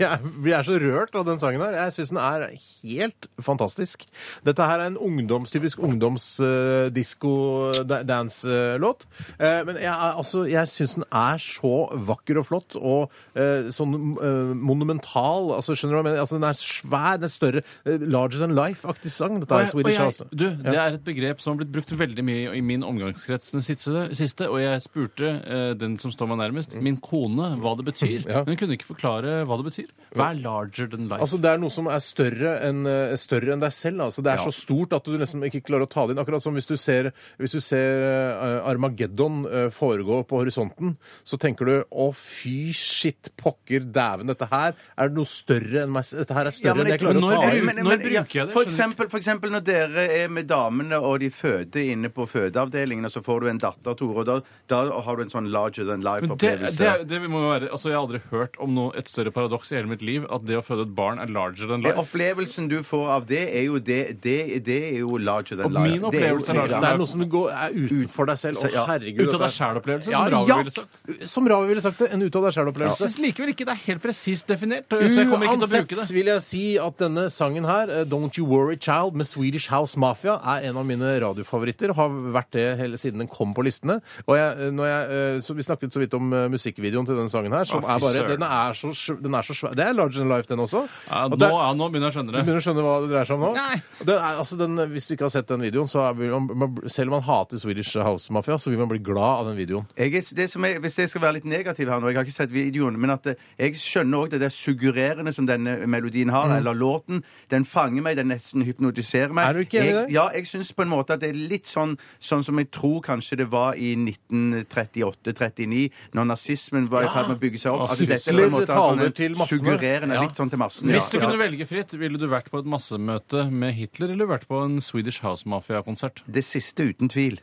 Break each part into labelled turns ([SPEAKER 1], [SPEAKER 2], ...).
[SPEAKER 1] Jeg vi er så rørt av den sangen her. Jeg syns den er helt fantastisk. Dette her er en ungdoms, typisk ungdomsdisko-dance-låt. men jeg, er- altså, jeg syns den er så vakker og flott og eh, sånn eh, monumental. Altså, skjønner du hva jeg mener? Altså, den er svær, den er større. eh, larger than life-aktig sang. Dette
[SPEAKER 2] Og
[SPEAKER 1] er
[SPEAKER 2] jeg-
[SPEAKER 1] Swedish
[SPEAKER 2] og jeg-
[SPEAKER 1] House.
[SPEAKER 2] Du, det er et begrep som har blitt brukt veldig mye i min omgangskrets den siste, siste og jeg spurte eh, den som står meg nærmest, min kone, hva det betyr.
[SPEAKER 1] Mm. Ja.
[SPEAKER 2] Men hun kunne ikke forklare hva det betyr. Hva er larger than life?
[SPEAKER 1] Altså, det er noe som er større enn eh, større enn deg selv. Altså. Det er
[SPEAKER 2] Ja.
[SPEAKER 1] så stort at du nesten ikke klarer å ta det inn. Akkurat som hvis du ser, hvis du ser eh, Armageddon eh, foregå på horisonten, så tenker du å fy shit, pokker dæven, dette her er noe større enn meg s- Dette her er større
[SPEAKER 3] Ja, men
[SPEAKER 1] enn
[SPEAKER 3] jeg
[SPEAKER 1] jeg klarer å
[SPEAKER 2] tror-
[SPEAKER 1] ta
[SPEAKER 2] når-
[SPEAKER 1] inn.
[SPEAKER 2] men- Når bruker jeg det?
[SPEAKER 3] For
[SPEAKER 2] Skjønner
[SPEAKER 3] eksempel, for eksempel når dere er med damene og de føder inne på fødeavdelingen, og så får du en datter, Tore, og da, da har du en sånn larger than
[SPEAKER 2] Men det, det,
[SPEAKER 3] life-opplevelse.
[SPEAKER 2] er- det må jo være, altså Jeg har aldri hørt om noe, et større paradoks i hele mitt liv at det å føde et barn er larger than life.
[SPEAKER 3] Opplevelsen du får av det, er jo det Det, det er jo larger
[SPEAKER 2] Og min
[SPEAKER 3] than life. Det jo-
[SPEAKER 2] opplevelse er larger
[SPEAKER 1] Det
[SPEAKER 2] than
[SPEAKER 1] er noe som går, er utenfor deg selv. Å,
[SPEAKER 3] Ja.
[SPEAKER 1] herregud.
[SPEAKER 2] Ut av deg
[SPEAKER 1] dette er-
[SPEAKER 2] sjæl-opplevelse,
[SPEAKER 1] Ja,
[SPEAKER 2] som Ravi
[SPEAKER 1] ja.
[SPEAKER 2] ville sagt.
[SPEAKER 1] Som Ravi ville sagt det. En ut av deg
[SPEAKER 2] Jeg
[SPEAKER 1] sjæl-opplevelse.
[SPEAKER 2] synes likevel ikke det er helt presist definert. Så jeg kommer ikke til å
[SPEAKER 1] Uansett
[SPEAKER 2] bruke det.
[SPEAKER 1] vil jeg si at denne sangen her, eh, Don't You Worry Child med Swedish House Mafia, er en av mine radiofavoritter. Har vært det hele siden den kom på listene. Og jeg, eh, når jeg, eh, så vi snakket så vidt om eh, musikkvideoen til denne sangen her, som
[SPEAKER 2] Å, fy
[SPEAKER 1] er bare
[SPEAKER 2] søren.
[SPEAKER 1] Den er så, sv- den er så svær. Det er larger than life, den også.
[SPEAKER 2] Ja,
[SPEAKER 1] Og
[SPEAKER 2] nå,
[SPEAKER 1] det er-
[SPEAKER 2] ja, nå begynner jeg å
[SPEAKER 1] du
[SPEAKER 2] skjønne det.
[SPEAKER 1] begynner å skjønne hva det dreier seg om nå?
[SPEAKER 2] Nei.
[SPEAKER 1] Det er, altså, den, hvis du ikke har sett den videoen, så er, vil man, man, selv om man hater Swedish House Mafia, så vil man bli glad av den videoen.
[SPEAKER 3] Jeg er, det som er, hvis jeg skal være litt negativ her nå, jeg har ikke sett videoen, men at eh, jeg skjønner òg det der suggererende som denne melodien har, eller låten. Den fanger meg, den nesten hypnotiserer meg.
[SPEAKER 1] Mm. Er du ikke enig i
[SPEAKER 3] jeg,
[SPEAKER 1] det?
[SPEAKER 3] Ja, jeg syns på en måte at det er litt sånn, sånn som jeg tror kanskje det var i 1938-39, når nazismen var i ferd med å bygge seg opp. at dette er på en måte
[SPEAKER 1] Sysler taler
[SPEAKER 3] sånn en
[SPEAKER 1] til massene.
[SPEAKER 3] Suggererende,
[SPEAKER 1] Ja.
[SPEAKER 3] litt sånn til massen.
[SPEAKER 2] Hvis du
[SPEAKER 3] ja.
[SPEAKER 2] kunne velge fritt, ville du vært på et massemøte med Hitler eller vært på en Swedish House Mafia-konsert?
[SPEAKER 3] Det siste, uten tvil.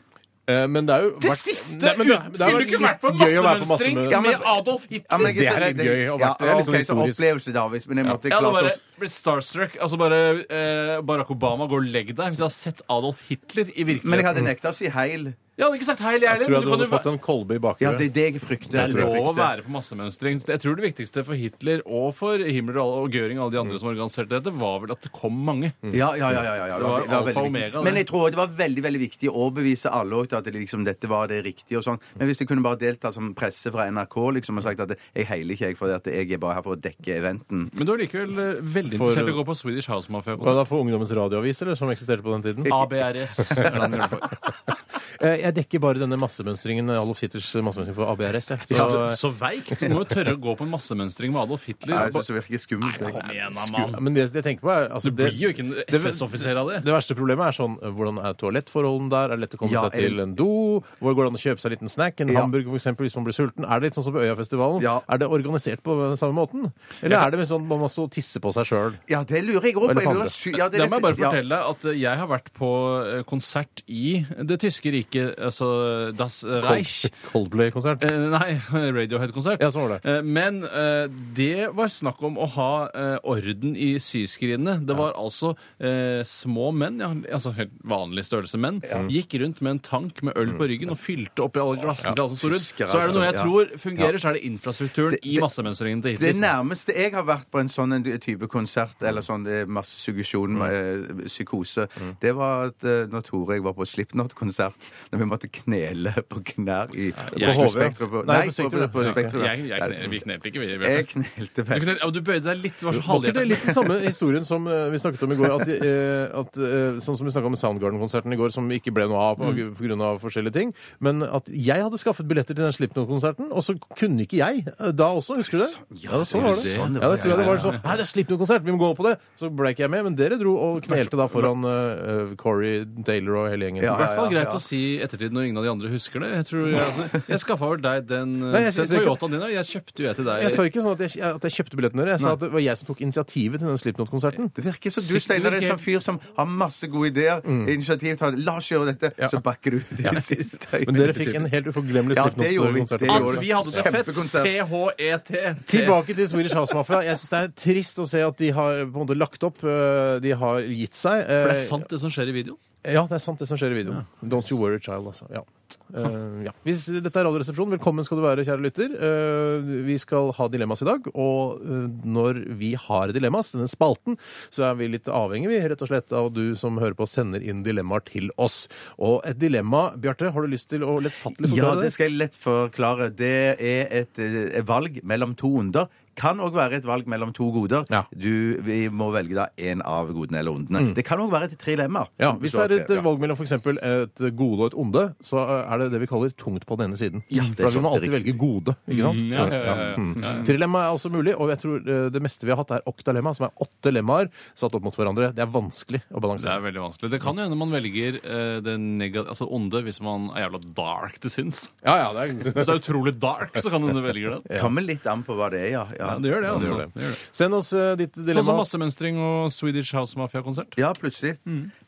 [SPEAKER 1] Eh, Men det er jo
[SPEAKER 2] Det
[SPEAKER 1] vært-
[SPEAKER 2] siste!
[SPEAKER 1] Nei, men det- det har
[SPEAKER 2] ville du
[SPEAKER 1] vært
[SPEAKER 2] ikke vært på
[SPEAKER 1] litt gøy å være på
[SPEAKER 2] massemønstring
[SPEAKER 1] massemø-
[SPEAKER 3] Ja, men-
[SPEAKER 2] med Adolf Hitler?
[SPEAKER 3] men jeg-
[SPEAKER 1] Det er litt gøy å være-
[SPEAKER 3] ja,
[SPEAKER 1] det er litt sånn
[SPEAKER 3] ok, så
[SPEAKER 1] historisk.
[SPEAKER 3] Opplevelse, David, men jeg måtte
[SPEAKER 2] Jeg hadde
[SPEAKER 3] klart
[SPEAKER 2] bare
[SPEAKER 3] oss.
[SPEAKER 2] blitt starstruck. Altså bare eh, Barack Obama går og legg deg hvis jeg hadde sett Adolf Hitler i
[SPEAKER 3] Men jeg
[SPEAKER 2] virkeligheten.
[SPEAKER 3] hadde nekta å si heil.
[SPEAKER 2] Jeg hadde ikke sagt hei, jeg
[SPEAKER 1] Jeg
[SPEAKER 2] heller.
[SPEAKER 1] tror
[SPEAKER 2] men
[SPEAKER 1] jeg du
[SPEAKER 2] du kan
[SPEAKER 1] hadde
[SPEAKER 2] jo
[SPEAKER 1] fått
[SPEAKER 2] væ-
[SPEAKER 1] en kolbe i
[SPEAKER 3] Ja,
[SPEAKER 1] bakhuet.
[SPEAKER 3] det er det jeg frykter.
[SPEAKER 2] Det er
[SPEAKER 3] jeg
[SPEAKER 2] lov å
[SPEAKER 3] frykter.
[SPEAKER 2] være på massemønstring. Jeg tror det viktigste for Hitler og for Himmler og alle- og Göring og alle de
[SPEAKER 3] Mm.
[SPEAKER 2] andre som organiserte dette, var vel at det kom mange.
[SPEAKER 3] Ja, ja, ja. ja, ja, ja.
[SPEAKER 2] Det var alfa
[SPEAKER 3] veldig
[SPEAKER 2] og
[SPEAKER 3] viktig.
[SPEAKER 2] omega, det.
[SPEAKER 3] Men jeg tror det var veldig veldig viktig å overbevise alle også til at det liksom, dette var det riktige. og sånn. Men hvis jeg kunne bare delta som presse fra NRK liksom, og sagt at jeg heiler ikke, jeg, for at jeg er bare her for å dekke eventen.
[SPEAKER 2] Men du er likevel eh, veldig
[SPEAKER 1] For-
[SPEAKER 2] interessert i å gå på Swedish House
[SPEAKER 1] Var
[SPEAKER 2] Mafia-konsert.
[SPEAKER 1] det da for Ungdommens Radioavis, eller, som eksisterte på den tiden?
[SPEAKER 2] ABRS. er det han gjør det for.
[SPEAKER 1] Eh, Jeg dekker bare denne massemønstringen, eh, Adolf Hitlers massemønstring for ABRS. jeg. Så,
[SPEAKER 2] Så- Så veikt! Du må jo tørre å gå på en massemønstring med Adolf Hitler.
[SPEAKER 3] Jeg synes det virker skummelt.
[SPEAKER 2] Nei, kom igjen, da,
[SPEAKER 1] eh,
[SPEAKER 2] mann.
[SPEAKER 1] men det jeg tenker på er altså,
[SPEAKER 2] Du blir jo ikke en SS-offiser av det.
[SPEAKER 1] det verste problemet er sånn eh, hvordan er toalettforholdene der? Er det lett å komme
[SPEAKER 3] Ja,
[SPEAKER 1] seg til
[SPEAKER 3] eller-
[SPEAKER 1] en do? Hvor går det an å kjøpe seg en liten snack? En
[SPEAKER 3] Ja.
[SPEAKER 1] hamburger, for eksempel, hvis man blir sulten? Er det litt sånn som på Øyafestivalen?
[SPEAKER 3] Ja.
[SPEAKER 1] Er det organisert på den samme måten? Eller er det mer sånn man må stå og tisse på seg sjøl?
[SPEAKER 3] Ja, det lurer jeg òg
[SPEAKER 1] Eller på
[SPEAKER 3] på. Jeg lurer
[SPEAKER 1] andre.
[SPEAKER 3] sy- ja, det er
[SPEAKER 2] Da må jeg bare
[SPEAKER 3] litt- ja.
[SPEAKER 2] fortelle deg at eh, jeg har vært på eh, konsert i det tyske riket, altså Das Reich.
[SPEAKER 1] Coldplay-konsert?
[SPEAKER 2] Eh, Nei, Radiohead-konsert.
[SPEAKER 1] Ja, sånn var det.
[SPEAKER 2] Eh, Men eh, det var snakk om å ha eh, orden i syskrinene. Det var altså eh, små menn, ja, altså helt vanlig størrelse menn, gikk rundt med en tank med øl
[SPEAKER 1] Mm.
[SPEAKER 2] på ryggen og fylte opp i alle glassene til alle som sto rundt.
[SPEAKER 3] Tyskere,
[SPEAKER 2] Så er det noe jeg
[SPEAKER 3] altså.
[SPEAKER 2] tror fungerer, så er det infrastrukturen i
[SPEAKER 3] det-
[SPEAKER 2] massemønstringen til
[SPEAKER 3] Det
[SPEAKER 2] Hitler.
[SPEAKER 3] nærmeste jeg har vært på en sånn en type konsert, eller sånn eh, massesuggesjon,
[SPEAKER 2] Mm.
[SPEAKER 3] eh, psykose, det var at eh, når Tore og jeg var på Slipknot-konsert, når vi måtte knele på knær i
[SPEAKER 2] jeg-
[SPEAKER 1] På
[SPEAKER 3] på
[SPEAKER 1] HV?
[SPEAKER 3] Spektrum.
[SPEAKER 1] Nei, på
[SPEAKER 3] Nei, på,
[SPEAKER 1] Spektrum,
[SPEAKER 3] på, på
[SPEAKER 1] ja.
[SPEAKER 3] Spektrum.
[SPEAKER 2] Jeg, jeg, kne- vi knelte ikke, vi.
[SPEAKER 3] Jeg
[SPEAKER 2] Bjarte.
[SPEAKER 3] knelte
[SPEAKER 2] Du,
[SPEAKER 3] veldig.
[SPEAKER 2] knelte- ja, du bøyde deg litt, det var så
[SPEAKER 1] Var ikke det
[SPEAKER 2] halvhjertet.
[SPEAKER 1] litt den samme historien som eh, vi snakket om i går? At, eh, at, eh, sånn som vi snakket om Soundgarden-konserten i går, som ikke ble noe av
[SPEAKER 3] Mm.
[SPEAKER 1] pga. forskjellige ting. Men at jeg hadde skaffet billetter til den Slipknot-konserten, og så kunne ikke jeg eh, da også. Husker du det? Ja, det, sånn var det.
[SPEAKER 3] sånn det
[SPEAKER 1] Ja,
[SPEAKER 3] var,
[SPEAKER 1] det tror jeg det
[SPEAKER 3] ja,
[SPEAKER 1] var sånn. Nei, det er Slipknot-konsert, vi må gå på det! Så ble ikke jeg med, men dere dro og knelte da foran eh, Corey Taylor og hele gjengen.
[SPEAKER 3] Ja,
[SPEAKER 2] I hvert fall
[SPEAKER 3] ja,
[SPEAKER 2] greit
[SPEAKER 3] ja.
[SPEAKER 2] å si i ettertid når ingen av de andre husker det. Jeg, tror jeg, altså, jeg skaffa vel deg den,
[SPEAKER 1] Nei,
[SPEAKER 2] den
[SPEAKER 1] jeg synes ikke-
[SPEAKER 2] Toyotaen din, og jeg kjøpte jo jeg til deg.
[SPEAKER 1] Jeg sa ikke sånn at jeg, at jeg kjøpte billettene deres, jeg sa at det var jeg som tok initiativet til den Slipknot-konserten.
[SPEAKER 3] Det virker som du
[SPEAKER 2] Sikkert
[SPEAKER 3] Steinar, er en
[SPEAKER 2] ikke- Mm.
[SPEAKER 3] sånn fyr som har masse gode ideer, initiativ, tar La oss gjøre dette, så bakker du ut i siste øyeblikk.
[SPEAKER 1] Men dere fikk en helt uforglemmelig
[SPEAKER 3] Ja, det gjorde vi.
[SPEAKER 1] Slipknot-konsert.
[SPEAKER 3] Det gjorde
[SPEAKER 2] At vi hadde det fett.
[SPEAKER 3] Kjempekonsert.
[SPEAKER 2] P-H-E-T.
[SPEAKER 1] Tilbake til Swedish House Mafia. Jeg syns det er trist å se at de har på en måte lagt opp. øh, De har gitt seg.
[SPEAKER 2] For det er sant, det som skjer i videoen.
[SPEAKER 1] Ja, det er sant, det som skjer i videoen. Don't you worry, child, altså. Ja. Eh, ja. Hvis dette er Radioresepsjonen, velkommen skal du være, kjære lytter. Eh, vi skal ha dilemmas i dag, og eh, når vi har dilemmas, denne spalten, så er vi litt avhengig, vi, rett og slett, av du som hører på, sender inn dilemmaer til oss. Og et dilemma, Bjarte, har du lyst til å lettfattelig
[SPEAKER 3] Ja,
[SPEAKER 1] forklare
[SPEAKER 3] det skal jeg lett forklare. Det er et eh, valg mellom to onder. Kan òg være et valg mellom to goder.
[SPEAKER 1] Ja.
[SPEAKER 3] Du, vi må velge da én av godene eller ondene. Det kan òg være et trilemma.
[SPEAKER 1] Ja, Hvis det er et eh, valg mellom for eksempel et gode og et onde, så er det det vi kaller tungt på den ene siden.
[SPEAKER 3] Ja, det
[SPEAKER 1] For da
[SPEAKER 3] er
[SPEAKER 1] vil
[SPEAKER 3] sant,
[SPEAKER 1] man
[SPEAKER 3] det
[SPEAKER 1] alltid
[SPEAKER 3] er
[SPEAKER 1] velge
[SPEAKER 3] riktig.
[SPEAKER 1] gode. ikke sant?
[SPEAKER 2] Mm, ja, ja, ja, ja.
[SPEAKER 1] Mm. Trilemma er også mulig, og jeg tror eh, det meste vi har hatt, er oktalemma, som er åtte lemmaer satt opp mot hverandre. Det er vanskelig å
[SPEAKER 2] Det er
[SPEAKER 1] balansere.
[SPEAKER 2] veldig vanskelig. Det kan jo hende man velger eh, det nega- altså onde hvis man er jævla dark til sinns.
[SPEAKER 1] Ja, ja, det
[SPEAKER 2] Hvis det er utrolig dark, så kan hende du velger den.
[SPEAKER 3] Kommer litt an på hva det er, ja. ja.
[SPEAKER 2] Ja, det gjør det, altså.
[SPEAKER 1] gjør Send oss eh, ditt
[SPEAKER 2] Sånn som
[SPEAKER 1] dilemma.
[SPEAKER 2] massemønstring og Swedish House Mafia-konsert.
[SPEAKER 3] Ja, plutselig.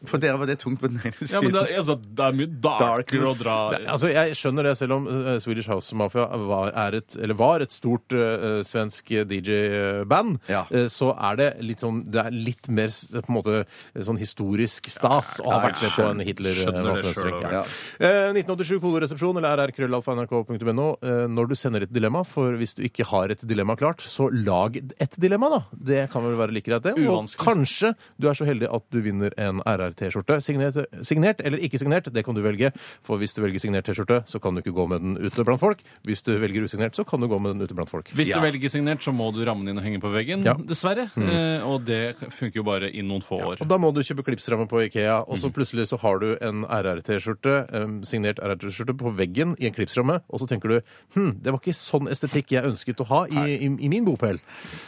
[SPEAKER 3] For dere var det tungt på den ene siden.
[SPEAKER 2] Ja, men det, er- altså, det er mye darkere å dra
[SPEAKER 1] Det- Altså, jeg skjønner det, selv om eh, Swedish House Mafia var, er et, eller var et stort eh, svensk DJ-band,
[SPEAKER 3] Ja.
[SPEAKER 1] så er det litt sånn Det er litt mer s- på en måte sånn historisk stas å ha
[SPEAKER 3] ja,
[SPEAKER 1] vært med på en
[SPEAKER 2] skjønner det
[SPEAKER 1] Hitler-massemønstring.
[SPEAKER 2] selv,
[SPEAKER 1] Ja. Eh, 1987 kodoresepsjon eller rrkrøllalfa.nrk.no. Eh, Når du sender et dilemma, for hvis du ikke har et dilemma klart, så lag et dilemma, da. Det kan vel være like greit, det. Og
[SPEAKER 2] Uvanskelig.
[SPEAKER 1] kanskje du er så heldig at du vinner en RR-T-skjorte. Signert, signert eller ikke signert, det kan du velge. For hvis du velger signert T-skjorte, så kan du ikke gå med den ute blant folk. Hvis du velger usignert, så kan du gå med den ute blant folk.
[SPEAKER 2] Hvis
[SPEAKER 3] Ja.
[SPEAKER 2] du velger signert, så må du ramme den inn og henge på veggen,
[SPEAKER 1] Ja.
[SPEAKER 2] dessverre. Eh, og det funker jo bare i noen få år.
[SPEAKER 1] Og da må du kjøpe klipsramme på Ikea, og så plutselig så har du en RR-T-skjorte, em, signert RR-T-skjorte, på veggen i en klipsramme, og så tenker du hm, det var ikke sånn estetikk jeg ønsket å ha i, i, i min bopel.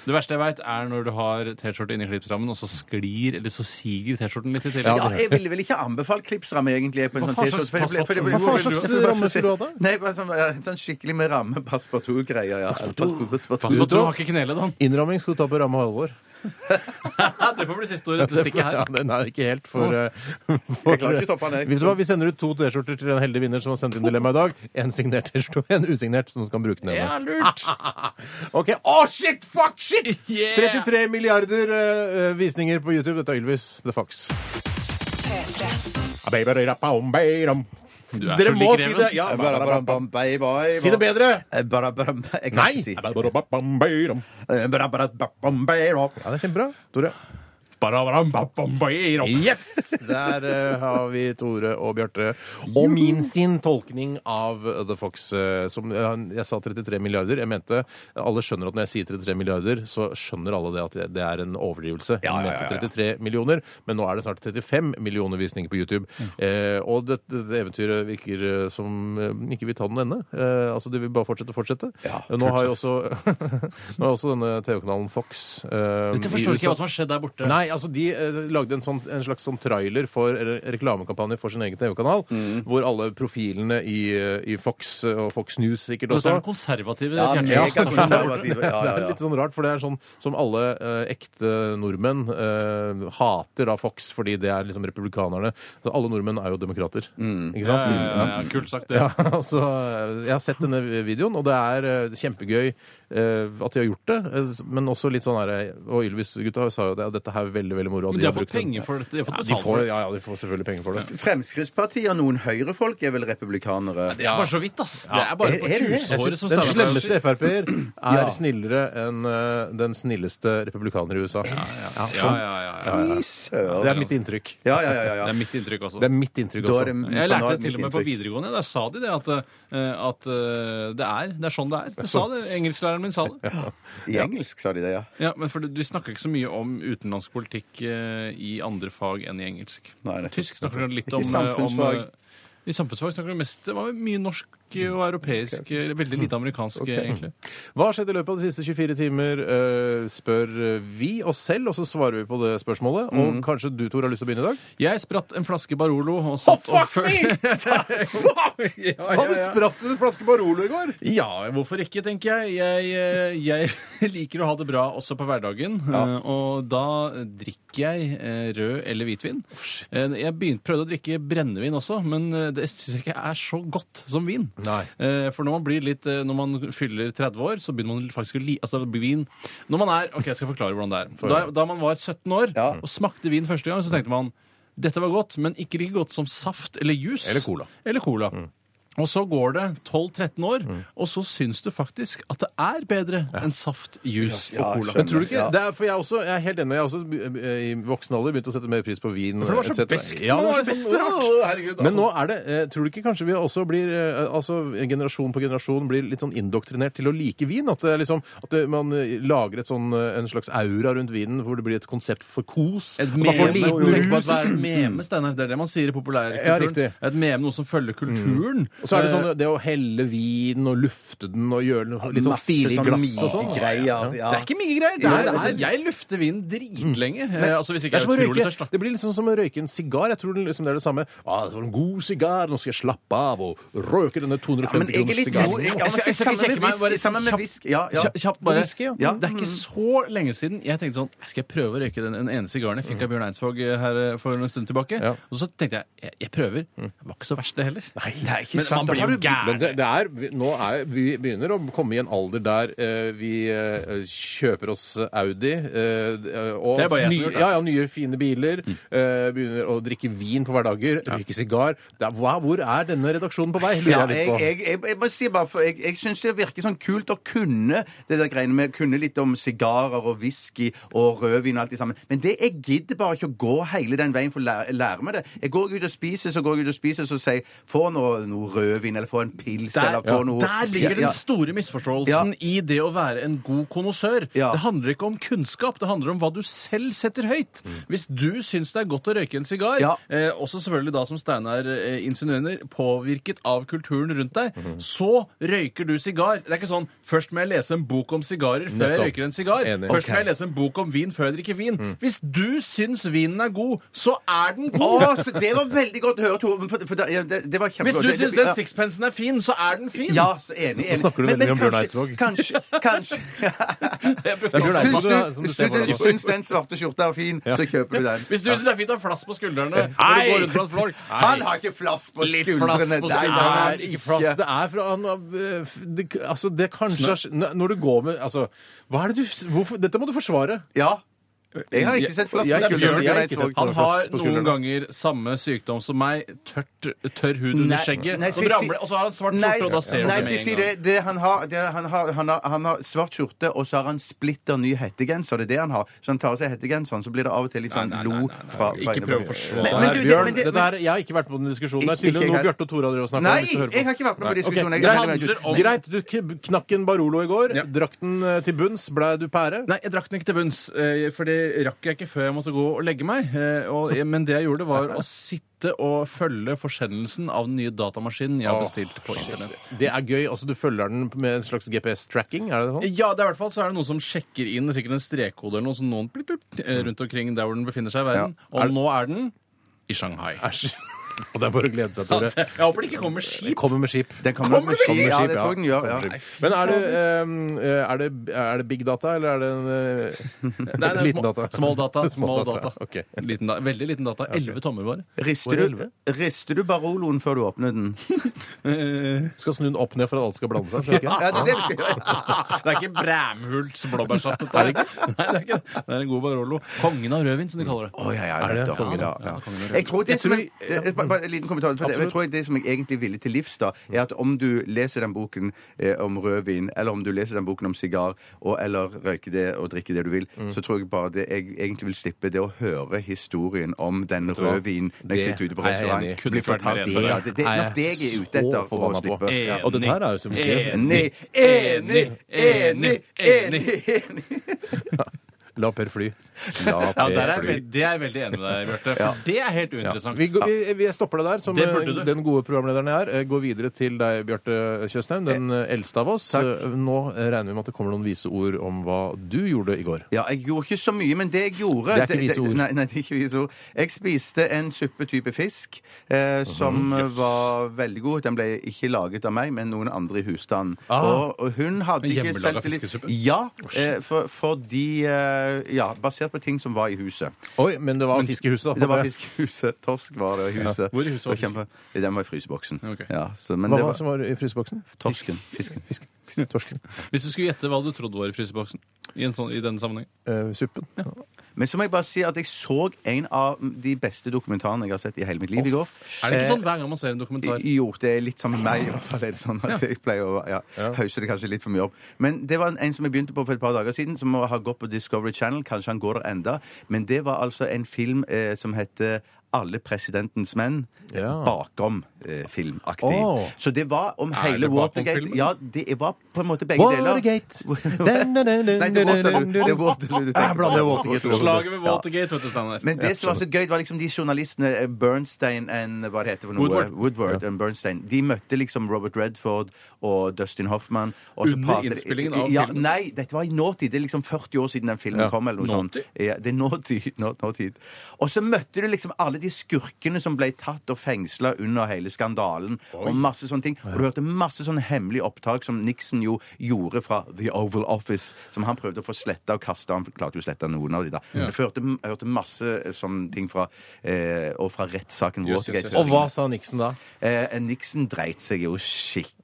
[SPEAKER 2] Det verste jeg veit, er når du har T-skjorte inni klipsrammen, og så sklir, eller så siger T-skjorten litt i tillegg.
[SPEAKER 3] Ja, jeg ville vel ikke anbefalt klipsramme, egentlig. På en
[SPEAKER 2] Hva
[SPEAKER 3] sånn
[SPEAKER 2] faen slags
[SPEAKER 3] t-skjorte, for det ble- for
[SPEAKER 1] passepartout?
[SPEAKER 3] det ble-
[SPEAKER 1] Hva faen slags
[SPEAKER 3] for det ble-
[SPEAKER 1] ramme skulle du ha da?
[SPEAKER 3] Nei, bare sånn, eh, sånn skikkelig med ramme, passepartout-greier. Ja. Passepartout, passepartout.
[SPEAKER 2] Pass på at du har ikke knelet den.
[SPEAKER 1] Innramming skal du ta på ramme halvår.
[SPEAKER 2] Det får bli siste ord i dette stikket
[SPEAKER 1] Ja,
[SPEAKER 2] her.
[SPEAKER 1] den er ikke helt for, eh, for
[SPEAKER 3] Jeg klarer ikke å toppe den, jeg.
[SPEAKER 1] Vet du hva, Vi sender ut to T-skjorter til en heldig vinner som har sendt inn dilemma i dag. En signert T-skjorte og en usignert, så noen kan bruke den. hjemme.
[SPEAKER 2] Ja, lurt.
[SPEAKER 1] Ok, Å, shit! Fuck, shit!
[SPEAKER 2] Yeah!
[SPEAKER 1] 33 milliarder eh, visninger på YouTube. Dette er Ylvis The Fox.
[SPEAKER 2] Du er
[SPEAKER 1] Dere
[SPEAKER 2] så
[SPEAKER 1] må
[SPEAKER 2] lik
[SPEAKER 1] si
[SPEAKER 2] Reven.
[SPEAKER 1] det! Ja,
[SPEAKER 3] Barabam, bye, bye.
[SPEAKER 1] si det bedre!
[SPEAKER 3] Eh, barabam, Jeg kan
[SPEAKER 1] Nei!
[SPEAKER 3] ikke si.
[SPEAKER 1] Ja, det
[SPEAKER 3] Eh, barabam, bye,
[SPEAKER 1] er
[SPEAKER 3] bye.
[SPEAKER 1] kjempebra. Tore. Yes! Der eh, har vi Tore og Bjarte. Og min sin tolkning av The Fox. eh, som eh, Jeg sa 33 milliarder. Jeg mente Alle skjønner at når jeg sier 33 milliarder, så skjønner alle det at det- det er en overdrivelse. Jeg
[SPEAKER 3] Ja, ja, ja,
[SPEAKER 1] mente
[SPEAKER 3] ja.
[SPEAKER 1] 33 millioner, men nå er det snart 35 millioner visninger på YouTube.
[SPEAKER 3] Mm.
[SPEAKER 1] Eh, og dette det eventyret virker eh, som eh, ikke vil ta den ende. Eh, altså, det vil bare fortsette og fortsette.
[SPEAKER 3] Ja,
[SPEAKER 1] Eh, nå har jo også, nå har også denne TV-kanalen Fox eh,
[SPEAKER 2] Dette
[SPEAKER 1] i
[SPEAKER 2] forstår ikke
[SPEAKER 1] USA-
[SPEAKER 2] hva som har skjedd der borte.
[SPEAKER 1] Nei, altså de eh, lagde en, sånn, en slags sånn trailer for re reklamekampanje for sin egen TV-kanal,
[SPEAKER 2] Mm.
[SPEAKER 1] hvor alle profilene i, eh, i Fox eh, og Fox News sikkert
[SPEAKER 2] Dette er
[SPEAKER 1] også
[SPEAKER 2] den konservative
[SPEAKER 3] Ja,
[SPEAKER 2] fjernsynskanalen der borte.
[SPEAKER 3] megakonservative. Ja,
[SPEAKER 1] det
[SPEAKER 3] ja,
[SPEAKER 1] er
[SPEAKER 3] ja.
[SPEAKER 1] litt sånn rart, for det er sånn som alle eh, ekte nordmenn eh, hater da Fox, fordi det er liksom republikanerne. Så alle nordmenn er jo demokrater. Ikke
[SPEAKER 2] Mm. Ja,
[SPEAKER 1] sant?
[SPEAKER 2] ja, ja, ja, kult sagt, det.
[SPEAKER 1] Ja, altså, jeg har sett denne videoen, og det er eh, kjempegøy eh, at de har gjort det. eh, Men også litt sånn her eh, Og Ylvis-gutta sa jo det, at dette her er veldig veldig moro. og
[SPEAKER 2] Men de har
[SPEAKER 1] brukt
[SPEAKER 2] fått
[SPEAKER 1] den.
[SPEAKER 2] penger for dette. De har fått
[SPEAKER 1] Ja, de får,
[SPEAKER 2] betalt for det.
[SPEAKER 1] ja, ja, de får selvfølgelig penger for det.
[SPEAKER 3] Fremskrittspartiet og noen høyrefolk er vel republikanere?
[SPEAKER 2] Det er bare så vidt, ass. Det er bare
[SPEAKER 3] Er- er
[SPEAKER 2] på
[SPEAKER 3] det det?
[SPEAKER 1] Jeg
[SPEAKER 2] kusehåret
[SPEAKER 1] synes
[SPEAKER 2] som
[SPEAKER 1] Den
[SPEAKER 2] stemmer.
[SPEAKER 1] slemmeste Frp-er er
[SPEAKER 3] Ja.
[SPEAKER 1] snillere enn eh, den snilleste republikaner i USA. Ja,
[SPEAKER 2] Ja,
[SPEAKER 1] sånn.
[SPEAKER 2] ja, ja, ja.
[SPEAKER 3] Fy
[SPEAKER 1] Det
[SPEAKER 3] søren.
[SPEAKER 1] er mitt inntrykk.
[SPEAKER 3] Ja, ja, ja, ja,
[SPEAKER 2] Det
[SPEAKER 3] ja.
[SPEAKER 2] er mitt inntrykk også.
[SPEAKER 1] Det er mitt inntrykk
[SPEAKER 3] Da er
[SPEAKER 1] også.
[SPEAKER 3] det mitt-
[SPEAKER 2] Jeg lærte det
[SPEAKER 3] mitt
[SPEAKER 2] til og med på
[SPEAKER 3] inntrykk.
[SPEAKER 2] videregående. Der sa de det, at, eh, at eh, det er det er sånn det er. Det sa det, Engelsklæreren min sa det.
[SPEAKER 3] I engelsk sa de det, ja.
[SPEAKER 2] Ja, men for du, du snakker ikke så mye om utenlandsk politikk eh, i andre fag enn i engelsk.
[SPEAKER 3] Nei, nei.
[SPEAKER 2] Tysk snakker du litt
[SPEAKER 3] Ikke
[SPEAKER 2] om,
[SPEAKER 3] i
[SPEAKER 2] eh, om
[SPEAKER 3] samfunnsfag. Mm.
[SPEAKER 2] eh, I samfunnsfag snakker du mest Det var mye norsk og europeisk, eh, veldig lite amerikansk, eh, egentlig.
[SPEAKER 1] Hva har skjedd i løpet av de siste 24 timer, eh, spør vi oss selv, og så svarer vi på det spørsmålet.
[SPEAKER 3] Mhm.
[SPEAKER 1] Og kanskje du, Tor, har lyst til å begynne i dag?
[SPEAKER 2] Jeg spratt en flaske Barolo og satt og føl-
[SPEAKER 1] Hadde spratt en flaske Barolo i går!
[SPEAKER 2] Ja, hvorfor ikke, tenker jeg. Jeg, eh, jeg liker å ha det bra også på hverdagen. eh, Og da drikker jeg eh, rød eller hvitvin. Eh, jeg begynte, prøvde å drikke brennevin også, men eh, det syns jeg ikke er så godt som vin.
[SPEAKER 1] Nei.
[SPEAKER 2] Eh, For når man blir litt eh, Når man fyller 30 år, så begynner man faktisk å li... Altså vin Når man er OK, jeg skal forklare hvordan det er. Da, da man var 17 år
[SPEAKER 3] Ja.
[SPEAKER 2] og smakte vin første gang, så tenkte man Dette var godt, men ikke like godt som saft eller juice.
[SPEAKER 1] Eller cola. Mm.
[SPEAKER 2] Eller cola. Og så går det 12-13 år, og så syns du faktisk at det er bedre enn saft, juice
[SPEAKER 3] Ja,
[SPEAKER 2] og cola.
[SPEAKER 3] skjønner.
[SPEAKER 1] Men tror du ikke,
[SPEAKER 3] Ja.
[SPEAKER 1] det er, for jeg, er også, jeg er helt enig med jeg har også eh, i voksen alder begynt å sette mer pris på vin.
[SPEAKER 2] For det var så
[SPEAKER 1] et cetera.
[SPEAKER 2] beskt.
[SPEAKER 1] Ja, det
[SPEAKER 2] Nå
[SPEAKER 1] var
[SPEAKER 2] er
[SPEAKER 1] så sånn,
[SPEAKER 2] det
[SPEAKER 1] beskt
[SPEAKER 2] beskt og rart.
[SPEAKER 1] rart.
[SPEAKER 2] altså.
[SPEAKER 1] Men nå er det eh, Tror du ikke kanskje vi også blir eh, Altså generasjon på generasjon blir litt sånn indoktrinert til å like vin? At, det er liksom, at det, man eh, lager et sånn, eh, en slags aura rundt vinen hvor det blir et konsept for kos?
[SPEAKER 2] Et
[SPEAKER 1] Man får
[SPEAKER 2] meme,
[SPEAKER 1] liten
[SPEAKER 2] jo, jo,
[SPEAKER 1] tenk
[SPEAKER 2] tenk på
[SPEAKER 1] på
[SPEAKER 2] at hva er et meme, Steinar? Det er det man sier
[SPEAKER 1] Ja,
[SPEAKER 2] i populærkulturen.
[SPEAKER 1] riktig.
[SPEAKER 2] et meme, noe som følger kulturen.
[SPEAKER 1] Og så er det sånn det å helle vin og lufte den og gjøre noe litt sånn
[SPEAKER 3] Masse
[SPEAKER 1] stilig
[SPEAKER 3] sånn
[SPEAKER 1] glass og sånn.
[SPEAKER 3] migreier, ja.
[SPEAKER 2] Det er ikke mye greier. Eh, Det
[SPEAKER 3] Nei,
[SPEAKER 2] er, altså,
[SPEAKER 3] det er-
[SPEAKER 2] jeg lufter vin dritlenge. Eh, altså, hvis
[SPEAKER 1] Mm. Det
[SPEAKER 2] ikke
[SPEAKER 1] er
[SPEAKER 2] jeg
[SPEAKER 1] som å
[SPEAKER 2] er utrolig
[SPEAKER 1] røyke,
[SPEAKER 2] tørst, da.
[SPEAKER 1] det blir liksom som å røyke en sigar. Jeg tror det liksom det er det samme. Ah, det var en god sigar, nå skal jeg slappe av og røyke denne
[SPEAKER 3] men
[SPEAKER 1] 250
[SPEAKER 3] jeg er
[SPEAKER 1] kroners
[SPEAKER 3] litt
[SPEAKER 1] sigaren.
[SPEAKER 3] ja, men
[SPEAKER 2] Jeg skal- jeg skal ikke
[SPEAKER 3] sammen
[SPEAKER 2] sjekke
[SPEAKER 3] med
[SPEAKER 2] meg,
[SPEAKER 3] whisky-
[SPEAKER 2] bare
[SPEAKER 3] Sammen med
[SPEAKER 2] kjapt-
[SPEAKER 3] whisky. Ja, ja.
[SPEAKER 2] Kjapt kjapt bare.
[SPEAKER 1] Whisky, ja.
[SPEAKER 2] ja. Det er ikke så lenge siden jeg tenkte sånn Skal jeg prøve å røyke den, den ene sigaren jeg fikk av Bjørn Eidsvåg eh, her eh, for en stund tilbake?
[SPEAKER 1] Ja.
[SPEAKER 2] Og så tenkte jeg jeg, jeg prøver. Det var ikke så verst, det heller.
[SPEAKER 3] Nei, det er ikke
[SPEAKER 2] Men man
[SPEAKER 3] sant.
[SPEAKER 2] blir jo
[SPEAKER 1] Men
[SPEAKER 2] gæren.
[SPEAKER 1] det, det er, vi- nå er, vi begynner å komme i en alder der eh, vi eh, kjøper oss Audi eh, og
[SPEAKER 2] Det er bare jeg som
[SPEAKER 1] nye,
[SPEAKER 2] gjør det.
[SPEAKER 1] ja, ja, nye fine biler. eh, begynner å drikke vin på hverdager, røyke sigar. Det er- hva- Hvor er denne redaksjonen på vei?
[SPEAKER 3] Ja,
[SPEAKER 1] Lurer jeg
[SPEAKER 3] jeg,
[SPEAKER 1] litt på.
[SPEAKER 3] jeg, jeg, jeg må si bare, for jeg, jeg syns det virker sånn kult å kunne det der greiene med kunne litt om sigarer og whisky og rødvin og alt det sammen. Men det, jeg gidder bare ikke å gå hele den veien for å lære, lære meg det. Jeg går ut og spiser, så går jeg ut og spiser, så sier jeg få noe, noe rødvin, eller få en pils,
[SPEAKER 2] Der,
[SPEAKER 3] eller få noe
[SPEAKER 2] der ligger
[SPEAKER 3] Ja, ja.
[SPEAKER 2] den store misforståelsen
[SPEAKER 3] Ja.
[SPEAKER 2] i det å være en god konnoissør.
[SPEAKER 3] Ja.
[SPEAKER 2] Det handler ikke om kunnskap, det handler om hva du selv setter høyt. Hvis du syns det er godt å røyke en sigar,
[SPEAKER 3] Mm. Ja.
[SPEAKER 2] eh, også selvfølgelig da som Steinar eh, insinuerer, påvirket av kulturen rundt deg,
[SPEAKER 3] Mhm.
[SPEAKER 2] så røyker du sigar. Det er ikke sånn først må jeg lese en bok om sigarer før jeg
[SPEAKER 1] Nettopp.
[SPEAKER 2] røyker en sigar.
[SPEAKER 1] Enig.
[SPEAKER 2] Først må
[SPEAKER 3] Ok. Mm.
[SPEAKER 2] jeg lese en bok om vin før jeg drikker vin. Hvis du syns vinen er god, så er den god.
[SPEAKER 3] Å, så det var veldig godt å høre, Tore. For, for det, ja, det, det var
[SPEAKER 2] Hvis
[SPEAKER 3] kjempegodt.
[SPEAKER 2] du
[SPEAKER 3] Det- det-
[SPEAKER 2] syns den
[SPEAKER 3] ja.
[SPEAKER 2] sixpensen er fin, så er den fin.
[SPEAKER 3] Ja, så enig. enig.
[SPEAKER 1] snakker du
[SPEAKER 3] Men-
[SPEAKER 1] veldig
[SPEAKER 3] men
[SPEAKER 1] om Bjørn
[SPEAKER 3] kanskje-
[SPEAKER 1] Eidsvåg.
[SPEAKER 3] Kanskje, kanskje.
[SPEAKER 2] Jeg brukte
[SPEAKER 1] Det er Bjørn
[SPEAKER 2] også-
[SPEAKER 1] Eidsvåg
[SPEAKER 3] Syns
[SPEAKER 1] som er- som du
[SPEAKER 3] du,
[SPEAKER 1] ser for
[SPEAKER 3] syns
[SPEAKER 1] deg
[SPEAKER 3] du
[SPEAKER 1] nå.
[SPEAKER 3] syns den svarte skjorta er fin, så kjøper du den.
[SPEAKER 2] Hvis du syns det er fint å ha flass på skuldrene når
[SPEAKER 1] Nei!
[SPEAKER 2] du går rundt blant folk
[SPEAKER 3] Han har ikke flass på
[SPEAKER 2] Litt
[SPEAKER 3] skuldrene.
[SPEAKER 2] flass på
[SPEAKER 3] Nei,
[SPEAKER 2] skuldrene.
[SPEAKER 3] han har
[SPEAKER 1] Det er ikke plass. Det er fra han, eh, f- det, Altså, det kanskje er n- Når du går med Altså, hva er det du hvorfor, Dette må du forsvare.
[SPEAKER 3] Ja. Jeg har ikke sett flass
[SPEAKER 1] Jeg-
[SPEAKER 3] på
[SPEAKER 1] jeg-
[SPEAKER 3] skuldrene.
[SPEAKER 1] jeg- jeg-
[SPEAKER 3] Nei,
[SPEAKER 1] ikke
[SPEAKER 3] så-
[SPEAKER 1] sett-
[SPEAKER 2] Han har
[SPEAKER 1] flass på
[SPEAKER 2] noen
[SPEAKER 1] skuldrene.
[SPEAKER 2] ganger samme sykdom som meg. Tørt, tørr hud under
[SPEAKER 3] Nei,
[SPEAKER 2] skjegget.
[SPEAKER 3] nei,
[SPEAKER 2] så
[SPEAKER 3] skal jeg
[SPEAKER 2] ramler,
[SPEAKER 3] si-
[SPEAKER 2] og så har han svart
[SPEAKER 3] Nei,
[SPEAKER 2] skjorte, og da ser du
[SPEAKER 3] nei,
[SPEAKER 2] det
[SPEAKER 3] skal jeg
[SPEAKER 2] med
[SPEAKER 3] si
[SPEAKER 2] en gang.
[SPEAKER 3] det, det han har, det han, har, han, har, han har svart skjorte, og så har han splitter ny hettegenser. Det er det han har. Så han tar av seg hettegenseren, så blir det av og til litt sånn
[SPEAKER 2] Nei, nei, nei, nei,
[SPEAKER 3] lo
[SPEAKER 2] nei,
[SPEAKER 3] fra
[SPEAKER 2] ikke
[SPEAKER 3] fra-
[SPEAKER 2] prøv å forsvare
[SPEAKER 3] Men-
[SPEAKER 1] Dette
[SPEAKER 3] men
[SPEAKER 1] her,
[SPEAKER 3] du, det-
[SPEAKER 1] Bjørn,
[SPEAKER 3] men det-
[SPEAKER 1] dette her, jeg har ikke vært med på den diskusjonen. Det er
[SPEAKER 3] Ikke-
[SPEAKER 1] tydelig
[SPEAKER 3] ikke
[SPEAKER 1] noe
[SPEAKER 3] jeg.
[SPEAKER 1] Bjarte og Tore har drevet og snakket om.
[SPEAKER 3] Nei,
[SPEAKER 1] hvis du hører på.
[SPEAKER 3] jeg har ikke vært med
[SPEAKER 1] Nei,
[SPEAKER 3] på
[SPEAKER 1] ok.
[SPEAKER 3] diskusjonen. Jeg-
[SPEAKER 2] Greit.
[SPEAKER 3] jeg- jeg- jeg-
[SPEAKER 2] handler om-
[SPEAKER 1] Greit, du k- knakk en Barolo i går.
[SPEAKER 2] Ja.
[SPEAKER 1] Drakk den eh, til bunns. Blei du pære?
[SPEAKER 2] Nei, jeg drakk den ikke til bunns, eh, for det rakk jeg ikke før jeg måtte gå og legge meg. Eh, Og, men det jeg gjorde, var å sitte og følge forsendelsen av den nye datamaskinen jeg har
[SPEAKER 1] Åh,
[SPEAKER 2] bestilt på internett.
[SPEAKER 1] Det er gøy. altså Du følger den med en slags GPS-tracking? er det sånn?
[SPEAKER 2] Ja, det er i hvert fall så er det noen som sjekker inn sikkert en strekkode eller noe som noen blitt gjort, eh, rundt omkring der hvor den befinner seg i verden.
[SPEAKER 1] Er
[SPEAKER 2] Og
[SPEAKER 1] det-
[SPEAKER 2] nå er den i Shanghai.
[SPEAKER 1] Æsj. Og det er bare å glede seg,
[SPEAKER 2] Ja,
[SPEAKER 1] Tore.
[SPEAKER 2] det- Jeg håper det ikke kommer skip.
[SPEAKER 1] Kommer med skip.
[SPEAKER 3] Den kommer
[SPEAKER 2] Kommer
[SPEAKER 3] med
[SPEAKER 2] det
[SPEAKER 3] skip.
[SPEAKER 1] Kommer med
[SPEAKER 3] Ja,
[SPEAKER 1] skip,
[SPEAKER 3] det tror jeg den gjør. Ja.
[SPEAKER 1] Kommer med skip. Men er det, eh, er, det, er det big data, eller er det en eh,
[SPEAKER 2] Nei, nei,
[SPEAKER 1] liten
[SPEAKER 2] små-
[SPEAKER 1] data?
[SPEAKER 2] Small data.
[SPEAKER 1] Small
[SPEAKER 2] Small
[SPEAKER 1] data,
[SPEAKER 2] data.
[SPEAKER 1] ok.
[SPEAKER 2] Liten da, veldig liten data. Elleve tommer bare.
[SPEAKER 1] Hvor
[SPEAKER 3] Rister
[SPEAKER 1] er
[SPEAKER 3] du, rister du Baroloen før du åpner den?
[SPEAKER 2] Eh,
[SPEAKER 1] Skal snu den opp ned for at alt skal blande seg? Skal du ikke?
[SPEAKER 3] Ja, det er det vi skal gjøre.
[SPEAKER 2] Det er ikke Bræmhults blåbærsaft. dette er ikke- Nei, det er ikke det. Det er en god Barolo. Kongen av rødvin, som de kaller det.
[SPEAKER 3] Å, ja, ja,
[SPEAKER 1] Er det
[SPEAKER 3] nettopp.
[SPEAKER 1] kongen?
[SPEAKER 3] Ja, ja.
[SPEAKER 2] Ja, kongen av
[SPEAKER 3] Jeg tror det
[SPEAKER 1] Jeg
[SPEAKER 3] som
[SPEAKER 1] tror-
[SPEAKER 3] jeg, eh, bare, bare en liten kommentar. For det, jeg
[SPEAKER 1] Absolutt.
[SPEAKER 3] tror det som jeg egentlig ville til livs, da, er at om du leser den boken eh, om rødvin, eller om du leser den boken om sigar, og, eller røyke det og drikke det du vil, så tror jeg bare det jeg egentlig vil slippe, det å høre historien om den rødvinen når jeg
[SPEAKER 1] Det
[SPEAKER 3] sitter ute på
[SPEAKER 1] er jeg enig i.
[SPEAKER 3] restaurant.
[SPEAKER 2] Kunne
[SPEAKER 3] Blir
[SPEAKER 2] ikke vært mer
[SPEAKER 3] fortalt-
[SPEAKER 2] enig
[SPEAKER 3] Ja,
[SPEAKER 2] på det.
[SPEAKER 3] Det det er nok det jeg er ute etter.
[SPEAKER 1] så forbanna
[SPEAKER 3] å slippe.
[SPEAKER 1] på.
[SPEAKER 3] Ja.
[SPEAKER 2] Enig.
[SPEAKER 1] Og den her er jo som
[SPEAKER 3] Enig, enig, enig, enig! enig.
[SPEAKER 1] La Per fly.
[SPEAKER 2] Ja, der er jeg veld- det er jeg veldig enig med deg, Bjarte. For det er helt uinteressant.
[SPEAKER 1] Vi, går, vi, vi stopper det der, som
[SPEAKER 2] Det burde
[SPEAKER 1] eh,
[SPEAKER 2] du.
[SPEAKER 1] den gode programlederen jeg er. Eh, Går videre til deg, Bjarte Tjøstheim, den eh, eldste av oss. Eh, Nå eh, regner vi med at det kommer noen vise ord om hva du gjorde i går.
[SPEAKER 3] Ja, jeg gjorde ikke så mye, men det jeg gjorde
[SPEAKER 1] Det er ikke vise ord.
[SPEAKER 3] Nei, nei, det er ikke vise ord. Jeg spiste en suppetype fisk
[SPEAKER 1] Mhm.
[SPEAKER 3] eh, som var veldig god. Den ble ikke laget av meg, men noen andre i husstanden.
[SPEAKER 1] Ah.
[SPEAKER 3] Og, og hun hadde ikke
[SPEAKER 2] Hjemmelaga
[SPEAKER 3] selvtillit-
[SPEAKER 2] fiskesuppe?
[SPEAKER 3] Ja, eh, for, fordi eh, Ja, basert på ting som var i huset.
[SPEAKER 1] Oi, men det var fiskehuset, da.
[SPEAKER 3] Det var fisk i huset. Torsk var det i huset.
[SPEAKER 2] Hvor i huset var
[SPEAKER 3] Og kjempe- Den var i fryseboksen.
[SPEAKER 2] Ok.
[SPEAKER 3] Ja, så, men
[SPEAKER 1] Hva var
[SPEAKER 3] det var
[SPEAKER 1] det som var i fryseboksen?
[SPEAKER 3] torsken. Fisken.
[SPEAKER 1] Fisk. Torsken.
[SPEAKER 2] Hvis du skulle gjette hva du trodde var i fryseboksen i, en sånn, i denne sammenhengen
[SPEAKER 1] Eh, suppen.
[SPEAKER 3] Men så må jeg bare si at jeg så en av de beste dokumentarene jeg har sett i hele mitt liv i går.
[SPEAKER 2] Er
[SPEAKER 3] Eh,
[SPEAKER 2] det ikke sånn hver gang man ser en dokumentar?
[SPEAKER 3] Jo, det er litt sammen med meg. i hvert fall er det sånn at Jeg pleier å ja, hause det kanskje litt for mye opp. Men det var en- en som jeg begynte på for et par dager siden, som har gått på Discovery Channel. Kanskje han går der enda. Men det var altså en film eh, som heter alle presidentens menn
[SPEAKER 1] Ja.
[SPEAKER 3] bakom eh, filmaktig.
[SPEAKER 1] Åh.
[SPEAKER 3] Så det var om
[SPEAKER 2] Er
[SPEAKER 3] hele
[SPEAKER 2] det bakom
[SPEAKER 3] Watergate.
[SPEAKER 2] filmen?
[SPEAKER 3] Ja, det var på en måte begge deler.
[SPEAKER 1] Watergate! Den, den, den, den,
[SPEAKER 3] Nei, det er Waterloo. Det er
[SPEAKER 1] den.
[SPEAKER 3] Waterloo du
[SPEAKER 1] Jeg
[SPEAKER 3] tenker
[SPEAKER 1] blander
[SPEAKER 3] på.
[SPEAKER 1] Watergate og
[SPEAKER 2] Slaget ved
[SPEAKER 3] Ja.
[SPEAKER 2] Watergate, vet du, Steinar.
[SPEAKER 3] Men det som var så gøy, det var liksom de journalistene eh, Bernstein and hva det heter for noe,
[SPEAKER 2] Woodward.
[SPEAKER 3] Woodward and Bernstein. De møtte liksom Robert Redford og Dustin Hoffman. Og så
[SPEAKER 2] Under
[SPEAKER 3] pratet-
[SPEAKER 2] innspillingen av
[SPEAKER 3] ja,
[SPEAKER 2] filmen?
[SPEAKER 3] Nei, dette var i nåtid. Det er liksom 40 år siden den filmen
[SPEAKER 1] Ja.
[SPEAKER 3] kom. eller noe sånt.
[SPEAKER 2] Nåtid?
[SPEAKER 3] Ja, det er nåtid. Nå, nåtid. Og så møtte du liksom alle de skurkene som ble tatt og fengsla under hele skandalen. Og masse sånne ting. Og du hørte masse sånne hemmelige opptak som Nixon jo gjorde fra The Oval Office, som han prøvde å få sletta og kasta. Han klarte jo å slette noen av de, da. Men jeg hørte, jeg hørte masse sånne ting fra, eh, og fra rettssaken
[SPEAKER 2] Jøss, jøss,
[SPEAKER 3] Watergate.
[SPEAKER 2] jøss.
[SPEAKER 1] Og hva sa Nixon da?
[SPEAKER 3] Eh, Nixon dreit seg jo skikkelig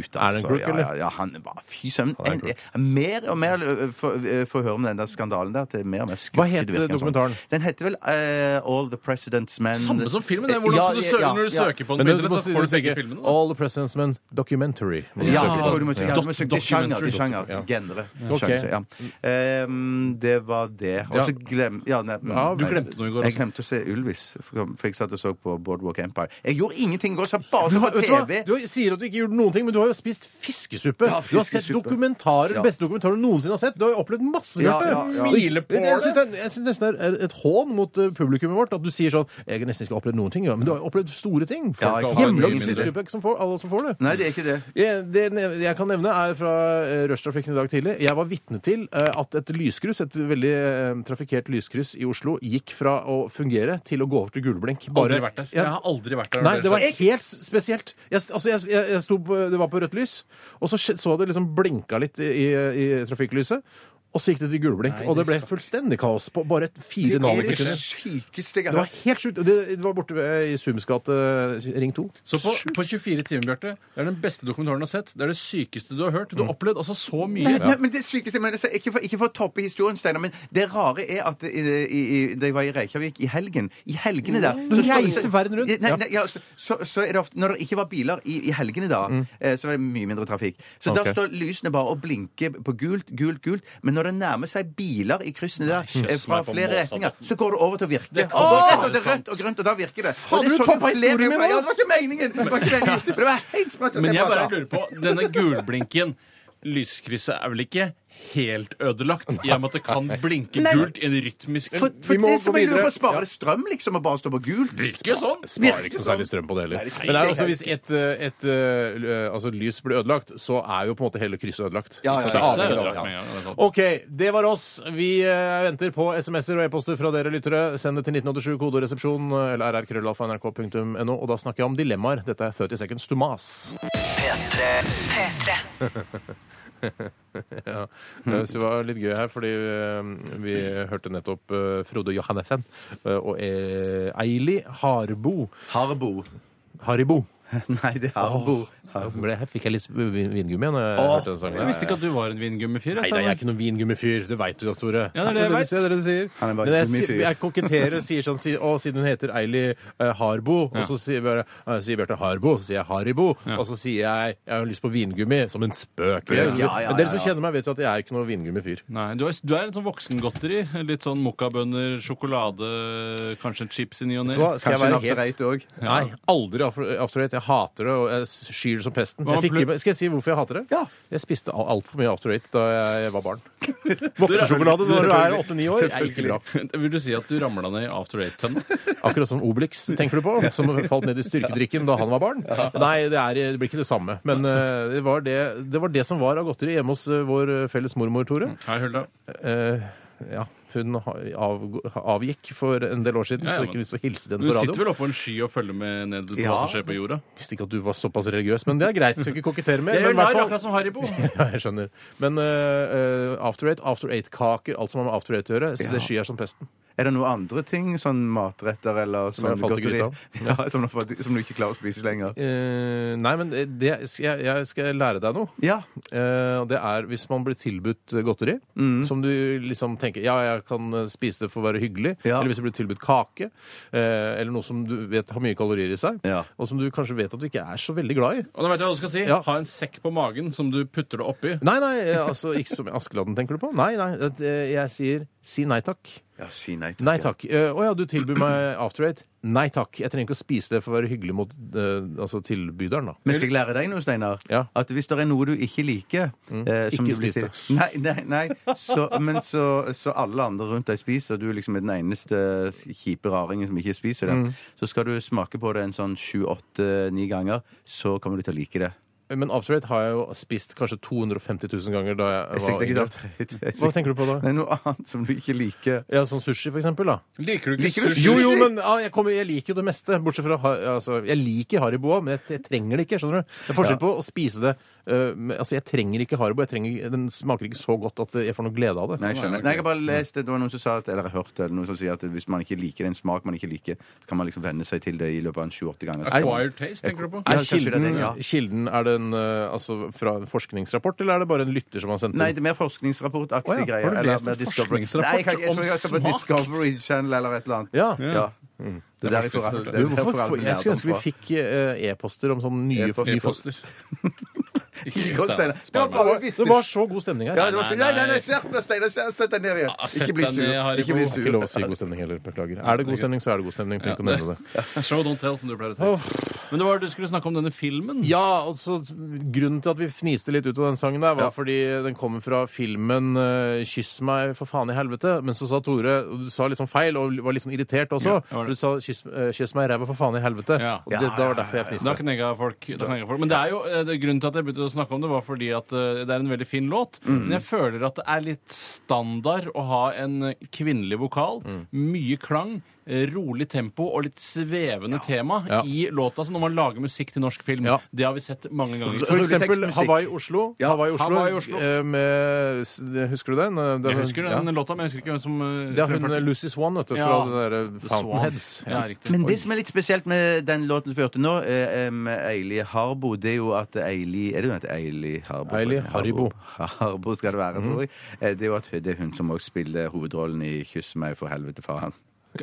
[SPEAKER 3] ut, altså.
[SPEAKER 1] Er det en crook,
[SPEAKER 3] ja,
[SPEAKER 1] eller?
[SPEAKER 3] ja, ja, han var Fy søren.
[SPEAKER 1] er en
[SPEAKER 3] En- Mer og mer eh, får eh, får høre om den der skandalen der. at det er mer og mer skurket
[SPEAKER 1] Hva het
[SPEAKER 3] du virker som.
[SPEAKER 1] dokumentaren?
[SPEAKER 3] Den heter vel eh, All the President's Men Eh,
[SPEAKER 2] Samme som filmen. det er Hvordan
[SPEAKER 3] Ja,
[SPEAKER 2] skal du
[SPEAKER 3] ja,
[SPEAKER 2] søke
[SPEAKER 3] ja,
[SPEAKER 2] når du
[SPEAKER 3] ja.
[SPEAKER 2] søker på
[SPEAKER 1] Men
[SPEAKER 2] den? på
[SPEAKER 1] du må
[SPEAKER 2] internett, så får du begge
[SPEAKER 1] sitte-
[SPEAKER 2] filmene. da.
[SPEAKER 1] All the President's Men documentary. må du
[SPEAKER 3] Ja,
[SPEAKER 1] søke på.
[SPEAKER 3] du må søke- ja, du må søke
[SPEAKER 2] Doc-
[SPEAKER 3] sjanger.
[SPEAKER 2] documentary.
[SPEAKER 3] til sjanger
[SPEAKER 1] Ja.
[SPEAKER 3] Genre.
[SPEAKER 1] Ok.
[SPEAKER 3] Sjanger, ja. Ehm, det var det. Og så glem... Ja, nei,
[SPEAKER 1] Ja, du
[SPEAKER 3] nei,
[SPEAKER 2] glemte noe i går
[SPEAKER 3] Jeg
[SPEAKER 2] også.
[SPEAKER 3] glemte å se Ylvis, for for jeg satt og så på Boardwalk Empire. Jeg gjorde ingenting i går, så jeg bare
[SPEAKER 1] Du,
[SPEAKER 3] så
[SPEAKER 1] har,
[SPEAKER 3] på
[SPEAKER 1] vet du, hva?
[SPEAKER 3] TV.
[SPEAKER 1] du har- sier at du ikke gjorde noen ting, men du har jo spist fiskesuppe.
[SPEAKER 3] Ja,
[SPEAKER 1] Du har sett
[SPEAKER 3] fiskesuppe.
[SPEAKER 1] dokumentarer,
[SPEAKER 3] Ja.
[SPEAKER 1] den beste dokumentarer du noensinne har sett. Du har jo opplevd masse,
[SPEAKER 3] Ja,
[SPEAKER 1] Bjarte.
[SPEAKER 3] ja, ja.
[SPEAKER 1] Og jeg- Jeg syns det er- jeg syns nesten det er et hån mot eh, publikummet vårt at du sier sånn Jeg har nesten ikke opplevd noen ting, ja, men du har jo opplevd store ting.
[SPEAKER 3] Ja,
[SPEAKER 1] Folk
[SPEAKER 3] jeg har
[SPEAKER 1] har Hjemmelagd
[SPEAKER 3] ingen idé.
[SPEAKER 1] fiskesuppe er ikke som får, alle som får det.
[SPEAKER 3] Nei, det er ikke det.
[SPEAKER 1] Jeg, det nev- jeg kan nevne er fra eh, rushtrafikken i dag tidlig. Jeg var vitne til eh, at et lyskryss, et veldig eh, trafikkert lyskryss i Oslo, gikk fra å fungere til å gå over til gulblink.
[SPEAKER 2] Aldri vært der. Jeg
[SPEAKER 1] Ja.
[SPEAKER 2] har aldri vært der.
[SPEAKER 1] Nei, det var helt s- spesielt. Jeg, st- altså, jeg, jeg, jeg sto på, det var på rødt lys, og så skje- så det liksom blinka litt i, i trafikklyset. Og så gikk det til gulblink, og det ble fullstendig kaos på bare et fire
[SPEAKER 3] Det er det
[SPEAKER 1] nanosekunder.
[SPEAKER 3] sykeste jeg
[SPEAKER 1] Det
[SPEAKER 3] har
[SPEAKER 1] var helt sjukt. og Det, det var borte ved- i Sumus gate eh, ring 2.
[SPEAKER 2] Så på, på 24 timer, Bjarte, det er den beste dokumentaren du har sett. Det er det sykeste du har hørt. Du har opplevd altså så mye.
[SPEAKER 3] Mm. Nei, nei, men det sykeste jeg mener, så ikke, for, ikke for å toppe historien, Steinar, men det rare er at i, i, i, da jeg var i Reykjavik i helgen I helgene der
[SPEAKER 1] Mm. Du reiser verden rundt.
[SPEAKER 3] Nei, nei, ja, så, så, så er det ofte Når det ikke var biler i, i helgene da, eh, så var det mye mindre trafikk. Så
[SPEAKER 1] Mm. Ok.
[SPEAKER 3] da står lysene bare og blinker på gult, gult, gult. Men når det nærmer seg biler i kryssene der
[SPEAKER 2] Nei, kjøss
[SPEAKER 3] eh, fra
[SPEAKER 2] meg på
[SPEAKER 3] flere
[SPEAKER 2] måsa,
[SPEAKER 3] retninger, så går det over til å virke.
[SPEAKER 2] Det
[SPEAKER 3] Og
[SPEAKER 2] kan
[SPEAKER 3] da
[SPEAKER 2] være
[SPEAKER 3] rett, og det er
[SPEAKER 2] sant.
[SPEAKER 3] rødt og grønt, og da virker det.
[SPEAKER 1] Faen,
[SPEAKER 3] Og det
[SPEAKER 1] du
[SPEAKER 3] er sånn
[SPEAKER 1] tappa
[SPEAKER 3] flere-
[SPEAKER 1] historien min nå.
[SPEAKER 3] Ja, det var ikke meningen! Det var, ikke meningen. Det var helt sprøtt å se
[SPEAKER 2] Men jeg
[SPEAKER 3] på,
[SPEAKER 2] bare
[SPEAKER 3] altså.
[SPEAKER 2] lurer på Denne gulblinken Lyskrysset er vel ikke helt ødelagt i og med at det kan blinke
[SPEAKER 3] Nei.
[SPEAKER 2] gult i en rytmisk
[SPEAKER 3] For, for
[SPEAKER 1] Vi må
[SPEAKER 3] det som
[SPEAKER 1] gå
[SPEAKER 3] jeg lurer
[SPEAKER 1] videre.
[SPEAKER 3] på, sparer det strøm, liksom, å bare stå på gult?
[SPEAKER 2] Virker jo sånn!
[SPEAKER 1] Sparer ikke noe særlig strøm på det heller.
[SPEAKER 3] Nei, det er
[SPEAKER 1] Men det er
[SPEAKER 3] ikke
[SPEAKER 1] også, hvis et, eh, et eh, altså, lys blir ødelagt, så er jo på en måte hele krysset ødelagt.
[SPEAKER 3] Ja, ja,
[SPEAKER 1] Så det er
[SPEAKER 3] ja.
[SPEAKER 2] Krysset
[SPEAKER 1] avhengig
[SPEAKER 2] er
[SPEAKER 1] av-
[SPEAKER 2] ødelagt med en gang, det er sant.
[SPEAKER 1] OK, det var oss. Vi eh, venter på SMS-er og e-poster fra dere lyttere. Send det til 1987 kodoresepsjon eh, eller rrkrøllalfa.nrk.no, og da snakker jeg om dilemmaer. Dette er 30 Seconds to Mas.
[SPEAKER 4] P3
[SPEAKER 5] P3.
[SPEAKER 1] Ja. Jeg synes Eh, Det var litt gøy her, fordi eh, vi hørte nettopp eh, Frode Johannessen eh, og eh, Eili Harbo
[SPEAKER 3] Harbo.
[SPEAKER 1] Haribo.
[SPEAKER 3] Nei, det er Harbo.
[SPEAKER 1] Åh, ble- Her fikk jeg litt vin- vingummi når jeg hørte den sangen.
[SPEAKER 2] Jeg visste ikke at du var en vingummifyr.
[SPEAKER 1] Nei, da, jeg
[SPEAKER 2] jeg,
[SPEAKER 1] er
[SPEAKER 2] Steinar.
[SPEAKER 1] ikke noen vingummifyr. Det veit du, da, Tore.
[SPEAKER 2] Ja, det er det jeg
[SPEAKER 1] du
[SPEAKER 2] vet.
[SPEAKER 1] sier, det er det du sier.
[SPEAKER 3] Han er bare
[SPEAKER 1] Men jeg,
[SPEAKER 3] gummifyr.
[SPEAKER 1] si- jeg koketterer og sier sånn si, Å, siden hun heter Eili eh, Harbo, og så sier, bare, eh, sier Bjarte Harbo, så sier jeg Haribo, og så sier jeg jeg har lyst på vingummi, som en spøk.
[SPEAKER 3] Ja, ja, ja,
[SPEAKER 1] Men dere som
[SPEAKER 3] ja.
[SPEAKER 1] kjenner meg, vet jo at jeg er ikke noen vingummifyr.
[SPEAKER 2] Nei, du er, du er en sånn voksengodteri. Litt sånn mokkabønner, sjokolade, kanskje en chips i ny og ne.
[SPEAKER 1] Vet du hva? Skal jeg
[SPEAKER 3] Kanskje en
[SPEAKER 1] være helt
[SPEAKER 3] afterrate òg.
[SPEAKER 1] Nei, aldri after- after eight. Jeg hater det, og jeg skyr det som pesten.
[SPEAKER 2] Hva
[SPEAKER 1] Jeg fikk,
[SPEAKER 2] med
[SPEAKER 1] i meg- skal jeg si hvorfor jeg hater det?
[SPEAKER 3] Ja.
[SPEAKER 1] Jeg spiste altfor mye after eight da jeg var barn. Voksensjokolade når du er åtte-ni år er ikke bra.
[SPEAKER 2] Vil du si at du ramla ned i After Eight-tønna?
[SPEAKER 1] Akkurat som Obelix, tenker du på? Som falt ned i styrkedrikken da han var barn? Nei, det, er, det blir ikke det samme. Men eh, det, var det, det var det som var av godteri hjemme hos eh, vår eh, felles mormor, Tore.
[SPEAKER 2] Hei, Hulda.
[SPEAKER 1] Eh, ja, hun ha- av, avgikk for en del år siden,
[SPEAKER 2] Ja, ja,
[SPEAKER 1] så
[SPEAKER 2] men-
[SPEAKER 1] ikke vi så hilste
[SPEAKER 2] Du
[SPEAKER 1] henne på radio.
[SPEAKER 2] sitter vel oppå en sky og følger med ned på
[SPEAKER 3] Ja.
[SPEAKER 2] hva som skjer på jorda?
[SPEAKER 1] Jeg visste ikke at du var såpass religiøs, men det er greit. Skal ikke kokettere mer.
[SPEAKER 2] Det er
[SPEAKER 1] men
[SPEAKER 2] jo
[SPEAKER 1] i hvert
[SPEAKER 2] narr,
[SPEAKER 1] fall-
[SPEAKER 2] akkurat som Haribo.
[SPEAKER 1] ja, jeg skjønner. Men eh, eh, After Eight, After Eight-kaker, alt som har med After Eight å gjøre, så det skyr jeg som pesten.
[SPEAKER 3] Er det noen andre ting, sånn matretter eller
[SPEAKER 1] Som jeg
[SPEAKER 3] sånn
[SPEAKER 1] falt i
[SPEAKER 3] godteri?
[SPEAKER 1] gryta.
[SPEAKER 3] Ja, som, du har falt i- som du ikke klarer å spise lenger?
[SPEAKER 1] Eh, nei, men det, jeg, jeg skal lære deg noe.
[SPEAKER 3] Ja.
[SPEAKER 1] Eh, og det er hvis man blir tilbudt godteri,
[SPEAKER 3] Mm.
[SPEAKER 1] som du liksom tenker ja, jeg kan eh, spise det for å være hyggelig,
[SPEAKER 3] Ja.
[SPEAKER 1] eller hvis du blir tilbudt kake, eh, eller noe som du vet har mye kalorier i seg,
[SPEAKER 3] Ja.
[SPEAKER 1] og som du kanskje vet at du ikke er så veldig glad i.
[SPEAKER 2] Og da vet jeg hva du skal si.
[SPEAKER 1] Ja.
[SPEAKER 2] Ha en sekk på magen som du putter det oppi.
[SPEAKER 1] Nei, nei, eh, altså ikke som i Askeladden, tenker du på? Nei, nei, at, eh, jeg sier si nei takk.
[SPEAKER 3] ja, si nei takk.
[SPEAKER 1] Nei takk. Eh, Å ja, du tilbyr meg after eight. Nei takk. Jeg trenger ikke å spise det for å være hyggelig mot eh, altså tilbyderen, da.
[SPEAKER 3] Men skal jeg lære deg noe, Steinar?
[SPEAKER 1] Ja. Mm.
[SPEAKER 3] At hvis det er noe du ikke liker eh, som
[SPEAKER 1] Ikke
[SPEAKER 3] du blir
[SPEAKER 1] spis det.
[SPEAKER 3] til- Nei, nei, nei. Så, men så, så alle andre rundt deg spiser, og du liksom er den eneste kjipe raringen som ikke spiser det.
[SPEAKER 1] Mm.
[SPEAKER 3] Så skal du smake på det en sånn sju, åtte, ni ganger, så kommer du til å like det.
[SPEAKER 1] Eh, Men after eight har jeg jo spist kanskje 250 000 ganger da jeg
[SPEAKER 3] Jeg
[SPEAKER 1] var
[SPEAKER 3] sikter ikke
[SPEAKER 1] yngre.
[SPEAKER 3] til after eight. Jeg
[SPEAKER 1] Hva
[SPEAKER 3] sikter-
[SPEAKER 1] tenker du på da?
[SPEAKER 3] Nei, noe annet som du ikke liker.
[SPEAKER 1] Ja, Sånn sushi, for eksempel. da
[SPEAKER 2] Liker du
[SPEAKER 3] Liker
[SPEAKER 2] ikke
[SPEAKER 3] du
[SPEAKER 2] sushi?
[SPEAKER 1] Jo, jo, men ja, jeg, kommer, jeg liker jo det meste. Bortsett fra ha- altså, Jeg liker hariboa, men jeg, jeg trenger det ikke. skjønner du? Det er forskjell på å spise det eh, med- Altså, Jeg trenger ikke haribo. Jeg trenger, den smaker ikke så godt at jeg får noe glede av det.
[SPEAKER 3] Nei, jeg
[SPEAKER 2] Nei,
[SPEAKER 3] skjønner.
[SPEAKER 2] ok.
[SPEAKER 3] Nei, jeg har bare lest det. Det var noen som sa at, eller hørt det, eller noen som sier at hvis man ikke liker en smak man ikke liker, så kan man liksom venne seg til det i løpet av en sju-åtte ganger.
[SPEAKER 2] Acquired taste, tenker du på?
[SPEAKER 3] Ja,
[SPEAKER 1] Er
[SPEAKER 3] kanskje det er
[SPEAKER 1] kilden,
[SPEAKER 3] den, ja.
[SPEAKER 1] kilden er det en eh, altså, fra en forskningsrapport, eller er det bare en lytter som har sendt
[SPEAKER 3] Nei,
[SPEAKER 1] den?
[SPEAKER 3] det er mer forskningsrapportaktig
[SPEAKER 1] Å ja, har du
[SPEAKER 3] greier.
[SPEAKER 1] lest en
[SPEAKER 3] mer Discovery-
[SPEAKER 2] forskningsrapport
[SPEAKER 3] Nei, jeg, kan- jeg, tror jeg,
[SPEAKER 2] om
[SPEAKER 3] skal på
[SPEAKER 2] smak?
[SPEAKER 3] Discovery Channel eller et eller annet.
[SPEAKER 1] Ja.
[SPEAKER 3] ja.
[SPEAKER 2] Mm.
[SPEAKER 3] Det er der jeg får alt- det er
[SPEAKER 1] Du,
[SPEAKER 3] der jeg
[SPEAKER 1] hvorfor,
[SPEAKER 3] får alt
[SPEAKER 1] får- jeg skulle ønske vi
[SPEAKER 3] lærdom fra.
[SPEAKER 1] fikk eh, e-poster om sånne nye
[SPEAKER 3] E-poster.
[SPEAKER 1] nye folk.
[SPEAKER 2] E-poster. Ikke
[SPEAKER 3] Ikke godt, Steinar. Det var
[SPEAKER 2] Spar meg.
[SPEAKER 3] bare visst.
[SPEAKER 1] Det var så god stemning her.
[SPEAKER 3] Ja, det var
[SPEAKER 2] Nei,
[SPEAKER 3] så- Nei, nei,
[SPEAKER 2] nei.
[SPEAKER 3] nei, skjerp deg, Steinar. skjerp- Sett deg ned igjen.
[SPEAKER 2] Ja, sett
[SPEAKER 3] Ikke bli
[SPEAKER 2] deg ned,
[SPEAKER 3] sur.
[SPEAKER 2] Haribo.
[SPEAKER 3] Ikke bli
[SPEAKER 1] Det er ikke lov å
[SPEAKER 3] sur.
[SPEAKER 1] si god stemning heller. Beklager. Er det god stemning, så er det god stemning. Trenger ikke å nevne det.
[SPEAKER 2] Show don't tell, som du pleier å si.
[SPEAKER 1] Åh.
[SPEAKER 2] Men det var du skulle snakke om denne filmen.
[SPEAKER 1] Ja, og så Grunnen til at vi fniste litt ut av den sangen, der var fordi den kommer fra filmen eh, 'Kyss meg for faen i helvete'. Men så sa Tore og Du sa litt sånn feil og var litt sånn irritert også.
[SPEAKER 2] det var det.
[SPEAKER 1] Du sa kyss, eh, 'Kyss meg i ræva for faen i helvete'.
[SPEAKER 2] Ja.
[SPEAKER 1] Og det, da var derfor jeg fniste.
[SPEAKER 2] Da knegga folk. Da knegga folk. Men det er jo, eh, det, grunnen til at jeg begynte å snakke om det, var fordi at eh, det er en veldig fin låt. Men jeg føler at det er litt standard å ha en eh, kvinnelig vokal. Mye klang. eh, Rolig tempo og litt svevende tema
[SPEAKER 1] Ja.
[SPEAKER 2] i låta. Så når man lager musikk til norsk film,
[SPEAKER 1] Ja.
[SPEAKER 2] det har vi sett mange ganger.
[SPEAKER 1] For eksempel
[SPEAKER 3] Rulletekstmusikk.
[SPEAKER 1] Hawaii Oslo.
[SPEAKER 3] Ja,
[SPEAKER 1] Hawaii Oslo,
[SPEAKER 2] Hawaii, Oslo.
[SPEAKER 1] eh, Med, s- husker du den? Eh, Det er-
[SPEAKER 2] Jeg husker
[SPEAKER 1] ja.
[SPEAKER 2] den låta, men jeg husker ikke hvem som eh,
[SPEAKER 1] Det er hun
[SPEAKER 2] fremførte den.
[SPEAKER 1] Lucy Swan, vet du, fra
[SPEAKER 2] Ja.
[SPEAKER 1] det derre Fountainheads.
[SPEAKER 2] Ja, riktig.
[SPEAKER 3] Men
[SPEAKER 2] Oi.
[SPEAKER 3] det som er litt spesielt med den låten vi hørte nå, eh, em, Eili Harbo, det er jo at Eili Er det hun heter Eili Harbo?
[SPEAKER 1] Eili Haribo.
[SPEAKER 3] Harbo skal det være, tror jeg. Eh, Det er jo at det er hun som også spiller hovedrollen i 'Kyss meg for helvete, faen'.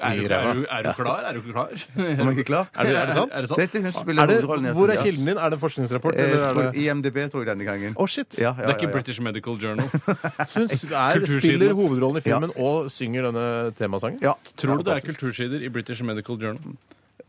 [SPEAKER 2] Er, du, er, du, er du klar? Er du ikke klar?
[SPEAKER 3] Er man ikke klar?
[SPEAKER 1] Er det- er det sant?
[SPEAKER 2] Er det sant?
[SPEAKER 3] Dette er hun som spiller
[SPEAKER 1] Er det,
[SPEAKER 3] hovedrollen. i-
[SPEAKER 1] hvor er kilden din? Er det en forskningsrapport?
[SPEAKER 3] Eh,
[SPEAKER 1] Eller er det...
[SPEAKER 3] IMDb, tror jeg, denne gangen.
[SPEAKER 1] Å, shit!
[SPEAKER 3] Ja, ja,
[SPEAKER 2] Det er ikke
[SPEAKER 3] ja, ja.
[SPEAKER 2] British Medical Journal.
[SPEAKER 1] Så hun s- er,
[SPEAKER 2] Kultursiden.
[SPEAKER 1] spiller hovedrollen i filmen og synger denne temasangen?
[SPEAKER 3] Ja.
[SPEAKER 2] Tror du det er
[SPEAKER 3] Fantastisk.
[SPEAKER 2] kultursider i British Medical Journal?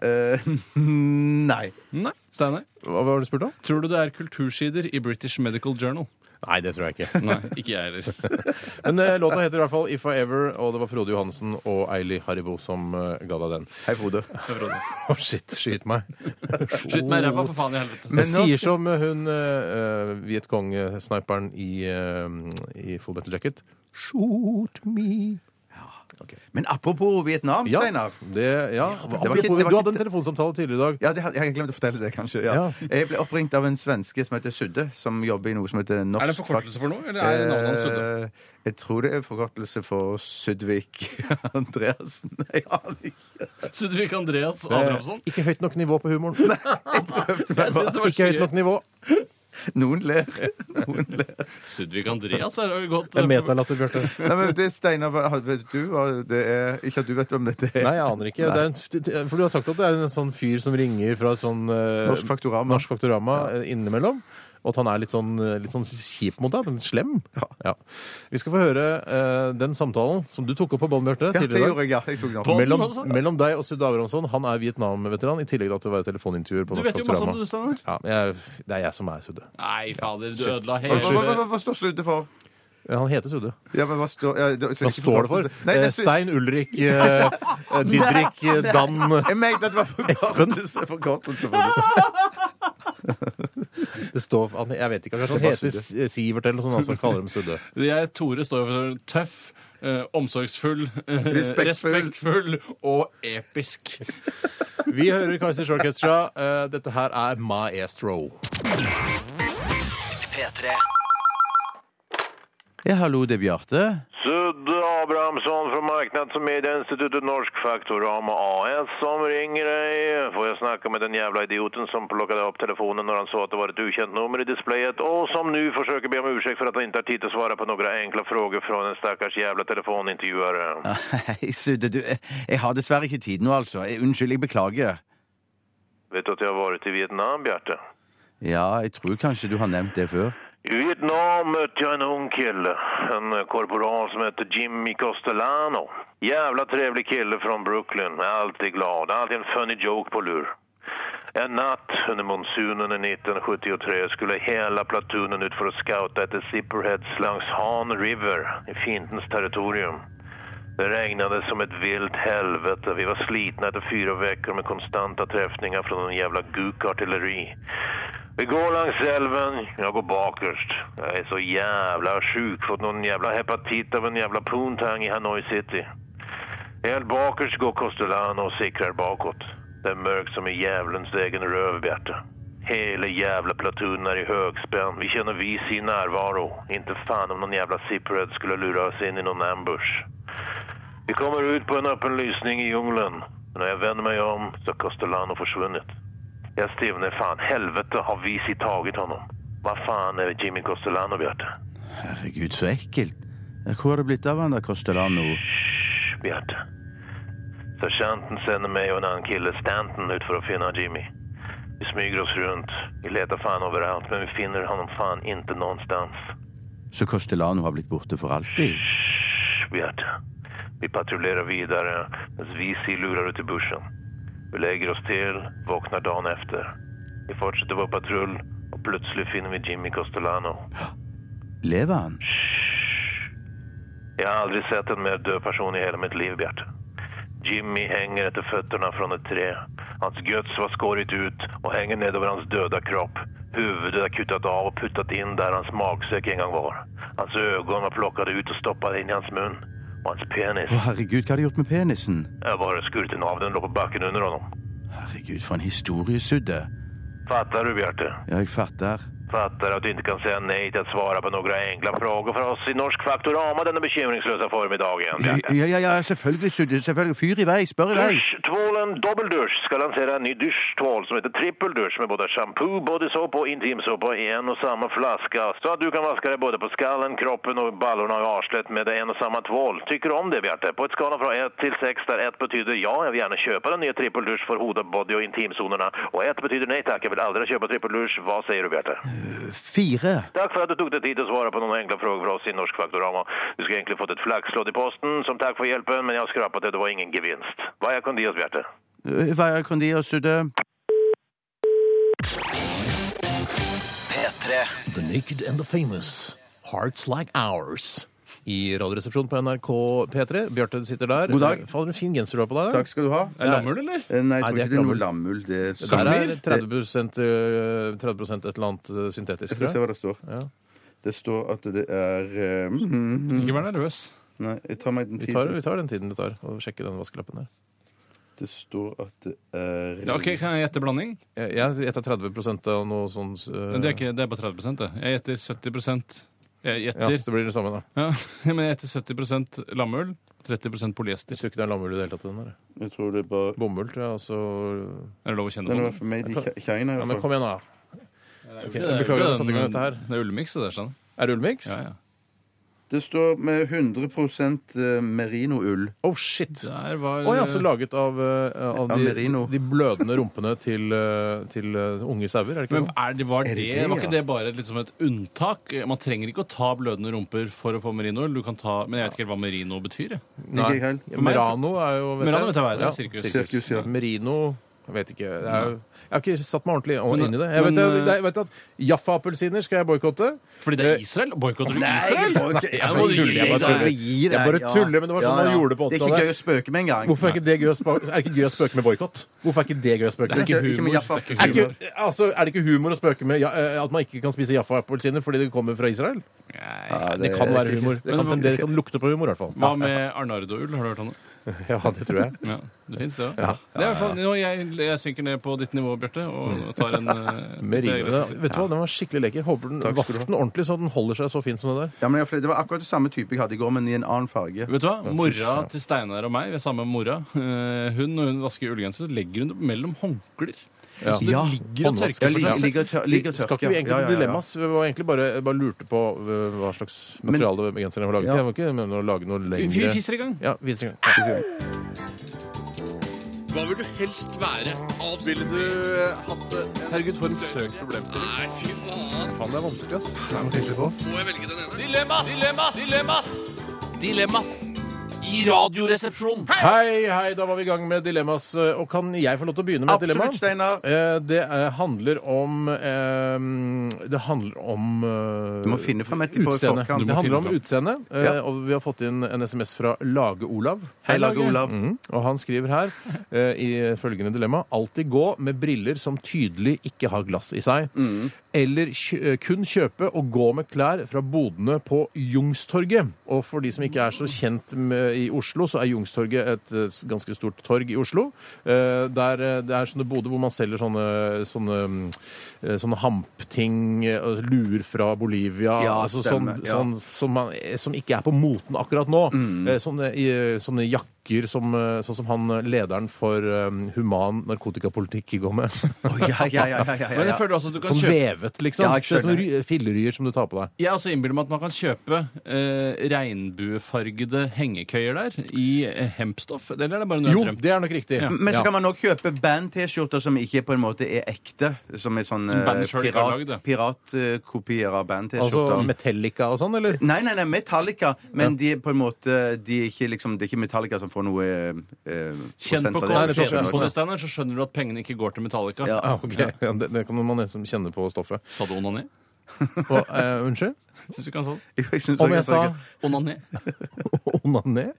[SPEAKER 3] Eh, nei.
[SPEAKER 2] Nei, Steinar.
[SPEAKER 1] Hva var det du spurte om?
[SPEAKER 2] Tror du det er kultursider i British Medical Journal?
[SPEAKER 1] Nei, det tror jeg ikke.
[SPEAKER 2] Nei, ikke jeg heller.
[SPEAKER 1] Men eh, låta heter i hvert fall If I Ever, og det var Frode Johansen og Eili Haribo som eh, ga deg den.
[SPEAKER 3] Hei, Frode.
[SPEAKER 1] Å, shit. Skyt meg.
[SPEAKER 2] Skyt meg i ræva, for faen i helvete.
[SPEAKER 1] Jeg
[SPEAKER 3] Men nå-
[SPEAKER 1] sier som eh, hun uh, Vietcong-sniperen i, eh, i Full Metal Jacket. Shoot me.
[SPEAKER 3] Men apropos Vietnam,
[SPEAKER 1] Ja,
[SPEAKER 3] Steinar.
[SPEAKER 1] det, ja.
[SPEAKER 3] var ikke- det var
[SPEAKER 1] du
[SPEAKER 3] ikke-
[SPEAKER 1] hadde en telefonsamtale tidligere i dag.
[SPEAKER 3] Ja, det, hadde- jeg har glemt å fortelle det, kanskje. Ja.
[SPEAKER 1] Ja.
[SPEAKER 3] Jeg ble oppringt av en svenske som heter Sudde, som jobber i noe som heter Norsk
[SPEAKER 2] Er det en forkortelse for noe, eller er det navnet hans Sudde?
[SPEAKER 3] Eh, Jeg tror det er en forkortelse for Sudvik Andreassen. Jeg aner ikke.
[SPEAKER 2] Sudvik Andreas Abrahamsson?
[SPEAKER 1] Eh, Ikke høyt nok nivå på humoren.
[SPEAKER 2] Jeg synes det var
[SPEAKER 1] Ikke høyt
[SPEAKER 2] skøy.
[SPEAKER 1] nok nivå.
[SPEAKER 3] Noen ler. Noen ler.
[SPEAKER 2] Sudvik Andreas er jo godt
[SPEAKER 1] Det er
[SPEAKER 2] eh,
[SPEAKER 1] metalatter, Bjarte.
[SPEAKER 3] Nei, men det er Steinar hva- Vet du hva det er? Ikke at du vet hvem dette er.
[SPEAKER 1] Nei, jeg aner ikke. Det er en, for du har sagt at det er en sånn fyr som ringer fra et sånn eh,
[SPEAKER 3] Norsk Faktorama.
[SPEAKER 1] Norsk Faktorama eh, innimellom. Og at han er litt sånn, eh, litt sånn kjip mot deg. men Slem. Ja. Vi skal få høre eh, den samtalen som du tok opp på bånn, Bjarte.
[SPEAKER 3] Ja, det
[SPEAKER 1] tidligere i dag.
[SPEAKER 3] gjorde jeg. Ja, jeg tok den opp.
[SPEAKER 2] Bånd,
[SPEAKER 1] Mellom,
[SPEAKER 2] altså.
[SPEAKER 1] mellom deg og Sud Abrahamsson. Han er Vietnam-veteran, i tillegg til å være telefonintervjuer på
[SPEAKER 2] Du
[SPEAKER 1] Norsk
[SPEAKER 2] vet jo masse om
[SPEAKER 1] Faktorama.
[SPEAKER 2] det, du, Steinar.
[SPEAKER 1] Ja, men jeg, det er jeg som er Sudde.
[SPEAKER 2] Nei, fader, du ødela
[SPEAKER 3] Hva, hva,
[SPEAKER 2] hele
[SPEAKER 3] hva, hva står Sudde for?
[SPEAKER 1] Han heter Sudde.
[SPEAKER 3] Ja, men hva står, ja, det- så
[SPEAKER 1] Hva
[SPEAKER 3] ikke
[SPEAKER 1] står det for?
[SPEAKER 3] forkortelse. Nei,
[SPEAKER 1] Eh,
[SPEAKER 3] det, er-
[SPEAKER 1] Stein Ulrik, eh, eh, Didrik, eh, Dan
[SPEAKER 3] Jeg mente at det var forkortelse. forkortelse for det.
[SPEAKER 1] Det står, han- jeg vet ikke, Kanskje han
[SPEAKER 3] Det er
[SPEAKER 1] heter
[SPEAKER 3] bare
[SPEAKER 1] S- Sivert eller noe sånt, han som kaller dem Sudde.
[SPEAKER 2] Jeg, Tore, står jo for tøff, eh, omsorgsfull, eh,
[SPEAKER 3] Respektfull.
[SPEAKER 2] respektfull og episk.
[SPEAKER 1] Vi hører Kaizers Orchestra. Eh, Dette her er Maestro.
[SPEAKER 4] P3.
[SPEAKER 3] Ja, hallo, det er Bjarte.
[SPEAKER 5] Sudde Abrahamsson från Marknadsmedieinstitutet Norsk Faktorama AS som ringer dig. Får jag snacka med den jävla idioten som plockade upp telefonen när han sa att det var ett ukänt nummer i displayet och som nu försöker be om ursäkt för att han inte har tid att svara på några enkla frågor från en stackars jävla telefonintervjuare.
[SPEAKER 3] Nei, Sudde, du, jeg jeg har dessverre ikke tid nå, altså. Jeg, unnskyld, jeg beklager.
[SPEAKER 5] Vet du att jag har varit i Vietnam, Bjarte?
[SPEAKER 3] Ja, jeg tror kanskje du har nevnt det før.
[SPEAKER 5] I Vietnam mötte jag en ung kille, en korporal som hette Jimmy Costellano. Jävla trevlig kille från Brooklyn, alltid glad, alltid en funny joke på lur. En natt under monsunen i 1973 skulle hela platonen ut för att scouta efter Zipperheads langs Han River i fiendens territorium. Det regnade som ett vilt helvete. Vi var slitna efter fyra veckor med konstanta träffningar från en jävla gukartilleri. Vi går langs älven, jag går bakerst. Jag är så jävla sjuk, fått någon jävla hepatit av en jävla poontang i Hanoi city. Helt bakerst går Costellano och sikrar bakåt. Det är mörkt som i djävulens egen röv, Bjarte. Hela jävla platonen är i högspänn. Vi känner vis i närvaro. Inte fan om någon jävla zipperhead skulle lura oss in i någon ambush. Vi kommer ut på en öppen lysning i djungeln. När jag vänder mig om så har Castellano försvunnit. Jag stivnar fan. Helvete har Visi tagit honom. Vad fan är Jimmy Castellano, Bjarte?
[SPEAKER 3] Herregud, så ekkelt. Eh, Hvor har det blitt av han der Costellano?
[SPEAKER 5] Shh, Bjarte. Sergeanten sänder mig och en annan kille, Stanton, ut för att finna Jimmy. Vi smyger oss runt. Vi letar fan överallt, men vi finner honom fan inte någonstans.
[SPEAKER 3] Så Costellano har blitt borte for alltid?
[SPEAKER 5] Shh, Bjarte. Vi patrullerar vidare medan Visi lurar ut i bussen. Vi lägger oss till, vaknar dagen efter. Vi fortsätter vår patrull och plötsligt finner vi Jimmy Costellano.
[SPEAKER 3] Lever han?
[SPEAKER 5] Jag har aldrig sett en mer död person i hela mitt liv, Bjarte. Jimmy hänger efter fötterna från ett träd. Hans göds var skorrigt ut och hänger ned över hans döda kropp. Huvudet har kutat av och puttat in där hans magsäck en gång var. Hans ögon var plockade ut och stoppade in i hans mun. Och hans penis.
[SPEAKER 3] Å, herregud, hva har de gjort med penisen?
[SPEAKER 5] Jag bara skurit den av den låg på backen under honom.
[SPEAKER 3] Herregud, for en historiesudde.
[SPEAKER 5] Fattar du, Bjarte?
[SPEAKER 3] Ja, jeg fatter.
[SPEAKER 5] Fattar att du inte kan säga nej till att svara på några enkla frågor för oss i Norsk Faktorama denna bekymringslösa förmiddagen, Bjarte.
[SPEAKER 3] Ja, ja, ja, selvfølgelig, Sudde. Selvfølgelig. Fyr i vei, spør i vei.
[SPEAKER 5] Duschtvålen Dobbeldusch ska lansera en ny duschtvål som heter Trippeldusch med både shampoo, bodysåpa och intimsåpa i en och samma flaska. Så att du kan vaska dig både på skallen, kroppen och ballorna och arslet med en och samma tvål. Tycker du om det, Bjarte? På ett skala från 1 till 6 där 1 betyder ja, jag vill gärna köpa den nya Trippeldusch för hoda body och intimzonerna. Och 1 betyder nej tack, jag vill aldrig köpa Trippeldusch. Vad säger du, Bjarte?
[SPEAKER 3] Fire.
[SPEAKER 5] Tack för att du tog dig tid att svara på några enkla frågor för oss i Norsk Faktorama. Du ska egentligen fått ett flaxlåd i posten som tack för hjälpen, men jag har skrapat det. Det var ingen gevinst. Vad jag kunde ge oss, Bjarte?
[SPEAKER 3] Eh, Hva kan de gjøre, Sudde?
[SPEAKER 4] P3
[SPEAKER 1] The Naked and the Famous. Hearts Like Ours. I Radioresepsjonen på NRK P3. Bjarte sitter der.
[SPEAKER 3] God dag.
[SPEAKER 1] Fader, en fin genser du har på deg.
[SPEAKER 3] Takk skal du ha.
[SPEAKER 2] Er det lammull, eller?
[SPEAKER 3] Eh, Nei, jeg
[SPEAKER 1] Nei,
[SPEAKER 3] tror
[SPEAKER 1] det er
[SPEAKER 3] ikke det er noe
[SPEAKER 1] gammel.
[SPEAKER 3] lammull. Det er
[SPEAKER 1] Der er
[SPEAKER 3] Det-
[SPEAKER 1] 30 øh, 30 et eller annet øh, syntetisk.
[SPEAKER 3] Skal vi
[SPEAKER 1] tror
[SPEAKER 3] se
[SPEAKER 1] jeg.
[SPEAKER 3] hva det står. Det står at det er eh,
[SPEAKER 2] Ikke vær nervøs.
[SPEAKER 3] mm. Nei, jeg tar meg den
[SPEAKER 1] Vi tar,
[SPEAKER 3] tiden.
[SPEAKER 1] vi tar den tiden det tar å sjekke den vaskelappen der.
[SPEAKER 3] Det står at det er
[SPEAKER 2] Ja, ok, Kan jeg gjette blanding?
[SPEAKER 1] Jeg- Jeg gjetter 30 av noe sånt. øh,
[SPEAKER 2] Men Det er, ikke, det er bare 30 det. Jeg gjetter 70 Jeg
[SPEAKER 1] ja,
[SPEAKER 2] gjetter
[SPEAKER 1] så blir det det samme, da.
[SPEAKER 2] ja. Men jeg gjetter 70 lammull og 30
[SPEAKER 1] Jeg
[SPEAKER 2] polyester.
[SPEAKER 1] tror ikke det er lammull i det hele tatt. i den der.
[SPEAKER 3] Jeg tror det er bare
[SPEAKER 1] Bomull, tror jeg. Altså
[SPEAKER 2] Er det lov å kjenne
[SPEAKER 3] Den
[SPEAKER 2] på
[SPEAKER 3] var
[SPEAKER 2] den?
[SPEAKER 3] for meg i Kina. i
[SPEAKER 1] Ja,
[SPEAKER 3] hvert
[SPEAKER 1] men
[SPEAKER 3] fall.
[SPEAKER 1] kom igjen, da.
[SPEAKER 2] Ok,
[SPEAKER 1] jeg beklager at jeg satte i gang dette her.
[SPEAKER 2] Det er ullmiks, det der. Sånn.
[SPEAKER 1] Er det ullmiks?
[SPEAKER 2] Ja, ja.
[SPEAKER 3] Det står med 100 merinoull.
[SPEAKER 1] Oh, shit! Å
[SPEAKER 2] Der var
[SPEAKER 1] ja, så laget av, øh, av
[SPEAKER 3] Av
[SPEAKER 1] de,
[SPEAKER 3] merino.
[SPEAKER 1] de blødende rumpene til, øh, til øh, unge sauer, er det ikke
[SPEAKER 2] Men
[SPEAKER 1] noe?
[SPEAKER 2] er det, var,
[SPEAKER 3] Er
[SPEAKER 2] det,
[SPEAKER 3] det det,
[SPEAKER 2] var
[SPEAKER 3] ja?
[SPEAKER 2] ikke det bare liksom et unntak? Man trenger ikke å ta blødende rumper for å få merinoer. Du kan ta, men jeg vet ikke helt hva merino betyr. jeg.
[SPEAKER 3] Ikke helt.
[SPEAKER 1] Ja, Merano er jo vet
[SPEAKER 2] Merano
[SPEAKER 1] jeg.
[SPEAKER 2] vet jeg hva er. Det
[SPEAKER 1] Ja.
[SPEAKER 2] er sirkus.
[SPEAKER 3] Sirkus, ja.
[SPEAKER 1] Merino jeg vet ikke. Det er, jo- jeg har ikke satt meg ordentlig inn i det. Jeg
[SPEAKER 2] Men- eh,
[SPEAKER 1] vet, jeg, jeg vet at Jaffa-appelsiner skal jeg boikotte.
[SPEAKER 2] Fordi det er Israel? Boikotter du Israel?
[SPEAKER 1] jeg
[SPEAKER 2] må
[SPEAKER 1] bare tuller, jeg
[SPEAKER 2] gi
[SPEAKER 1] bare tuller.
[SPEAKER 2] deg.
[SPEAKER 3] Gi deg,
[SPEAKER 1] Jeg bare
[SPEAKER 3] ja.
[SPEAKER 1] tuller, men det var sånn man gjorde det på
[SPEAKER 3] Det er ikke gøy
[SPEAKER 1] 80-tallet.
[SPEAKER 3] å spøke med engang.
[SPEAKER 1] Hvorfor er ikke det gøy å, spa- er det ikke gøy å spøke med boikott? Hvorfor er ikke det gøy å spøke
[SPEAKER 2] Det er
[SPEAKER 1] med?
[SPEAKER 2] ikke
[SPEAKER 3] Ikke
[SPEAKER 2] humor. Det
[SPEAKER 3] med Jaffa.
[SPEAKER 2] er ikke
[SPEAKER 1] Er,
[SPEAKER 2] humor.
[SPEAKER 1] ikke, altså, er det ikke humor å spøke med ja, eh, at man ikke kan spise Jaffa-appelsiner fordi det kommer fra Israel?
[SPEAKER 2] Nei.
[SPEAKER 3] Ja,
[SPEAKER 1] Det kan være humor. Det
[SPEAKER 2] Men
[SPEAKER 1] kan,
[SPEAKER 2] hva-
[SPEAKER 1] det kan lukte på humor, i hvert fall.
[SPEAKER 2] Hva med Arnardo-ull? Har du hørt om det?
[SPEAKER 1] Ja, det tror jeg.
[SPEAKER 2] Ja, det fins, det òg. Det er i hvert fall nå jeg, jeg synker ned på ditt nivå, Bjarte, og tar en eh,
[SPEAKER 1] Med
[SPEAKER 2] hvis det er
[SPEAKER 1] rimene.
[SPEAKER 2] greit å si.
[SPEAKER 1] Vet du hva, den var skikkelig lekker. Håper den,
[SPEAKER 3] Takk skal du
[SPEAKER 1] Vask den ordentlig så den holder seg så fin som den der.
[SPEAKER 3] Ja, men jeg, det var akkurat det samme type jeg hadde i går, men i en annen farge.
[SPEAKER 2] Vet du hva? Mora til Steinar og meg, vi er samme mora, eh, hun når hun vasker julegenser, så legger hun det mellom håndklær. Så det
[SPEAKER 3] Ja,
[SPEAKER 2] ligger og
[SPEAKER 1] håndvask.
[SPEAKER 2] tørker for
[SPEAKER 3] ligger,
[SPEAKER 2] seg. selv.
[SPEAKER 3] ligger, tør, ligger tørk,
[SPEAKER 1] Skal ikke vi egentlig
[SPEAKER 3] ja,
[SPEAKER 1] til
[SPEAKER 3] ja, ja, ja.
[SPEAKER 1] dilemmas? Vi var egentlig bare, bare lurte på øh, hva slags materiale genseren var laget
[SPEAKER 3] Ja.
[SPEAKER 1] til. Jeg var ikke med å lage noe
[SPEAKER 2] Vi-
[SPEAKER 1] lengre
[SPEAKER 2] Vi fiser i gang.
[SPEAKER 1] Ja, vis en gang. Ja, vis en gang.
[SPEAKER 2] Hva vil du helst være? Ville du hatt det? Herregud, for en søk problemstilling. Nei, fy faen.
[SPEAKER 1] Faen, det er vanskelig, ass.
[SPEAKER 2] Må jeg velge den ene? Dilemmas! Dilemmas! Dilemmas! Dilemmas! I radioresepsjonen.
[SPEAKER 1] Hei, hei, da var vi i gang med dilemmas. Og kan jeg få lov til å begynne med et dilemma?
[SPEAKER 3] Absolutt, Steinar.
[SPEAKER 1] Eh, Det eh, handler om eh, Det handler om eh,
[SPEAKER 3] Du må finne frem et på
[SPEAKER 1] utseende.
[SPEAKER 3] forkant. Du må
[SPEAKER 1] Det handler
[SPEAKER 2] finne
[SPEAKER 1] om
[SPEAKER 2] frem.
[SPEAKER 1] utseende, eh,
[SPEAKER 3] Ja.
[SPEAKER 1] og vi har fått inn en SMS fra Lage-Olav.
[SPEAKER 3] Hei, Lage Olav.
[SPEAKER 1] Mhm. Og han skriver her eh, i følgende dilemma alltid gå med briller som tydelig ikke har glass i seg. Eller kjø eh, kun kjøpe og gå med klær fra bodene på Jungstorget. Og for de som ikke er så kjent med, i Oslo, så er Jungstorget et eh, s- ganske stort torg i Oslo. Eh, der eh, det er sånne boder hvor man selger sånne, sånne, mm, eh, sånne hampting, eh, og luer fra Bolivia.
[SPEAKER 3] Ja,
[SPEAKER 1] altså sånn,
[SPEAKER 3] stemmer, ja.
[SPEAKER 1] sånn som, man, som ikke er på moten akkurat nå. Eh, Sånne, i- sånne jakker som, eh, sånn som han eh, lederen for eh, human narkotikapolitikk går med.
[SPEAKER 3] Å, ja, ja, ja, ja, ja,
[SPEAKER 2] Men
[SPEAKER 3] ja.
[SPEAKER 2] jeg føler også at du kan
[SPEAKER 1] Sånn
[SPEAKER 2] kjøpe
[SPEAKER 1] vevet, liksom.
[SPEAKER 3] Ja, jeg
[SPEAKER 1] det er sånne
[SPEAKER 3] skjønner.
[SPEAKER 1] ry- filleryer som du tar på deg.
[SPEAKER 2] Jeg også innbiller meg at man kan kjøpe eh, regnbuefargede hengekøyer der i eh, hempstoff. Eller er det bare noe jeg
[SPEAKER 1] Jo,
[SPEAKER 2] har drømt?
[SPEAKER 1] det er nok riktig. Mm.
[SPEAKER 2] Ja.
[SPEAKER 3] Men så kan man òg kjøpe band-T-skjorter som ikke på en måte er ekte. Som er sånn
[SPEAKER 2] Som bandet
[SPEAKER 3] eh,
[SPEAKER 2] selv ikke har lagd, ja.
[SPEAKER 3] pirat- piratkopier av band-T-skjorter.
[SPEAKER 1] Altså Metallica og sånn, eller?
[SPEAKER 3] Nei, nei, nei, Metallica. Men de er på en måte de er ikke liksom, Det er ikke Metallica som får noe eh,
[SPEAKER 2] Kjenn på,
[SPEAKER 3] prosent av
[SPEAKER 1] Nei,
[SPEAKER 2] kjenn
[SPEAKER 1] det
[SPEAKER 3] det.
[SPEAKER 1] tar jeg.
[SPEAKER 2] på det, Steinar, så skjønner du at pengene ikke går til Metallica.
[SPEAKER 3] Ja.
[SPEAKER 1] Ah, ok. Ja, det, det kan man nesten kjenne på stoffet.
[SPEAKER 2] Sa du onani?
[SPEAKER 1] Og, eh, unnskyld?
[SPEAKER 2] Syns du ikke han sa det?
[SPEAKER 3] Jo, jeg synes
[SPEAKER 1] Om
[SPEAKER 3] også
[SPEAKER 1] jeg sa
[SPEAKER 3] at
[SPEAKER 2] Onané?
[SPEAKER 1] onané?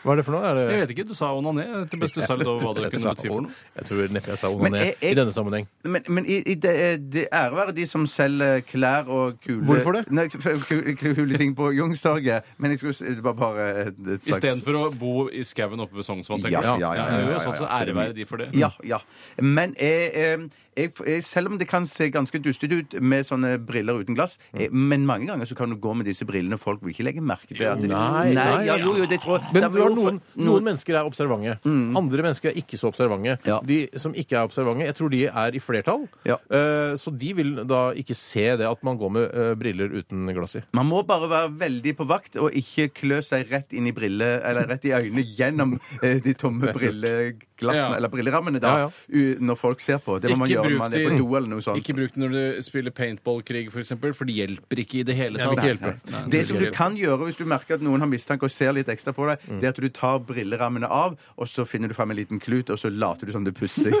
[SPEAKER 1] Hva er det for noe? Er det...
[SPEAKER 2] Jeg vet ikke, du sa onané. Til beste du sa litt over hva det
[SPEAKER 1] Jeg
[SPEAKER 2] kunne
[SPEAKER 1] sa-
[SPEAKER 2] bety for noe.
[SPEAKER 1] Jeg tror neppe jeg sa
[SPEAKER 3] Men
[SPEAKER 1] onané
[SPEAKER 3] jeg- jeg-
[SPEAKER 1] i denne sammenheng.
[SPEAKER 3] Men, men i, i det, det ære være de som selger klær og kule
[SPEAKER 1] Hvorfor det?
[SPEAKER 3] Nei, f- ku- kule ting på Youngstorget. Men jeg skulle s- det var bare et slags
[SPEAKER 2] Istedenfor å bo i skauen oppe ved Sognsvann, tenker
[SPEAKER 3] Ja,
[SPEAKER 2] jeg.
[SPEAKER 3] ja, ja, ja,
[SPEAKER 2] det er
[SPEAKER 3] ja,
[SPEAKER 2] jo sånn
[SPEAKER 3] ja,
[SPEAKER 2] så
[SPEAKER 3] ja.
[SPEAKER 2] ære være de for det.
[SPEAKER 3] Ja, ja. Men jeg, eh, jeg, jeg, selv om det kan se ganske dustete ut med sånne briller uten glass,
[SPEAKER 1] Mm.
[SPEAKER 3] eh, men mange ganger så kan du gå med disse brillene, folk vil ikke legge merke til at de-
[SPEAKER 1] Nei, nei,
[SPEAKER 3] ja, jo, jo, det tror jeg.
[SPEAKER 1] Men
[SPEAKER 3] Det
[SPEAKER 1] du har
[SPEAKER 3] jo for-
[SPEAKER 1] noen, noen mennesker er observante. Andre mennesker er ikke så observante.
[SPEAKER 3] Ja.
[SPEAKER 1] De som ikke er observante, jeg tror de er i flertall.
[SPEAKER 3] Ja.
[SPEAKER 1] Eh, Så de vil da ikke se det at man går med eh, briller uten glass i.
[SPEAKER 3] Man må bare være veldig på vakt og ikke klø seg rett inn i brille, eller rett i øynene gjennom eh, de tomme
[SPEAKER 2] Ja.
[SPEAKER 3] brilleglassene, eller brillerammene, da,
[SPEAKER 1] Ja, ja.
[SPEAKER 3] u- når folk ser på. Det må man
[SPEAKER 2] Ikke
[SPEAKER 3] gjøre
[SPEAKER 2] bruk
[SPEAKER 3] når man er på
[SPEAKER 2] de-
[SPEAKER 3] do eller noe sånt.
[SPEAKER 2] Ikke bruk det når du spiller paintballkrig, for eksempel, for det hjelper ikke i det hele
[SPEAKER 1] vil
[SPEAKER 2] tatt.
[SPEAKER 1] ikke hjelpe.
[SPEAKER 2] Nei,
[SPEAKER 3] Det
[SPEAKER 2] vil
[SPEAKER 3] som
[SPEAKER 2] ikke
[SPEAKER 3] du
[SPEAKER 2] hjelpe.
[SPEAKER 3] kan gjøre hvis du merker at noen har mistanke og ser litt ekstra på deg, det er at du tar brillerammene av, og så finner du frem en liten klut, og så later du som du pusser. det
[SPEAKER 1] Ja,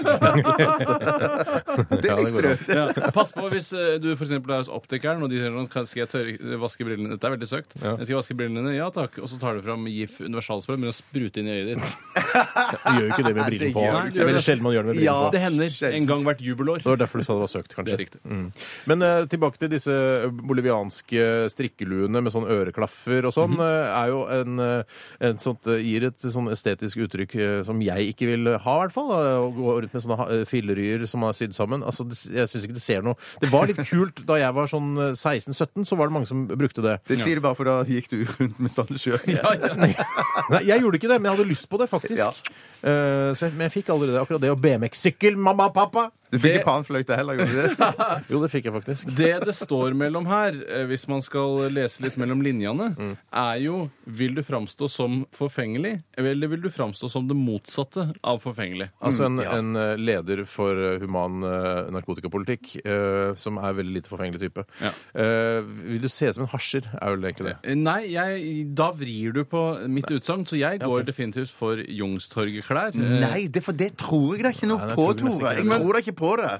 [SPEAKER 1] det går
[SPEAKER 3] likte du.
[SPEAKER 2] Ja. Pass på hvis eh, du for eksempel er hos optikeren og de sier sånn "Kan- Skal jeg tørre, vaske brillene Dette er veldig søkt. Jeg skal vaske brillene dine. Ja takk. Og så tar du fram GIF universalspray og begynner å sprute inn i øyet ditt.
[SPEAKER 1] Du gjør jo ikke det med briller
[SPEAKER 3] Det
[SPEAKER 1] på.
[SPEAKER 3] gjør
[SPEAKER 2] du ikke.
[SPEAKER 1] Det er veldig sjelden man gjør det med briller
[SPEAKER 3] Ja.
[SPEAKER 1] på.
[SPEAKER 2] Det hender.
[SPEAKER 3] Sjelden.
[SPEAKER 2] En gang hvert jubelår.
[SPEAKER 1] Det var derfor du sa det var søkt, kanskje.
[SPEAKER 2] Det er riktig.
[SPEAKER 1] Mm. Men eh, tilbake til disse eh, bolivianske strikkeluene med sånn øreklaffer og
[SPEAKER 2] Mhm.
[SPEAKER 1] sånn, eh, er jo en, eh, en sånt, eh, gir et sånn estetisk uttrykk eh, som jeg ikke vil ha, i hvert fall. da. Å gå rundt med sånne ha- eh, filleryer som er sydd sammen. Altså, det, jeg syns ikke det ser noe Det var litt kult da jeg var sånn eh, 16-17, så var det mange som brukte det.
[SPEAKER 3] Det sier du bare, for da gikk du rundt med sånn sjøl.
[SPEAKER 1] Nei, jeg gjorde ikke det, men jeg hadde lyst på det, faktisk.
[SPEAKER 3] Ja.
[SPEAKER 1] Eh, så jeg, men jeg fikk aldri det. Akkurat det og BMX-sykkel, mamma og pappa!
[SPEAKER 3] Du fikk ikke panfløyte heller, gjorde du det?
[SPEAKER 1] Jo, det fikk jeg faktisk.
[SPEAKER 2] Det det står mellom her, eh, hvis man skal lese litt mellom linjene,
[SPEAKER 1] Mm.
[SPEAKER 2] er jo vil du framstå som forfengelig, eller vil du framstå som det motsatte av forfengelig?
[SPEAKER 1] Altså en, en eh, leder for eh, human eh, narkotikapolitikk eh, som er veldig lite forfengelig type.
[SPEAKER 2] Ja.
[SPEAKER 1] Eh, vil du se ut som en hasjer, er vel egentlig det.
[SPEAKER 2] Eh, Nei, jeg, da vrir du på mitt utsagn, så jeg går definitivt for Youngstorget-klær. Eh,
[SPEAKER 3] Nei, det, for det tror jeg da ikke noe
[SPEAKER 1] Nei, det
[SPEAKER 3] på,
[SPEAKER 1] tror jeg nesten
[SPEAKER 3] Tore.
[SPEAKER 1] ikke
[SPEAKER 3] Jeg
[SPEAKER 1] det.
[SPEAKER 3] tror da ikke på det.
[SPEAKER 2] Eh,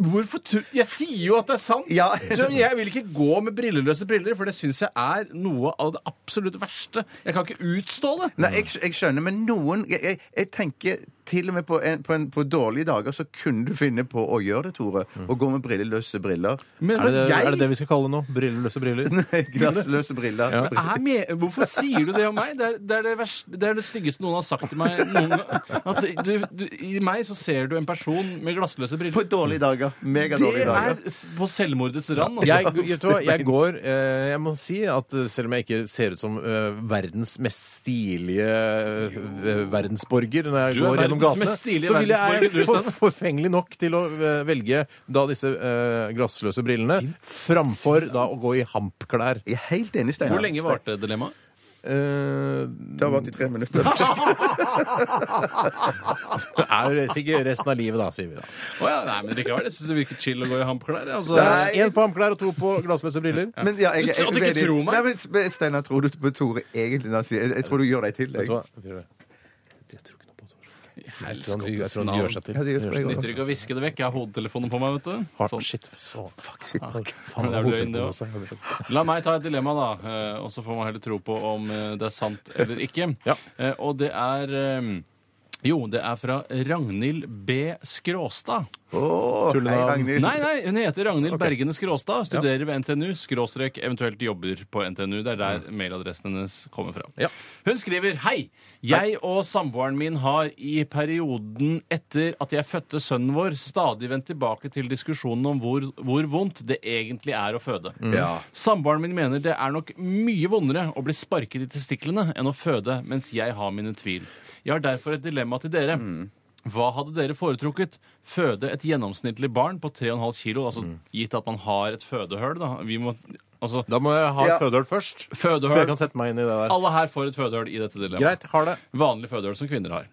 [SPEAKER 2] Hvorfor tror Jeg sier jo at det er sant!
[SPEAKER 3] Ja.
[SPEAKER 2] Så jeg vil ikke gå med brilleløse briller, for det syns jeg er noe av det absolutt verste. Jeg kan ikke utstå det.
[SPEAKER 3] Nei, jeg, jeg skjønner, men noen Jeg, jeg, jeg tenker til og med på, en, på, en, på dårlige dager så kunne du finne på å gjøre det, Tore. Å gå med brilleløse briller.
[SPEAKER 2] Mm. Men
[SPEAKER 1] Er det,
[SPEAKER 2] jeg
[SPEAKER 1] er det det vi skal kalle det nå? Brilleløse briller?
[SPEAKER 3] Nei, Glassløse briller.
[SPEAKER 1] Ja.
[SPEAKER 2] er med, hvorfor sier du det om meg? Det er det, er det, verste, det, er det styggeste noen har sagt til meg. Noen, gang. at du, du, I meg så ser du en person med glassløse
[SPEAKER 3] På
[SPEAKER 2] briller.
[SPEAKER 3] dårlige dager. Megadårlige
[SPEAKER 2] Det
[SPEAKER 3] dager.
[SPEAKER 2] er s- på selvmordets rand. Altså.
[SPEAKER 1] Jeg, vet du hva, jeg går eh, Jeg må si at eh, selv om jeg ikke ser ut som eh, verdens mest stilige eh, verdensborger når jeg
[SPEAKER 2] Du er
[SPEAKER 1] går gjennom
[SPEAKER 2] verdens
[SPEAKER 1] gatene,
[SPEAKER 2] mest stilige
[SPEAKER 1] så ville jeg
[SPEAKER 2] verdensborger, du,
[SPEAKER 1] for,
[SPEAKER 2] Stein.
[SPEAKER 1] forfengelig nok til å eh, velge da disse eh, glassløse brillene framfor da å gå i hampklær.
[SPEAKER 3] Jeg er helt enig, Steinar.
[SPEAKER 2] Hvor lenge varte dilemmaet?
[SPEAKER 1] Eh,
[SPEAKER 3] Det har vært i tre minutter.
[SPEAKER 1] det er jo sikkert resten av livet, da, sier vi da.
[SPEAKER 2] Å ja, nei, men likevel. Jeg syns det virker chill å gå i hampklær. jeg, Altså.
[SPEAKER 3] Nei.
[SPEAKER 1] Én Eh, på hampklær og to på glassløse briller.
[SPEAKER 3] Men ja, jeg,
[SPEAKER 2] Du- at du ikke
[SPEAKER 3] veldig-
[SPEAKER 2] tror meg?
[SPEAKER 3] Nei, men Sp- Steinar, tror du på Tore egentlig? når han sier- Jeg, jeg tror du gjør deg til. Jeg.
[SPEAKER 1] Vet du hva? Jeg tror ikke noe på det. Jeg tror han, jeg tror han gjør seg til.
[SPEAKER 3] Ja, det gjør jeg
[SPEAKER 2] Nytter
[SPEAKER 3] også.
[SPEAKER 2] ikke å hviske det vekk. Jeg har hodetelefonen på meg. vet du
[SPEAKER 1] Hardt.
[SPEAKER 2] Sånn.
[SPEAKER 1] Shit. Så, fuck, shit.
[SPEAKER 2] Men
[SPEAKER 1] Faen,
[SPEAKER 2] det er
[SPEAKER 1] jeg
[SPEAKER 2] vel
[SPEAKER 1] har
[SPEAKER 2] løgn, det
[SPEAKER 1] hodet på det også.
[SPEAKER 2] La meg ta et dilemma, da. eh, Og så får man heller tro på om eh, det er sant eller ikke.
[SPEAKER 1] Ja.
[SPEAKER 2] Eh, Og det er eh, Jo, det er fra Ragnhild B. Skråstad.
[SPEAKER 3] Åh,
[SPEAKER 1] Tullenavn.
[SPEAKER 3] hei, Ragnhild.
[SPEAKER 2] Nei, nei, hun heter Ragnhild Bergene Skråstad. Studerer ved NTNU. Skråstrek eventuelt jobber på NTNU. Det er der mailadressen hennes kommer fra.
[SPEAKER 1] Ja.
[SPEAKER 2] Hun skriver Hei! Jeg og samboeren min har i perioden etter at jeg fødte sønnen vår, stadig vendt tilbake til diskusjonen om hvor, hvor vondt det egentlig er å føde. Samboeren min mener det er nok mye vondere å bli sparket i testiklene enn å føde, mens jeg har mine tvil. Jeg har derfor et dilemma til dere. Hva hadde dere foretrukket? Føde et gjennomsnittlig barn på 3,5 kilo, altså gitt at man har et fødehull, da. Vi må, altså,
[SPEAKER 1] Mm. Da må jeg ha
[SPEAKER 3] Ja.
[SPEAKER 1] et fødehull først. Før jeg
[SPEAKER 2] fødehull.
[SPEAKER 1] kan sette meg inn i det der.
[SPEAKER 2] Alle her får et fødehull i dette dilemmaet.
[SPEAKER 1] Greit, har det.
[SPEAKER 2] Vanlig fødehull som kvinner har.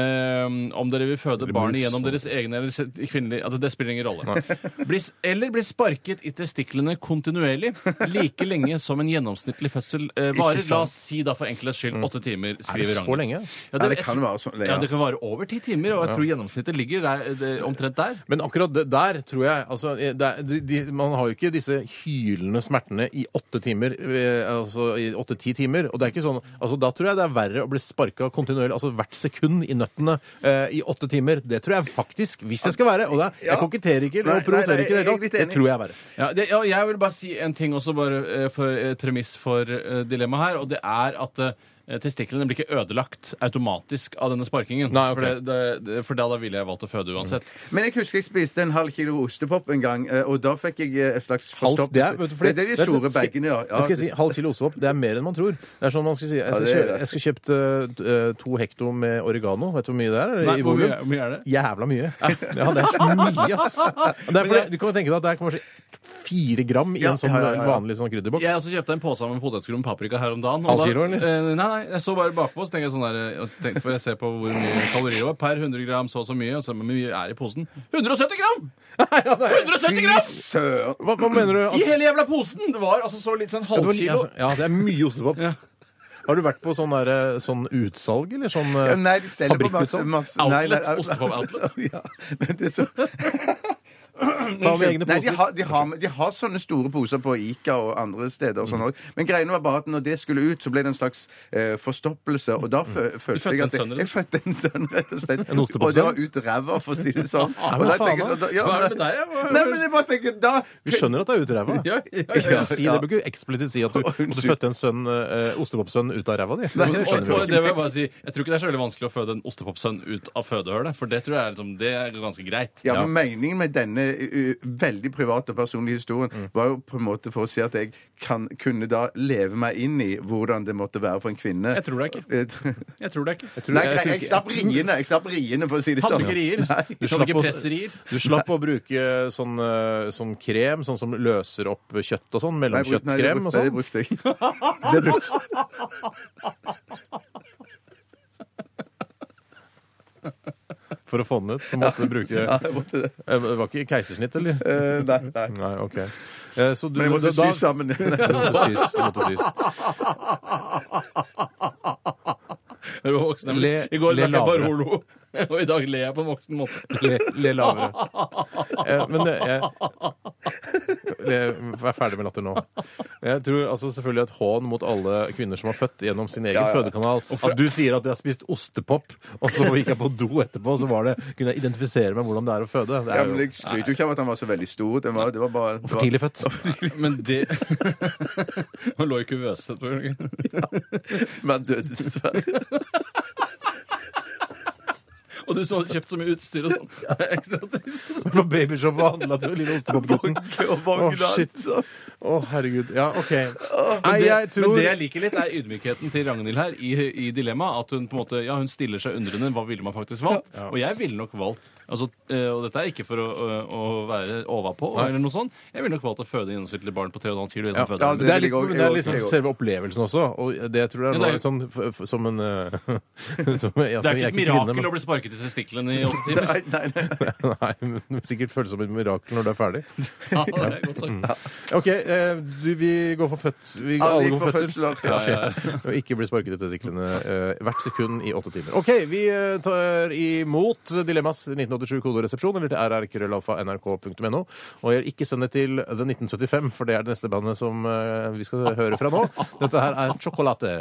[SPEAKER 2] Eh, om dere vil føde barnet
[SPEAKER 1] mus,
[SPEAKER 2] gjennom deres egne eller se- kvinnelige altså, Det spiller ingen rolle. Bli, s- eller bli sparket i testiklene kontinuerlig like lenge som en gjennomsnittlig fødsel eh, varer. La oss si da for enkelhets skyld åtte timer, skriver
[SPEAKER 1] Mm. Så
[SPEAKER 2] Ragnhild.
[SPEAKER 1] lenge.
[SPEAKER 2] Ja,
[SPEAKER 3] Ja, det kan være så lenge,
[SPEAKER 2] ja,
[SPEAKER 3] ja.
[SPEAKER 2] det kan vare over ti timer, og jeg tror gjennomsnittet ligger der, eh, det, omtrent der.
[SPEAKER 1] Men akkurat det der tror jeg altså, det er, de, de, Man har jo ikke disse hylende smertene i åtte timer. eh, Altså i åtte-ti timer. Og det er ikke sånn altså, Da tror jeg det er verre å bli sparka kontinuerlig, altså hvert sekund i nøttene eh, i åtte timer. Det tror jeg faktisk, hvis jeg skal være. Og det er, jeg koketterer ikke
[SPEAKER 3] Nei,
[SPEAKER 1] eller
[SPEAKER 3] nei,
[SPEAKER 1] provoserer
[SPEAKER 3] nei,
[SPEAKER 1] ikke i det hele
[SPEAKER 3] jeg er litt
[SPEAKER 1] tatt. Det
[SPEAKER 3] enig.
[SPEAKER 1] tror jeg er verre.
[SPEAKER 2] Ja, det, ja, jeg vil bare si en ting også, bare eh, for eh, premiss for eh, dilemmaet her, og det er at eh, Testiklene blir ikke ødelagt automatisk av denne sparkingen.
[SPEAKER 1] Nei, ok.
[SPEAKER 2] for, det, det, det, for da, da ville jeg valgt å føde uansett.
[SPEAKER 3] Men jeg husker jeg spiste en halv kilo ostepop en gang, eh, og da fikk jeg eh, et slags
[SPEAKER 1] Halv,
[SPEAKER 3] forstoppelse.
[SPEAKER 1] det er, vet du, fordi,
[SPEAKER 3] det er de store
[SPEAKER 1] skal-
[SPEAKER 3] bagene, ja. ja.
[SPEAKER 1] Jeg skal si, halv kilo ostehopp, det er mer enn man tror. Det er sånn man skal si, Jeg
[SPEAKER 3] Ja,
[SPEAKER 1] skal,
[SPEAKER 3] det er
[SPEAKER 1] kjø-
[SPEAKER 3] det.
[SPEAKER 1] jeg skal kjøpt eh, to hekto med oregano. Vet du hvor mye det er?
[SPEAKER 2] Nei,
[SPEAKER 1] i
[SPEAKER 2] hvor
[SPEAKER 1] volum?
[SPEAKER 2] mye, hvor mye er det?
[SPEAKER 1] Jævla mye. Ja, det er så mye, ass. Det er fordi, du kan jo tenke deg at det er kanskje fire gram i
[SPEAKER 3] Ja,
[SPEAKER 1] en sånn
[SPEAKER 3] ja, ja, ja. altså,
[SPEAKER 1] vanlig sånn krydderboks.
[SPEAKER 2] Jeg også kjøpte en påse med potetgull og paprika her om dagen. og
[SPEAKER 1] Halv
[SPEAKER 2] da-
[SPEAKER 1] kilo, eller?
[SPEAKER 2] Eh, nei, nei, jeg så bare bakpå, så tenker jeg sånn der eh, og så tenk, For jeg ser på hvor mye kalorier det var. Per 100 gram så og så mye. Og så hvor mye er i posen? 170 gram! 170 gram!
[SPEAKER 3] Søren!
[SPEAKER 1] Hva, hva mener du?
[SPEAKER 2] I
[SPEAKER 1] At,
[SPEAKER 2] hele jævla posen! Det var altså så litt sånn
[SPEAKER 1] det var-
[SPEAKER 2] halvkilo.
[SPEAKER 1] altså, ja, det er mye ostepop. Har du vært på sånn, der, eh, sånn utsalg, eller sånn eh,
[SPEAKER 3] Ja, Nei, de selger på masse,
[SPEAKER 1] fabrikkutsalg?
[SPEAKER 3] masse nei, nei,
[SPEAKER 2] Outlet. Ostepop Outlet.
[SPEAKER 3] Ja, men det er så...
[SPEAKER 1] Ta med egne
[SPEAKER 3] Nei, de
[SPEAKER 1] poser.
[SPEAKER 3] har, de, har, de har sånne store poser på Ica og andre steder. og
[SPEAKER 1] Mm.
[SPEAKER 3] sånn også. Men greiene var bare at når det skulle ut, så ble det en slags eh, forstoppelse. Og da fø følte
[SPEAKER 2] fødte
[SPEAKER 3] jeg at
[SPEAKER 2] en sønn,
[SPEAKER 3] jeg,
[SPEAKER 2] rett og
[SPEAKER 3] jeg fødte en sønn, rett og slett.
[SPEAKER 1] Mm. En ostepopsønn?
[SPEAKER 3] og det var ut ræva, for å si det sånn.
[SPEAKER 1] men
[SPEAKER 3] Og da
[SPEAKER 1] hva faen
[SPEAKER 3] tenker jeg
[SPEAKER 1] da?
[SPEAKER 3] sånn, ja,
[SPEAKER 2] Hva er det med deg, ja? Hva-
[SPEAKER 3] Nei, men jeg bare tenker, da...
[SPEAKER 1] Vi skjønner at det er ut av ræva.
[SPEAKER 2] Ja, ja, ja.
[SPEAKER 1] Jeg vil Si,
[SPEAKER 3] Ja.
[SPEAKER 1] det bør ikke eksplisitt si at du, at du fødte en sønn, eh, ostepopsønn ut av ræva di.
[SPEAKER 2] Og,
[SPEAKER 1] Det skjønner vi
[SPEAKER 2] og
[SPEAKER 1] jo.
[SPEAKER 2] det vil jeg bare si, jeg tror ikke det er så veldig vanskelig å føde en ostepopsønn ut av fødehølet, for det tror jeg er, liksom, det er ganske greit.
[SPEAKER 3] Ja, men Meningen med denne uh, veldig private og personlige historien
[SPEAKER 1] Mm.
[SPEAKER 3] var jo på en måte for å si at jeg kan, kunne da leve meg inn i hvordan det måtte være for en kvinne.
[SPEAKER 2] Jeg tror det ikke.
[SPEAKER 3] Eh,
[SPEAKER 2] Jeg tror det ikke.
[SPEAKER 3] Nei,
[SPEAKER 1] jeg
[SPEAKER 3] jeg,
[SPEAKER 1] tror
[SPEAKER 3] jeg
[SPEAKER 1] ikke-
[SPEAKER 3] slapp riene, jeg slapp riene, for å si det
[SPEAKER 2] Hadde
[SPEAKER 3] sånn.
[SPEAKER 2] du ikke rier?
[SPEAKER 3] Nei.
[SPEAKER 2] Du
[SPEAKER 1] slapp
[SPEAKER 2] hadde ikke
[SPEAKER 1] å-
[SPEAKER 2] presserier?
[SPEAKER 1] Du slapp å bruke sånn, eh, sånn krem, sånn som løser opp kjøtt og sånn,
[SPEAKER 3] Nei, jeg brukte- nei, det
[SPEAKER 1] mellomkjøttkrem og
[SPEAKER 3] brukte- Det
[SPEAKER 1] sånn.
[SPEAKER 3] brukte jeg. Det brukte jeg.
[SPEAKER 1] For å få den ut, så måtte du bruke
[SPEAKER 3] Jeg måtte det.
[SPEAKER 1] Eh, Det var ikke keisersnitt, eller?
[SPEAKER 3] Eh, Nei, nei.
[SPEAKER 1] Nei, ok. Eh, Så du,
[SPEAKER 3] Men jeg måtte
[SPEAKER 1] da-
[SPEAKER 3] sy sammen.
[SPEAKER 1] Det måtte sys. Det måtte sys.
[SPEAKER 2] Når du var voksen.
[SPEAKER 1] Le-
[SPEAKER 2] I går
[SPEAKER 1] le
[SPEAKER 2] drakk jeg
[SPEAKER 1] lavere.
[SPEAKER 2] Barolo, og i dag ler jeg på en voksen måte.
[SPEAKER 1] Le, le lavere. Eh, men eh, jeg le, Vær ferdig med latter nå. Jeg tror altså selvfølgelig et hån mot alle kvinner som har født gjennom sin egen fødekanal. At du sier at du har spist ostepop, og så gikk jeg på do etterpå, så var det, kunne jeg identifisere meg med hvordan det er å føde. Det
[SPEAKER 3] Ja,
[SPEAKER 1] er
[SPEAKER 3] men
[SPEAKER 1] jo
[SPEAKER 3] jeg skryter jo ikke av at han var så veldig stor. Det var, det var bare
[SPEAKER 1] for tidlig født.
[SPEAKER 2] Men det Han lå i kuvøse etterpå. gjorde han ikke?
[SPEAKER 3] Men døde dessverre.
[SPEAKER 2] Og du som hadde kjøpt så mye utstyr og sånn. Det er Ekstra trist.
[SPEAKER 1] På babyshop og handla til lille ostepopgutten. Å, shit. Å, herregud. Ja, OK. Nei,
[SPEAKER 2] altså. Men det-
[SPEAKER 1] jeg tror
[SPEAKER 2] Men det jeg liker litt, er ydmykheten til Ragnhild her i, i dilemmaet. At hun på en måte, ja, hun stiller seg undrende. Hva ville man faktisk valgt? Og jeg ville nok valgt altså, eh, Og dette er ikke for å, å- å være overpå, eller noe sånt. Jeg ville nok valgt å føde gjennomsnittlig barn på 3,5 kilo gjennom
[SPEAKER 1] Ja,
[SPEAKER 2] fødselen.
[SPEAKER 1] det, er
[SPEAKER 3] vil jeg
[SPEAKER 1] litt,
[SPEAKER 3] også-
[SPEAKER 1] men det er
[SPEAKER 3] jeg
[SPEAKER 1] liksom
[SPEAKER 3] også-
[SPEAKER 1] selve opplevelsen også. Og det tror jeg
[SPEAKER 2] Ja, det
[SPEAKER 1] var
[SPEAKER 2] er-
[SPEAKER 1] litt sånn f f som en eh, som, jeg, jeg
[SPEAKER 2] Det er ikke
[SPEAKER 1] kvinne,
[SPEAKER 2] et mirakel
[SPEAKER 1] men-
[SPEAKER 2] å bli sparket i testiklene i åtte timer.
[SPEAKER 3] Nei, nei, nei.
[SPEAKER 1] Nei, men sikkert føles som et mirakel når du er ferdig.
[SPEAKER 2] Ja, det er godt
[SPEAKER 1] Mm.
[SPEAKER 2] sagt.
[SPEAKER 1] OK, eh, du, vi går for fødsel. Vi
[SPEAKER 3] Alle
[SPEAKER 1] alle
[SPEAKER 3] gikk
[SPEAKER 1] går
[SPEAKER 3] for
[SPEAKER 1] for fødsel.
[SPEAKER 3] fødsler.
[SPEAKER 2] Ja, ja, ja.
[SPEAKER 1] Og ikke bli sparket i testiklene eh, hvert sekund i åtte timer. OK, vi eh, tar imot Dilemmas 1987 koderesepsjon eller til rrkrøllalfa.nrk.no. Og jeg ikke send det til The 1975, for det er det neste bandet som eh, vi skal høre fra nå. Dette her er Chocolate.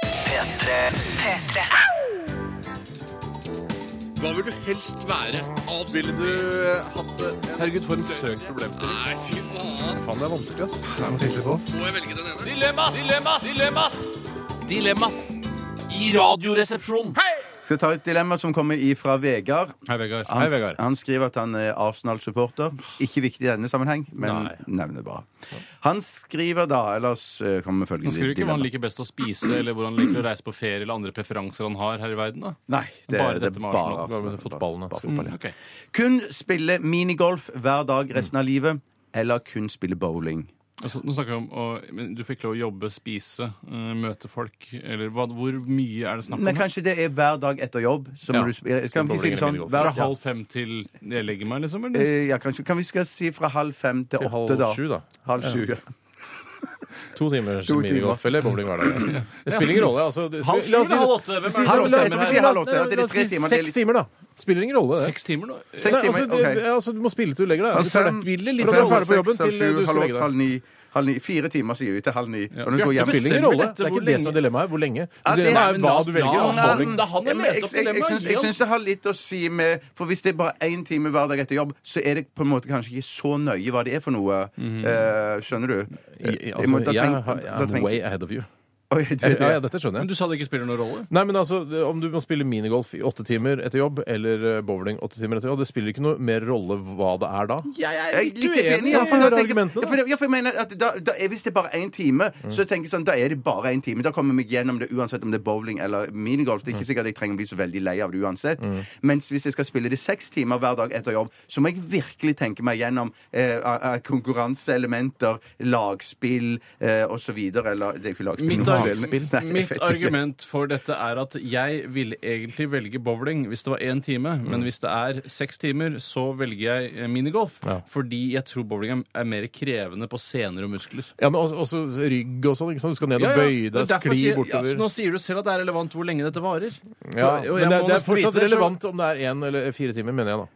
[SPEAKER 4] P3.
[SPEAKER 6] P3.
[SPEAKER 7] Hva vil du helst være? Ville du
[SPEAKER 1] eh,
[SPEAKER 7] hatt det? Herregud, for en søk problemstilling. Nei, fy faen.
[SPEAKER 1] Faen, det er vanskelig, ass.
[SPEAKER 7] Må jeg velge den ene? Dilemmas! Dilemmas! Dilemmas! Dilemmas! I radioresepsjonen.
[SPEAKER 3] Skal jeg ta et dilemma som kommer fra Vegard.
[SPEAKER 2] Hei, Vegard.
[SPEAKER 3] Han, han skriver at han er Arsenal-supporter. Ikke viktig i denne sammenheng, men
[SPEAKER 2] Nei.
[SPEAKER 3] nevner bare. Han skriver da Ellers eh, kommer følgende
[SPEAKER 2] Han skriver ikke hva han
[SPEAKER 3] dilemma.
[SPEAKER 2] liker best å spise, eller hvor han liker å reise på ferie, eller andre preferanser han har her i verden. da.
[SPEAKER 3] Nei, det,
[SPEAKER 2] Bare
[SPEAKER 3] det
[SPEAKER 2] dette
[SPEAKER 3] er
[SPEAKER 2] med
[SPEAKER 3] bare
[SPEAKER 2] Arsenal.
[SPEAKER 1] Hva med fotballen, da? Skal vi bare-
[SPEAKER 2] Ok.
[SPEAKER 3] Kun spille minigolf hver dag resten av livet, eller kun spille bowling.
[SPEAKER 2] Altså, nå snakker vi om å, men Du fikk lov å jobbe, spise, eh, møte folk eller hva, Hvor mye er det snakk om?
[SPEAKER 3] Men
[SPEAKER 2] her?
[SPEAKER 3] kanskje det er hver dag etter jobb. Så må
[SPEAKER 2] Ja.
[SPEAKER 3] du spille Skal vi ikke si det
[SPEAKER 1] bowling
[SPEAKER 3] sånn?
[SPEAKER 1] eller minigolf?
[SPEAKER 3] Hver,
[SPEAKER 2] Fra halv fem til jeg legger meg, liksom?
[SPEAKER 3] ja.
[SPEAKER 2] Eller?
[SPEAKER 3] Eh, ja, kanskje, kan vi skal si fra halv fem til,
[SPEAKER 1] Til
[SPEAKER 3] åtte,
[SPEAKER 1] halv
[SPEAKER 3] da?
[SPEAKER 1] sju, da.
[SPEAKER 3] Halv sju, ja.
[SPEAKER 1] To timers
[SPEAKER 3] To timer.
[SPEAKER 1] minigolf eller bowling hver dag. Det spiller ingen rolle. Altså, det,
[SPEAKER 2] Halv sju
[SPEAKER 1] la oss si-
[SPEAKER 2] eller halv åtte? Hvem er det som
[SPEAKER 1] La oss si-
[SPEAKER 3] bestemmer
[SPEAKER 1] la oss si-
[SPEAKER 3] her? Halv åtte, ja, det er
[SPEAKER 1] la oss
[SPEAKER 3] tre
[SPEAKER 1] si
[SPEAKER 3] timer, det er
[SPEAKER 1] Seks
[SPEAKER 3] litt-
[SPEAKER 1] timer, da. Spiller ingen rolle, det.
[SPEAKER 2] Seks timer nå?
[SPEAKER 3] Seks
[SPEAKER 1] Nei, altså,
[SPEAKER 3] timer,
[SPEAKER 1] det-
[SPEAKER 3] ok.
[SPEAKER 1] altså, du må spille til du legger deg.
[SPEAKER 3] Ja,
[SPEAKER 1] Hvis du er
[SPEAKER 3] fem-
[SPEAKER 1] hvile litt
[SPEAKER 3] fem,
[SPEAKER 1] fra du er ferdig på
[SPEAKER 3] seks,
[SPEAKER 1] jobben
[SPEAKER 3] halv
[SPEAKER 1] til
[SPEAKER 3] sju,
[SPEAKER 1] du skal
[SPEAKER 3] halv
[SPEAKER 1] legge
[SPEAKER 3] åtte,
[SPEAKER 1] deg.
[SPEAKER 3] halv ni, halv ni. Fire timer sier vi til halv ni. Kan du
[SPEAKER 2] Bjarte
[SPEAKER 3] gå hjem?
[SPEAKER 1] Det spiller ingen rolle.
[SPEAKER 2] Bestemmer dette
[SPEAKER 1] Det er ikke
[SPEAKER 2] hvor
[SPEAKER 1] det
[SPEAKER 2] lenge-
[SPEAKER 1] som er dilemmaet. Hvor lenge?
[SPEAKER 3] Ja, det er-
[SPEAKER 1] Dilemmaet er hva
[SPEAKER 2] men la oss-
[SPEAKER 1] du velger.
[SPEAKER 2] la
[SPEAKER 1] av
[SPEAKER 2] oss-
[SPEAKER 3] Nei,
[SPEAKER 1] bowling.
[SPEAKER 2] Det er han jeg
[SPEAKER 3] men
[SPEAKER 2] leste
[SPEAKER 3] jeg-
[SPEAKER 2] opp
[SPEAKER 3] jeg- jeg
[SPEAKER 2] dilemmaet,
[SPEAKER 3] syns-
[SPEAKER 2] Jan.
[SPEAKER 3] Jeg syns det har litt å si med For hvis det er bare én time hver dag etter jobb, så er det på en måte kanskje ikke så nøye hva det er for noe. Eh, skjønner du?
[SPEAKER 1] Mhm. I-
[SPEAKER 3] Jeg må-
[SPEAKER 1] Altså,
[SPEAKER 3] da
[SPEAKER 1] jeg
[SPEAKER 3] tenk-
[SPEAKER 1] har-
[SPEAKER 3] da
[SPEAKER 1] I'm
[SPEAKER 3] tenk-
[SPEAKER 1] way ahead of you.
[SPEAKER 3] Oi, du-
[SPEAKER 1] Ja, ja, dette skjønner jeg.
[SPEAKER 2] Men du sa det ikke spiller noen rolle?
[SPEAKER 1] Nei, men altså, det- Om du må spille minigolf i åtte timer etter jobb eller eh, bowling åtte timer etter jobb, det spiller ikke noe mer rolle hva det er da.
[SPEAKER 3] Jeg er litt uenig.
[SPEAKER 1] Ja,
[SPEAKER 3] Ja,
[SPEAKER 1] få
[SPEAKER 3] for
[SPEAKER 1] høre
[SPEAKER 3] da tenker-
[SPEAKER 1] argumentene, da.
[SPEAKER 3] ja, for det- ja, for jeg mener at da, da, er- Hvis det er bare én time, så tenker jeg sånn, da er det bare én time. Da kommer jeg meg gjennom det uansett om det er bowling eller minigolf. Det er ikke sikkert jeg trenger å bli så veldig lei av det uansett. Mens hvis jeg skal spille det seks timer hver dag etter jobb, så må jeg virkelig tenke meg gjennom eh, a- a- konkurranseelementer, lagspill eh, osv. Eller det er jo ikke lagspill.
[SPEAKER 2] Mitt,
[SPEAKER 3] noe
[SPEAKER 2] arg
[SPEAKER 3] lagspill. Nei, jeg
[SPEAKER 2] mitt
[SPEAKER 3] vet ikke.
[SPEAKER 2] argument for dette er at jeg ville egentlig velge bowling hvis det var én time,
[SPEAKER 1] Mm.
[SPEAKER 2] men hvis det er seks timer, så velger jeg eh, minigolf. Fordi jeg tror bowling er- er mer krevende på sener og muskler.
[SPEAKER 1] Ja, men også, også rygg og sånn. ikke sant? Du skal ned og
[SPEAKER 2] Ja, ja.
[SPEAKER 1] bøye
[SPEAKER 2] Men
[SPEAKER 1] deg,
[SPEAKER 2] derfor
[SPEAKER 1] skli
[SPEAKER 2] sier-
[SPEAKER 1] bortover.
[SPEAKER 2] ja, så nå sier du selv at det er relevant hvor lenge dette varer.
[SPEAKER 1] Ja,
[SPEAKER 2] Og- og jeg
[SPEAKER 1] men det,
[SPEAKER 2] må
[SPEAKER 1] det er
[SPEAKER 2] nesten vite
[SPEAKER 1] fortsatt
[SPEAKER 2] det selv.
[SPEAKER 1] relevant om det er én eller fire timer, mener jeg da.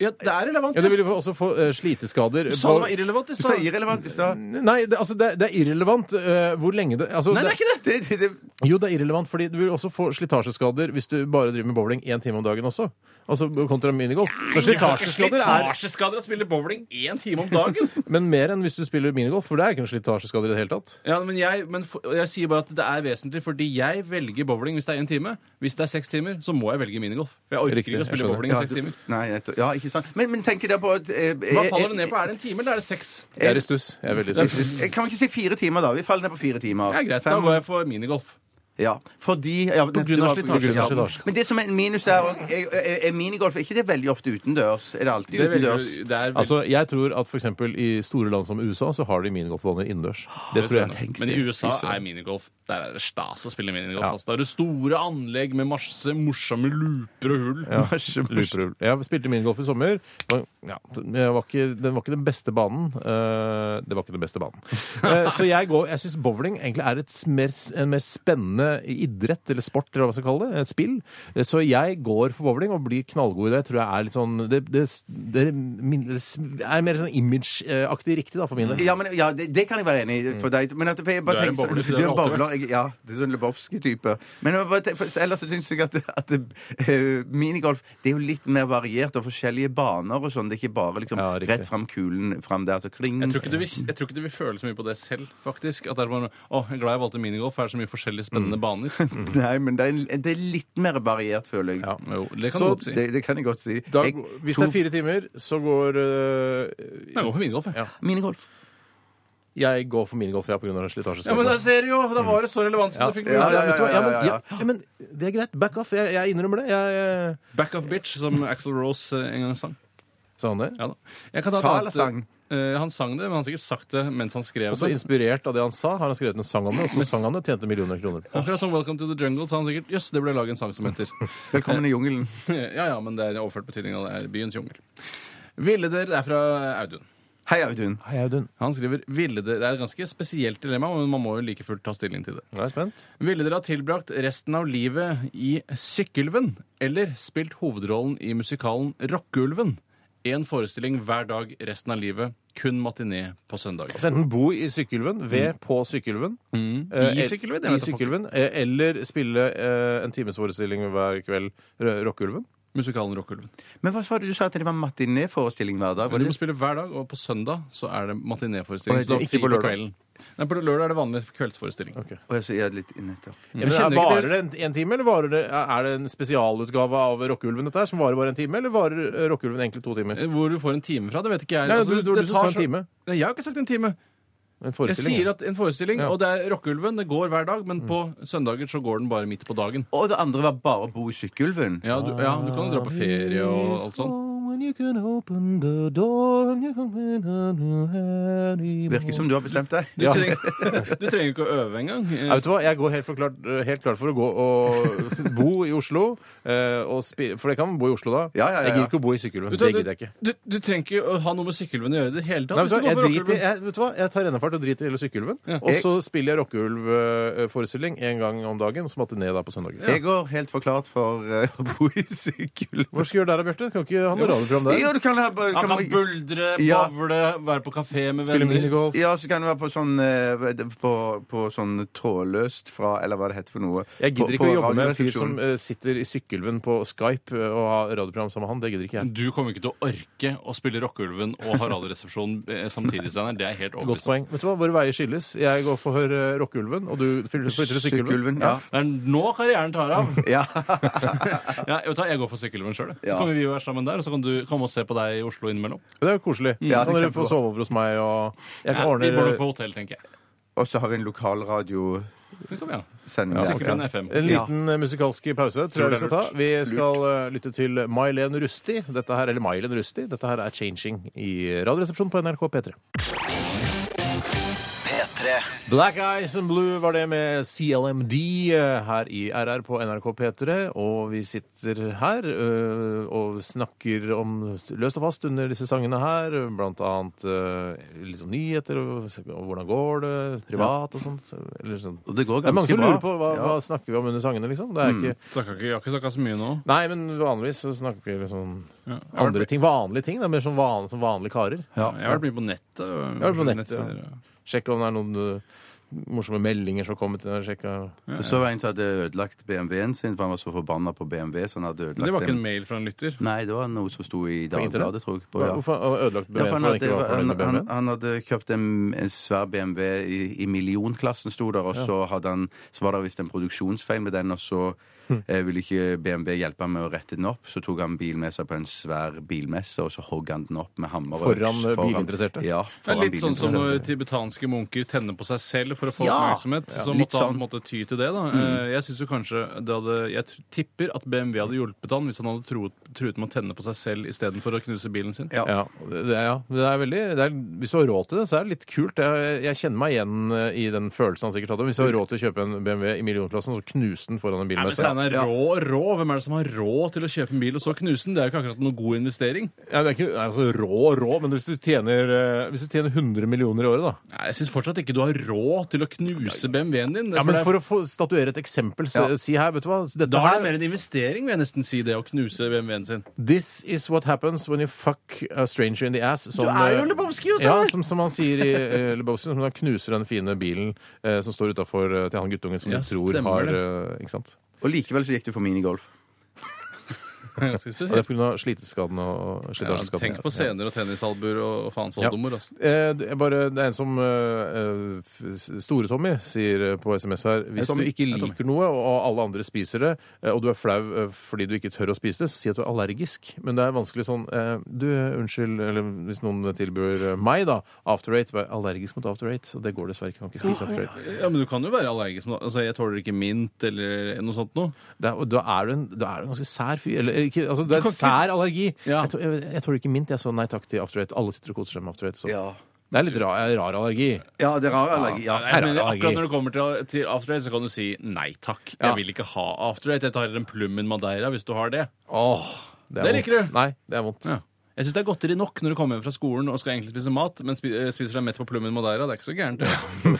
[SPEAKER 2] Ja, det er relevant.
[SPEAKER 1] Ja,
[SPEAKER 2] Ja,
[SPEAKER 1] Du vil jo også få eh, sliteskader.
[SPEAKER 2] Du sa det var irrelevant i
[SPEAKER 3] Du sa
[SPEAKER 2] stad.
[SPEAKER 3] irrelevant i stad.
[SPEAKER 1] Nei, det, altså, det, det er irrelevant eh, hvor lenge det altså,
[SPEAKER 2] Nei, det er ikke det!
[SPEAKER 3] Det, det, det,
[SPEAKER 1] Jo, det er irrelevant, fordi du vil også få slitasjeskader hvis du bare driver med bowling én time om dagen også. Altså kontra minigolf. Så slitasjeskader er
[SPEAKER 2] Slitasjeskader å spille bowling én time om dagen!
[SPEAKER 1] Men mer enn hvis du spiller minigolf, for det er ikke noen slitasjeskader i det hele tatt.
[SPEAKER 2] Ja, men jeg, men for, jeg sier bare at det er vesentlig, fordi jeg velger bowling hvis det er én time. Hvis det er seks timer, så må jeg velge minigolf. For jeg orker
[SPEAKER 1] Riktig,
[SPEAKER 2] ikke å
[SPEAKER 1] jeg
[SPEAKER 2] spille
[SPEAKER 1] skjønner.
[SPEAKER 2] bowling i
[SPEAKER 3] ja,
[SPEAKER 2] seks timer.
[SPEAKER 3] nei, nettopp. ja, ikke sant. Men, men tenker dere på at eh,
[SPEAKER 2] Hva
[SPEAKER 3] eh,
[SPEAKER 2] faller det ned på? Er det en time, eller er det seks?
[SPEAKER 1] Jeg er i stuss. Jeg er veldig i stuss.
[SPEAKER 3] Jeg Kan vi ikke si fire timer, da? Vi faller ned på fire timer.
[SPEAKER 2] Ja, greit, da
[SPEAKER 3] Fem-
[SPEAKER 2] går jeg for minigolf.
[SPEAKER 3] Ja, fordi ja, det-
[SPEAKER 2] grunn av
[SPEAKER 3] det var-
[SPEAKER 2] slitasje.
[SPEAKER 3] ja.
[SPEAKER 1] På grunn av slitasje.
[SPEAKER 3] Men det som er en minus er, og- er, er, er minigolf Er ikke det veldig ofte utendørs? Er det alltid
[SPEAKER 2] Det velger,
[SPEAKER 3] utendørs?
[SPEAKER 2] det er vel-
[SPEAKER 1] Altså, jeg tror at f.eks. i store land som USA så har de minigolfbaner innendørs. Det tror jeg.
[SPEAKER 3] Tenk
[SPEAKER 2] Men i
[SPEAKER 3] det.
[SPEAKER 2] USA er minigolf Der er det stas å spille minigolf. Altså. Da er det store anlegg med masse morsomme looper og hull.
[SPEAKER 1] Ja. Looper. Jeg spilte minigolf i sommer. Det var Ja, den jeg var ikke, den var ikke den beste banen. Eh, det var ikke den beste banen. Eh, så jeg, går- jeg syns bowling egentlig er et s- mer, s- en mer spennende idrett, eller sport, eller hva man skal kalle det. Et spill. Eh, Så jeg går for bowling og blir knallgod i det. Tror jeg er litt sånn Det, det, det, min- det s- er mer sånn imageaktig riktig, da, for min del.
[SPEAKER 3] Ja, men, ja det, det kan jeg være enig i. For deg. Men at, for jeg
[SPEAKER 2] Du er
[SPEAKER 3] bare
[SPEAKER 2] en
[SPEAKER 3] tenker-
[SPEAKER 2] bowler, så
[SPEAKER 3] du
[SPEAKER 2] det
[SPEAKER 3] er
[SPEAKER 2] har
[SPEAKER 3] en
[SPEAKER 2] alltid
[SPEAKER 3] bowler. Jeg, ja, det er sånn Lebowski-type. Men jeg bare tenker- for, ellers så syns jeg at, at eh, minigolf det er jo litt mer variert og forskjellige baner og sånn. Det er ikke bare liksom
[SPEAKER 1] Ja, riktig.
[SPEAKER 3] rett fram kulen fram der, så kling.
[SPEAKER 2] Jeg tror, ikke du vil,
[SPEAKER 3] Mm.
[SPEAKER 2] jeg tror ikke du vil føle så mye på det selv, faktisk. At det er bare, å, jeg er glad jeg valgte minigolf, for det er så mye forskjellige
[SPEAKER 3] Mm.
[SPEAKER 2] spennende baner.
[SPEAKER 3] Nei, men det er, en- det er litt mer variert, føler jeg.
[SPEAKER 1] Ja.
[SPEAKER 2] Jo, det kan
[SPEAKER 1] Så
[SPEAKER 2] du godt si.
[SPEAKER 3] Det, det kan jeg godt si.
[SPEAKER 1] Da,
[SPEAKER 3] Jeg-
[SPEAKER 1] hvis
[SPEAKER 3] to-
[SPEAKER 1] det er fire timer, så går eh,
[SPEAKER 2] Jeg går for minigolf, jeg.
[SPEAKER 1] Ja.
[SPEAKER 3] Minigolf.
[SPEAKER 1] Jeg går for minigolf, ja, pga. slitasjeskaden.
[SPEAKER 2] Ja, men da ser du jo! Da var det så relevant som du fikk
[SPEAKER 1] Ja,
[SPEAKER 3] Ja, ja,
[SPEAKER 1] vet du hva? ja,
[SPEAKER 3] ja, ja,
[SPEAKER 1] men,
[SPEAKER 3] ja.
[SPEAKER 1] ja, ja, men det er greit. Back off. Jeg, jeg innrømmer det. Jeg, eh,
[SPEAKER 2] Back of bitch, som Axel Rose eh, en gang sang.
[SPEAKER 1] sa han det?
[SPEAKER 2] Ja da. Jeg kan ta et
[SPEAKER 3] Sa
[SPEAKER 2] annet-
[SPEAKER 3] eller sang?
[SPEAKER 2] Eh, han sang det, men han har sikkert sagt det mens han skrev
[SPEAKER 1] Og så
[SPEAKER 2] det.
[SPEAKER 1] inspirert av det han sa, har han skrevet en sang om det, og så sang han det, tjente millioner kroner.
[SPEAKER 2] Akkurat som Welcome to the Jungle sa han sikkert jøss, det burde jeg lage en sang som heter.
[SPEAKER 3] Velkommen i jungelen.
[SPEAKER 2] ja ja, men det er i overført betydning av det er byens jungel. Ville dere Det er fra Audun.
[SPEAKER 3] Hei, Audun.
[SPEAKER 1] Hei, Audun.
[SPEAKER 2] Han skriver ville dere, Det er et ganske spesielt dilemma, men man må jo like fullt ta stilling til det.
[SPEAKER 1] Jeg er spent.
[SPEAKER 2] Ville dere ha tilbrakt resten av livet i Sykkylven eller spilt hovedrollen i musikalen Rockeulven? Én forestilling hver dag resten av livet, kun matiné på søndag.
[SPEAKER 1] Så enten bo i Sykkylven, ved på Sykkylven eh,
[SPEAKER 2] I Sykkylven? Jeg
[SPEAKER 1] Mm. i
[SPEAKER 2] vet da faen ikke.
[SPEAKER 1] Sykkylven, eh, eller spille eh, en timesforestilling hver kveld, R- Rockeulven.
[SPEAKER 2] Musikalen Rockeulven.
[SPEAKER 3] Men hva sa du? Du sa at det var matinéforestilling hver dag? Var
[SPEAKER 2] Du må
[SPEAKER 3] det?
[SPEAKER 2] spille hver dag, og på søndag så er det matinéforestilling. så
[SPEAKER 3] Og
[SPEAKER 2] du har
[SPEAKER 1] ikke
[SPEAKER 2] fri
[SPEAKER 1] på
[SPEAKER 2] på
[SPEAKER 1] lørdag?
[SPEAKER 2] kvelden. Nei, på lørdag er det vanlig kveldsforestilling.
[SPEAKER 3] Å, jeg sier litt nettopp.
[SPEAKER 1] Men
[SPEAKER 2] kjenner
[SPEAKER 1] er-
[SPEAKER 2] ikke
[SPEAKER 1] Varer det en, en time, eller varer det, er det en spesialutgave av Rockeulven dette her, som varer bare en time, eller varer eh, Rockeulven egentlig to timer?
[SPEAKER 2] Eh, Hvor du får en time fra, det vet ikke jeg.
[SPEAKER 1] Nei,
[SPEAKER 2] Altså,
[SPEAKER 1] du, du, du,
[SPEAKER 2] det tar
[SPEAKER 1] sa en
[SPEAKER 2] så-
[SPEAKER 1] time.
[SPEAKER 2] Nei, jeg har ikke sagt en time.
[SPEAKER 1] En
[SPEAKER 2] Jeg
[SPEAKER 1] forestilling.
[SPEAKER 2] sier at en forestilling,
[SPEAKER 1] Ja. Mm.
[SPEAKER 2] og det er Rockeulven. Det går hver dag, men på søndager så går den bare midt på dagen.
[SPEAKER 3] Og det andre var bare å bo i Sykkylven.
[SPEAKER 2] Ja, du, ja, du kan jo dra på ferie og
[SPEAKER 1] Ah,
[SPEAKER 2] alt sånt.
[SPEAKER 3] Virker som du har bestemt deg.
[SPEAKER 2] Du, trenger, du trenger ikke å øve engang. Eh,
[SPEAKER 1] Ja, vet du hva? Jeg går helt, forklart, eh, helt klar for å gå og bo i Oslo. eh, Og spi- for det kan man bo i Oslo da.
[SPEAKER 3] Ja, ja, ja, ja.
[SPEAKER 1] Jeg gidder ikke å bo i Sykkylven. Det
[SPEAKER 2] vet du hva,
[SPEAKER 1] gidder jeg ikke.
[SPEAKER 2] Du, du trenger ikke å ha noe med Sykkylven å gjøre i det hele tatt.
[SPEAKER 1] Nei, vet, du,
[SPEAKER 2] hvis
[SPEAKER 1] hva?
[SPEAKER 2] du
[SPEAKER 1] jeg
[SPEAKER 2] går for
[SPEAKER 1] driter,
[SPEAKER 2] Rockeulven.
[SPEAKER 1] jeg, vet du hva? Jeg tar rennefart og driter i hele Sykkylven. Og så spiller jeg Rockeulv-forestilling en gang om dagen, og så måtte jeg ned da på søndager.
[SPEAKER 3] Jeg går helt forklart for eh, å bo i Sykkylven.
[SPEAKER 1] Hva skal jeg gjøre der da, Bjarte? Kan ikke ha noe radioprogram der?
[SPEAKER 3] Jo, du kan ha bare-
[SPEAKER 2] Han
[SPEAKER 3] kan
[SPEAKER 2] kan
[SPEAKER 3] man-
[SPEAKER 2] buldre,
[SPEAKER 3] Ja.
[SPEAKER 2] bavle, være på kafé med
[SPEAKER 1] Spille
[SPEAKER 2] venner.
[SPEAKER 1] minigolf.
[SPEAKER 3] ja, så kan du være på sånn, eh, på, på sånn trådløst fra Eller hva det heter for noe.
[SPEAKER 1] Jeg
[SPEAKER 3] På-
[SPEAKER 1] gidder ikke
[SPEAKER 3] på
[SPEAKER 1] å jobbe med en fyr som
[SPEAKER 3] radioresepsjonen.
[SPEAKER 1] eh, sitter i Sykkylven på Skype eh, og ha radioprogram sammen med han. Det gidder ikke jeg.
[SPEAKER 2] Du kommer ikke til å orke å spille Rockeulven og Haraldresepsjonen eh, samtidig, Steinar. Det er helt
[SPEAKER 1] Godt
[SPEAKER 2] overbevist. om.
[SPEAKER 1] poeng. Vet du hva, Våre veier skilles. Jeg går for uh, Rockeulven, og du flytter flytter til Sykkylven.
[SPEAKER 3] Sykkylven. Ja.
[SPEAKER 2] Det er nå karrieren tar av.
[SPEAKER 3] ja.
[SPEAKER 2] Ja, jeg, vet du hva, jeg går for Sykkylven sjøl. Så
[SPEAKER 3] Ja.
[SPEAKER 2] kan vi være sammen der, og så kan du komme og se på deg i Oslo innimellom.
[SPEAKER 1] Det er jo koselig.
[SPEAKER 3] Ja, det
[SPEAKER 1] kan
[SPEAKER 3] er
[SPEAKER 1] dere få
[SPEAKER 3] kjempebra.
[SPEAKER 1] sove over hos meg, og jeg
[SPEAKER 2] Ja,
[SPEAKER 1] kan
[SPEAKER 2] vi bor nok
[SPEAKER 1] ordne
[SPEAKER 2] på hotell, tenker jeg.
[SPEAKER 3] Og så har vi en lokalradiosending.
[SPEAKER 2] Det kan vi ha.
[SPEAKER 3] der.
[SPEAKER 2] Sykkylven FM.
[SPEAKER 1] en liten eh, musikalsk pause. tror jeg Vi
[SPEAKER 2] det er
[SPEAKER 1] skal ta. Vi skal eh, lytte til May-Len Rusti. Dette her, eller May-Len Rusti. Dette her er 'Changing' i Radioresepsjonen på NRK P3.
[SPEAKER 4] P3
[SPEAKER 1] Black Eyes and Blue var det med CLMD eh, her i RR på NRK P3. Og vi sitter her eh, og snakker om løst og fast under disse sangene her. Blant annet eh, litt sånn nyheter og og hvordan går det, privat og sånt. så- Eller sånn.
[SPEAKER 3] Og det går
[SPEAKER 1] Det er mange
[SPEAKER 3] ganske
[SPEAKER 1] som lurer
[SPEAKER 3] bra.
[SPEAKER 1] på hva,
[SPEAKER 3] Ja. Mm.
[SPEAKER 1] hva snakker vi om under sangene, liksom. Det er ikke
[SPEAKER 2] Snakker ikke- Jeg har ikke snakka så mye nå.
[SPEAKER 1] Nei, men vanligvis så snakker vi liksom
[SPEAKER 2] Ja.
[SPEAKER 1] andre ting. Vanlige ting. Det er mer sånn van, som vanlige karer.
[SPEAKER 2] Jeg har vært mye på nettet. Jeg
[SPEAKER 1] har vært på nettet, ja. Sjekk om det er noen eh, morsomme meldinger som kommer til deg. Sjekk eh,
[SPEAKER 3] Så var en som hadde ødelagt BMW-en sin, for han var så forbanna på BMW. Så han hadde ødelagt
[SPEAKER 2] Det var ikke en
[SPEAKER 3] den.
[SPEAKER 2] mail fra en lytter.
[SPEAKER 3] Nei, det var noe som sto i
[SPEAKER 1] internett?
[SPEAKER 3] Dagbladet, tror jeg. På,
[SPEAKER 1] Hva-
[SPEAKER 3] ja.
[SPEAKER 1] Hvorfor han hadde ødelagt
[SPEAKER 3] Ja,
[SPEAKER 1] BMW?
[SPEAKER 3] for
[SPEAKER 1] fordi
[SPEAKER 3] han,
[SPEAKER 1] han
[SPEAKER 3] hadde,
[SPEAKER 1] ikke var fornøyd
[SPEAKER 3] han,
[SPEAKER 1] med
[SPEAKER 3] han,
[SPEAKER 1] BMW-en?
[SPEAKER 3] han hadde kjøpt en, en svær BMW i, i millionklassen, sto der, og så, hadde han, så var det visst en produksjonsfeil med den, og så
[SPEAKER 1] Hm.
[SPEAKER 3] eh, ville ikke BMW hjelpe ham med å rette den opp. Så tok han bilen med seg på en svær bilmesse, og så hogg han den opp med hammer og
[SPEAKER 1] Foran,
[SPEAKER 3] øks.
[SPEAKER 1] eh, bilinteresserte?
[SPEAKER 3] Ja,
[SPEAKER 2] Det er
[SPEAKER 3] foran
[SPEAKER 2] litt sånn som
[SPEAKER 3] bilinteresserte.
[SPEAKER 2] når tibetanske munker tenner på seg selv for å få
[SPEAKER 3] Ja.
[SPEAKER 2] oppmerksomhet. Så
[SPEAKER 3] litt
[SPEAKER 2] måtte han
[SPEAKER 3] sånn.
[SPEAKER 2] måtte
[SPEAKER 1] Mm.
[SPEAKER 2] ty til det. da. Eh, Jeg synes jo kanskje det hadde, jeg tr- tipper at BMW hadde hjulpet han hvis han hadde troet truet med å tenne på seg selv istedenfor å knuse bilen sin.
[SPEAKER 3] Ja.
[SPEAKER 1] Ja, det er, ja. Det er veldig, det er, hvis du har råd til det, så er det litt kult. Jeg, jeg kjenner meg igjen eh, i den følelsen han sikkert hadde. Hvis jeg har råd til å kjøpe en BMW i millionklassen, så knuse den foran en
[SPEAKER 2] Nei, men
[SPEAKER 1] bilmesse.
[SPEAKER 2] Steinar, rå, rå. Hvem er det som har råd til å kjøpe en bil og så knuse den? Det er jo ikke akkurat noen god investering.
[SPEAKER 1] Ja, det er ikke nei, altså, rå og rå, men hvis du, tjener, eh, hvis du tjener 100 millioner i året, da
[SPEAKER 2] Nei, Jeg syns fortsatt ikke du har råd til å knuse BMW-en din.
[SPEAKER 1] ja,
[SPEAKER 2] for
[SPEAKER 1] men
[SPEAKER 2] det
[SPEAKER 1] For å
[SPEAKER 2] er-
[SPEAKER 1] få statuere et eksempel, si,
[SPEAKER 3] Ja.
[SPEAKER 1] si her, vet du hva Dette
[SPEAKER 2] da er
[SPEAKER 1] her-
[SPEAKER 2] det mer en investering, vil jeg nesten si, det å knuse BMW-en sin.
[SPEAKER 1] This is what happens when you fuck a stranger in the ass. Som, eh,
[SPEAKER 3] er jo Lebowski, jo,
[SPEAKER 1] ja,
[SPEAKER 3] Steinar!
[SPEAKER 1] som, som han sier i eh, Lebowski, som da knuser den fine bilen eh, som står utafor til han guttungen som
[SPEAKER 2] Ja,
[SPEAKER 1] du tror
[SPEAKER 2] stemmer
[SPEAKER 1] har
[SPEAKER 2] det.
[SPEAKER 1] eh, Ikke sant?
[SPEAKER 3] Og likevel så gikk du for minigolf.
[SPEAKER 2] Ganske
[SPEAKER 1] Og det er
[SPEAKER 2] spesielt.
[SPEAKER 1] pga. sliteskaden og
[SPEAKER 2] Ja,
[SPEAKER 1] slitasjeskaden.
[SPEAKER 2] Tenk på scener og tennisalbuer og faens
[SPEAKER 1] Ja.
[SPEAKER 2] oldedommer. Altså.
[SPEAKER 1] Eh, det er bare, det er en som eh, eh, Store-Tommy sier eh, på SMS her Hvis du
[SPEAKER 2] Tommy.
[SPEAKER 1] ikke
[SPEAKER 2] Hei, Tommy.
[SPEAKER 1] liker noe, og alle andre spiser det, eh, og du er flau eh, fordi du ikke tør å spise det, så si at du er allergisk. Men det er vanskelig sånn eh, Du, eh, unnskyld, eller hvis noen tilbyr eh, meg, da, after eight, vær allergisk mot after eight. Og det går dessverre ikke. Man kan ikke spise after eight.
[SPEAKER 2] Ja, men du kan jo være allergisk. mot- Altså, jeg tåler ikke mint eller noe sånt noe.
[SPEAKER 1] Det er, og da er du en, da er du en ganske sær fyr. Eller ikke Altså, det
[SPEAKER 2] Du
[SPEAKER 1] er
[SPEAKER 2] kan
[SPEAKER 1] en sær allergi.
[SPEAKER 2] Ja.
[SPEAKER 1] Jeg, tror- jeg, jeg tåler ikke mint. Jeg så nei takk til after eight. Alle sitter og koser seg med after eight. Så.
[SPEAKER 3] Ja.
[SPEAKER 1] Det er litt rar, rar allergi.
[SPEAKER 3] Ja, det er rar allergi. Ja.
[SPEAKER 2] Nei,
[SPEAKER 1] her er
[SPEAKER 2] jeg mener,
[SPEAKER 1] allergi.
[SPEAKER 2] akkurat når det kommer til, til After Eight, så kan du si nei takk.
[SPEAKER 1] Ja.
[SPEAKER 2] Jeg vil ikke ha After Eight. Jeg tar en plummen madeira hvis du har det.
[SPEAKER 1] Åh, det er
[SPEAKER 2] Det
[SPEAKER 1] vondt.
[SPEAKER 2] liker du.
[SPEAKER 1] Nei, det er vondt.
[SPEAKER 2] Ja. Jeg syns det er godteri nok når du kommer hjem fra skolen og skal egentlig spise mat, men spi- eh, spiser deg mett på plummen madeira. Det er ikke så gærent. det.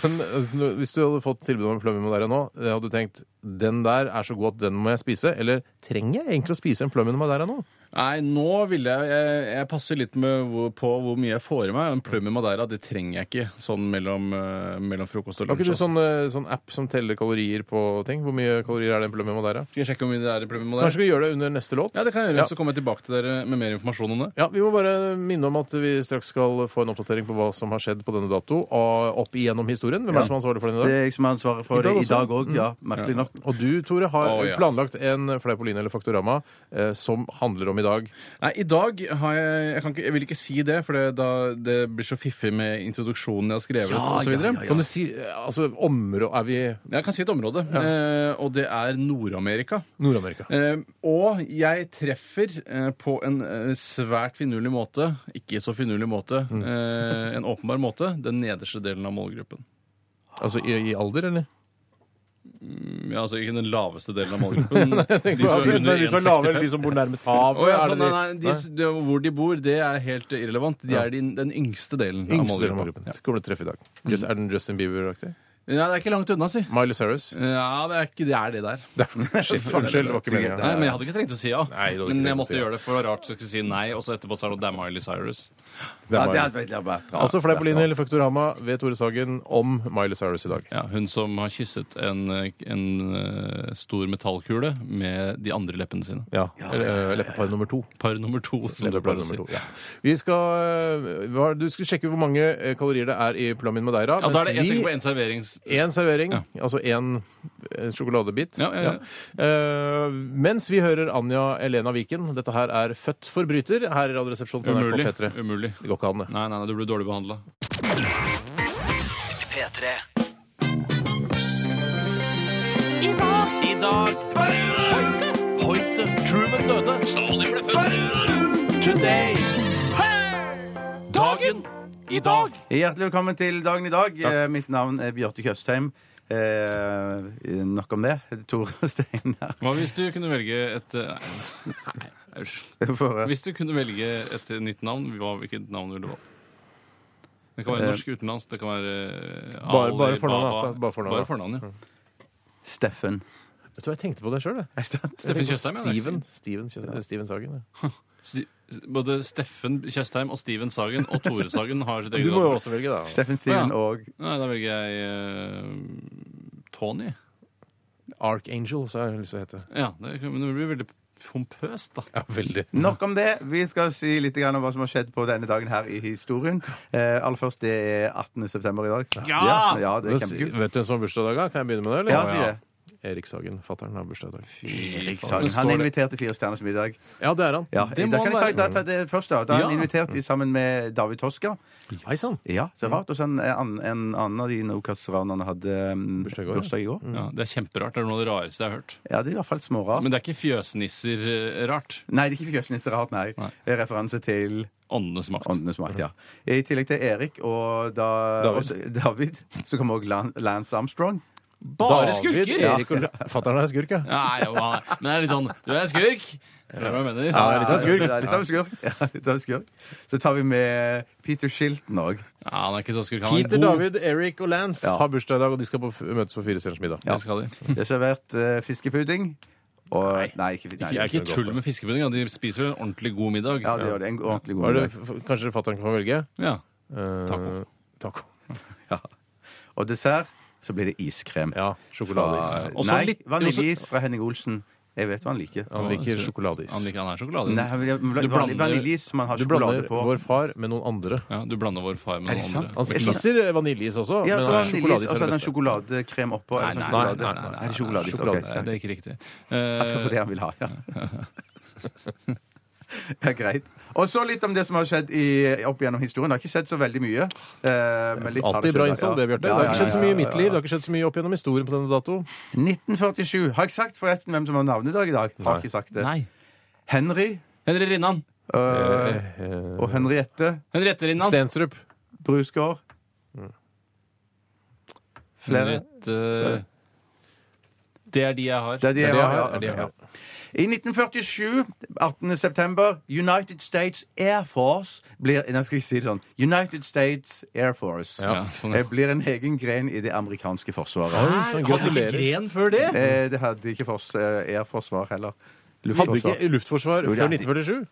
[SPEAKER 1] Men eh, hvis du hadde fått tilbud om en plømmen madeira nå, eh, hadde du tenkt den der er så god at den må jeg spise? Eller trenger jeg egentlig å spise en plømmen madeira nå?
[SPEAKER 2] Nei, nå ville jeg Jeg, jeg passer litt med hvor, på hvor mye jeg får i meg. En plummen madeira det trenger jeg ikke sånn mellom, eh, mellom frokost og
[SPEAKER 1] Har
[SPEAKER 2] lunsj.
[SPEAKER 1] ikke du
[SPEAKER 2] altså.
[SPEAKER 1] sånn, eh, sånn app som teller kalorier på ting? Hvor mye kalorier er det i en plømmen madeira?
[SPEAKER 2] Skal jeg sjekke hvor mye det er i plummen madeira?
[SPEAKER 1] sånn- Kanskje vi gjør det under neste låt?
[SPEAKER 2] Ja, det kan jeg gjøre.
[SPEAKER 1] Ja.
[SPEAKER 2] Så kommer jeg tilbake til dere med mer informasjon om det.
[SPEAKER 1] Ja, Vi må bare minne om at vi straks skal få en oppdatering på hva som har skjedd på denne dato. og Opp igjennom historien. Hvem er det som har ansvaret for den i
[SPEAKER 3] Det
[SPEAKER 1] dag?
[SPEAKER 3] er jeg som har ansvaret
[SPEAKER 1] I
[SPEAKER 3] for
[SPEAKER 1] dag
[SPEAKER 3] det i
[SPEAKER 1] også? Mm.
[SPEAKER 3] dag òg, ja. Merkelig nok.
[SPEAKER 1] Og du, Tore, har
[SPEAKER 2] Å, ja.
[SPEAKER 1] planlagt en Fleipolini eller Faktorama eh, som handler om i dag.
[SPEAKER 2] Nei, i dag har jeg Jeg, kan ikke, jeg vil ikke si det, for det, da, det blir så fiffig med introduksjonen jeg har skrevet. og så videre.
[SPEAKER 1] Kan du si eh, altså, områ... Er vi
[SPEAKER 2] Jeg kan si et område, eh, og det er Nord-Amerika.
[SPEAKER 1] Nord-Amerika?
[SPEAKER 2] Eh, og jeg treffer eh, på en eh, svært finurlig måte, ikke så finurlig måte,
[SPEAKER 1] Mm.
[SPEAKER 2] eh, en åpenbar måte, den nederste delen av målgruppen.
[SPEAKER 1] Altså i, i alder, eller?
[SPEAKER 2] Mm, Ja, altså ikke den laveste delen av målgruppen. de som
[SPEAKER 1] Altså,
[SPEAKER 2] er under
[SPEAKER 1] de som er lavere, eller
[SPEAKER 2] 1,65.
[SPEAKER 1] de som bor nærmest havet?
[SPEAKER 2] Å, ja,
[SPEAKER 1] er
[SPEAKER 2] sånn,
[SPEAKER 1] det
[SPEAKER 2] nei,
[SPEAKER 1] de-
[SPEAKER 2] nei, de, s- de, hvor de bor, det er helt irrelevant. De er den, den yngste Mm. delen
[SPEAKER 1] Yngste
[SPEAKER 2] av
[SPEAKER 1] delen av
[SPEAKER 2] målgruppen.
[SPEAKER 1] målgruppen. Så kommer det treff i dag. Just, er den Justin Bieber-aktig?
[SPEAKER 2] Ja, det er ikke langt unna, si.
[SPEAKER 1] Miley Cyrus?
[SPEAKER 2] Ja, det er ikke det er det der.
[SPEAKER 1] Shit, unnskyld, det var ikke meningen.
[SPEAKER 2] Nei, men jeg hadde ikke trengt å si ja.
[SPEAKER 1] Nei, du hadde ikke
[SPEAKER 2] men
[SPEAKER 1] trengt å
[SPEAKER 2] jeg
[SPEAKER 1] si
[SPEAKER 2] måtte
[SPEAKER 1] ja.
[SPEAKER 2] gjøre det, for det var rart så jeg skulle si nei, og så etterpå sa du at det er Miley Cyrus.
[SPEAKER 1] Det
[SPEAKER 3] Ja,
[SPEAKER 1] var-
[SPEAKER 3] det er, det er bare,
[SPEAKER 1] Altså Fleipolini eller Faktorama ved Tore Sagen om Miley Cyrus i dag.
[SPEAKER 2] Ja, hun som har kysset en, en eh, stor metallkule med de andre leppene sine.
[SPEAKER 1] Ja. Eller, eh, Leppepar nummer to.
[SPEAKER 2] Par nummer to, som
[SPEAKER 1] Eller
[SPEAKER 2] du
[SPEAKER 1] par
[SPEAKER 2] pleier å si.
[SPEAKER 1] nummer to. Ja. Vi skal, eh, hva- du skulle sjekke hvor mange eh, kalorier det er i Plamin Madeira.
[SPEAKER 2] Ja, da er det én
[SPEAKER 1] mens vi-
[SPEAKER 2] ting på én serverings...
[SPEAKER 1] En servering, altså en eh, sjokoladebit.
[SPEAKER 2] Ja, ja, ja.
[SPEAKER 1] Eh, mens vi hører Anja Elena Viken. Dette her er Født forbryter her i Radioresepsjonen på
[SPEAKER 2] Umulig.
[SPEAKER 1] NRK P3.
[SPEAKER 2] Umulig.
[SPEAKER 1] Det går ikke an, det.
[SPEAKER 2] Nei, nei, nei, du blir dårlig behandla.
[SPEAKER 4] P3
[SPEAKER 7] I dag Hoite Hoite Truman døde Stalin ble født Today Dagen I dag
[SPEAKER 3] Hjertelig velkommen til dagen i dag. Eh, Mitt navn er Bjarte Tjøstheim. Eh, nok om det. Tore Steinar.
[SPEAKER 2] Hva hvis du kunne velge et eh, Nei, nei, æsj.
[SPEAKER 3] For, eh,
[SPEAKER 2] Hvis du kunne velge et nytt navn, hva, hvilket navn ville du valgt? Det kan være norsk, utenlandsk, det kan være eh,
[SPEAKER 1] Eh, Bare-
[SPEAKER 2] Ali,
[SPEAKER 1] bare fornavn, da.
[SPEAKER 2] Baba.
[SPEAKER 1] Bare fornavn, Mm. da.
[SPEAKER 2] Bare fornavn, ja.
[SPEAKER 3] Steffen.
[SPEAKER 1] Vet du hva, jeg tenkte på det sjøl, jeg. Jeg
[SPEAKER 2] Steffen
[SPEAKER 1] tenkte på
[SPEAKER 2] Tjøstheim, ja, det er
[SPEAKER 1] Steven, Steven, Kjøstheim- Steven Sagen. Ja.
[SPEAKER 2] Sti- Både Steffen Tjøstheim og Steven Sagen og Tore Sagen har sitt
[SPEAKER 1] Du
[SPEAKER 2] eget
[SPEAKER 1] må jo
[SPEAKER 2] navn.
[SPEAKER 1] også velge, da.
[SPEAKER 3] Steffen Steven
[SPEAKER 2] Ja.
[SPEAKER 3] og
[SPEAKER 2] Nei, da velger jeg eh, Tony.
[SPEAKER 1] Archangel, så har jeg lyst til å hete.
[SPEAKER 2] Ja, det, men det blir veldig pompøst, da.
[SPEAKER 1] Ja, veldig.
[SPEAKER 3] Nok om det. Vi skal si litt grann om hva som har skjedd på denne dagen her i historien. Eh, aller først, det er 18. september i dag.
[SPEAKER 2] Ja!
[SPEAKER 3] ja det
[SPEAKER 1] Men
[SPEAKER 3] er
[SPEAKER 1] si-
[SPEAKER 3] kjempekult.
[SPEAKER 1] Vet du hvem som har bursdag i dag? da? Kan jeg begynne med det?
[SPEAKER 3] Ja, si det.
[SPEAKER 1] Erik Sagen, fatter'n, har bursdag i dag.
[SPEAKER 3] Eriksson.
[SPEAKER 2] Men står
[SPEAKER 3] Han er
[SPEAKER 2] det-
[SPEAKER 3] invitert til Fire stjerners middag.
[SPEAKER 1] Ja, det er han.
[SPEAKER 3] Ja,
[SPEAKER 2] Det
[SPEAKER 3] da
[SPEAKER 2] må
[SPEAKER 3] kan
[SPEAKER 2] være-
[SPEAKER 3] jeg ta, ta, ta det først, da. Da er han
[SPEAKER 2] Ja.
[SPEAKER 3] invitert i, sammen med David Toska.
[SPEAKER 1] Hei sann!
[SPEAKER 3] Ja, så rart. Og så en, en, en annen av de Nokas-ranerne hadde um,
[SPEAKER 1] Bursdag i går, ja.
[SPEAKER 3] bursdag i går.
[SPEAKER 2] Ja, Mm. det er kjemperart. Det er noe av det rareste jeg har hørt.
[SPEAKER 3] Ja, det er i hvert fall smårart.
[SPEAKER 2] Men det er ikke eh, fjøsnisser-rart.
[SPEAKER 3] Nei, det er ikke fjøsnisserart, nei.
[SPEAKER 2] Nei.
[SPEAKER 3] Referanse til
[SPEAKER 2] Åndenes makt.
[SPEAKER 3] Åndenes makt, ja. I tillegg til Erik og da,
[SPEAKER 1] David.
[SPEAKER 3] og David så kommer også Lan- Lance Armstrong.
[SPEAKER 2] Bare
[SPEAKER 1] David,
[SPEAKER 2] skurker!
[SPEAKER 1] Erik og Fatter'n er skurk, ja.
[SPEAKER 2] Nei, jo, han er- men det er litt sånn Du er en skurk! Skjønner du hva jeg mener?
[SPEAKER 1] Ja, det er litt av en skurk.
[SPEAKER 3] Ja, det er litt av en skurk. Ja, litt av en skurk. Så tar vi med Peter Shilton òg.
[SPEAKER 2] Ja, han er ikke så skurk. Han er
[SPEAKER 1] Peter,
[SPEAKER 2] god.
[SPEAKER 1] David, Eric og Lance
[SPEAKER 3] Ja.
[SPEAKER 1] har bursdag i dag, og de skal på, f- møtes på Fire stjerners middag.
[SPEAKER 2] Det skal de.
[SPEAKER 3] Det er servert eh, fiskepudding. Og, nei. ikke, nei,
[SPEAKER 2] Ikke, ikke tull med fiskepudding. ja. De spiser vel en ordentlig god middag.
[SPEAKER 3] Ja, det gjør det. En ordentlig
[SPEAKER 1] Hva
[SPEAKER 3] god
[SPEAKER 1] er det,
[SPEAKER 3] middag.
[SPEAKER 1] f- kanskje fatter'n kan velge?
[SPEAKER 2] Ja.
[SPEAKER 1] Eh,
[SPEAKER 2] Taco.
[SPEAKER 1] taco.
[SPEAKER 3] Og dessert så blir det iskrem.
[SPEAKER 1] Ja, sjokoladeis.
[SPEAKER 2] Også
[SPEAKER 3] Nei,
[SPEAKER 2] litt-
[SPEAKER 3] vaniljeis fra Henning Olsen. Jeg vet hva han liker.
[SPEAKER 1] Han liker
[SPEAKER 2] Han,
[SPEAKER 1] sjokoladeis.
[SPEAKER 2] liker, han er sjokolade.
[SPEAKER 3] Nei, han vil-
[SPEAKER 2] Du blander-
[SPEAKER 3] vanil- Vaniljeis som han har
[SPEAKER 1] Du
[SPEAKER 3] sjokolade
[SPEAKER 1] blander
[SPEAKER 3] på.
[SPEAKER 1] vår far med noen andre.
[SPEAKER 2] Ja, du blander vår far med
[SPEAKER 3] Er det
[SPEAKER 2] noen
[SPEAKER 3] sant? Altså,
[SPEAKER 2] andre.
[SPEAKER 1] Han spiser eh, vaniljeis også,
[SPEAKER 3] Ja,
[SPEAKER 1] men
[SPEAKER 3] så
[SPEAKER 1] han
[SPEAKER 3] har
[SPEAKER 1] er sjokoladeis
[SPEAKER 3] han vaniljeis, altså,
[SPEAKER 1] er
[SPEAKER 3] og så
[SPEAKER 1] det
[SPEAKER 3] er det en
[SPEAKER 1] beste.
[SPEAKER 3] sjokoladekrem oppå.
[SPEAKER 2] Nei,
[SPEAKER 3] eller
[SPEAKER 2] nei,
[SPEAKER 3] sånn
[SPEAKER 2] nei,
[SPEAKER 3] sjokolade.
[SPEAKER 2] nei, nei, nei,
[SPEAKER 3] Er
[SPEAKER 2] nei, nei,
[SPEAKER 3] det sjokoladeis?
[SPEAKER 2] nei,
[SPEAKER 3] Ok,
[SPEAKER 2] nei, Det er ikke riktig. Eh,
[SPEAKER 3] Han skal få det han vil ha, ja. Ja, greit. Og så litt om det som har skjedd i, opp gjennom historien. Det har ikke skjedd så veldig mye. eh, men litt har
[SPEAKER 1] Alltid bra
[SPEAKER 3] skjedd,
[SPEAKER 1] innsalg,
[SPEAKER 3] ja.
[SPEAKER 1] det, Bjarte.
[SPEAKER 3] Ja,
[SPEAKER 1] Det har
[SPEAKER 3] ja,
[SPEAKER 1] ikke skjedd så
[SPEAKER 3] ja,
[SPEAKER 1] mye
[SPEAKER 3] ja,
[SPEAKER 1] i mitt
[SPEAKER 3] ja,
[SPEAKER 1] liv.
[SPEAKER 3] ja.
[SPEAKER 1] Det har ikke skjedd så mye opp gjennom historien på denne dato.
[SPEAKER 3] 1947. Har jeg sagt forresten hvem som har navnedag i dag? Har ikke sagt det.
[SPEAKER 2] Nei.
[SPEAKER 3] Henry
[SPEAKER 2] Henri Rinnan.
[SPEAKER 3] øh, og Henriette
[SPEAKER 2] Henriette Rinnan.
[SPEAKER 1] eh, Stensrup.
[SPEAKER 3] Brusgaard. Mm. Flere.
[SPEAKER 2] Henriette- Det er de jeg har.
[SPEAKER 3] Det er de
[SPEAKER 1] Det
[SPEAKER 3] jeg
[SPEAKER 1] er det jeg
[SPEAKER 3] har.
[SPEAKER 1] har.
[SPEAKER 3] ja,
[SPEAKER 1] Det er det jeg
[SPEAKER 3] ja.
[SPEAKER 1] har.
[SPEAKER 3] I 1947, 18. september, United States Air Force blir Nå skal jeg si det sånn. United States Air Force
[SPEAKER 2] Ja, sånn, ja.
[SPEAKER 3] eh, blir en egen gren i det amerikanske forsvaret.
[SPEAKER 1] Oi, sann, gratulerer.
[SPEAKER 2] gren før det?
[SPEAKER 3] Eh, det hadde ikke fors, eh, Air Forsvar heller.
[SPEAKER 1] Hadde ikke luftforsvar
[SPEAKER 3] Jo, det
[SPEAKER 1] før
[SPEAKER 3] er-
[SPEAKER 1] 1947?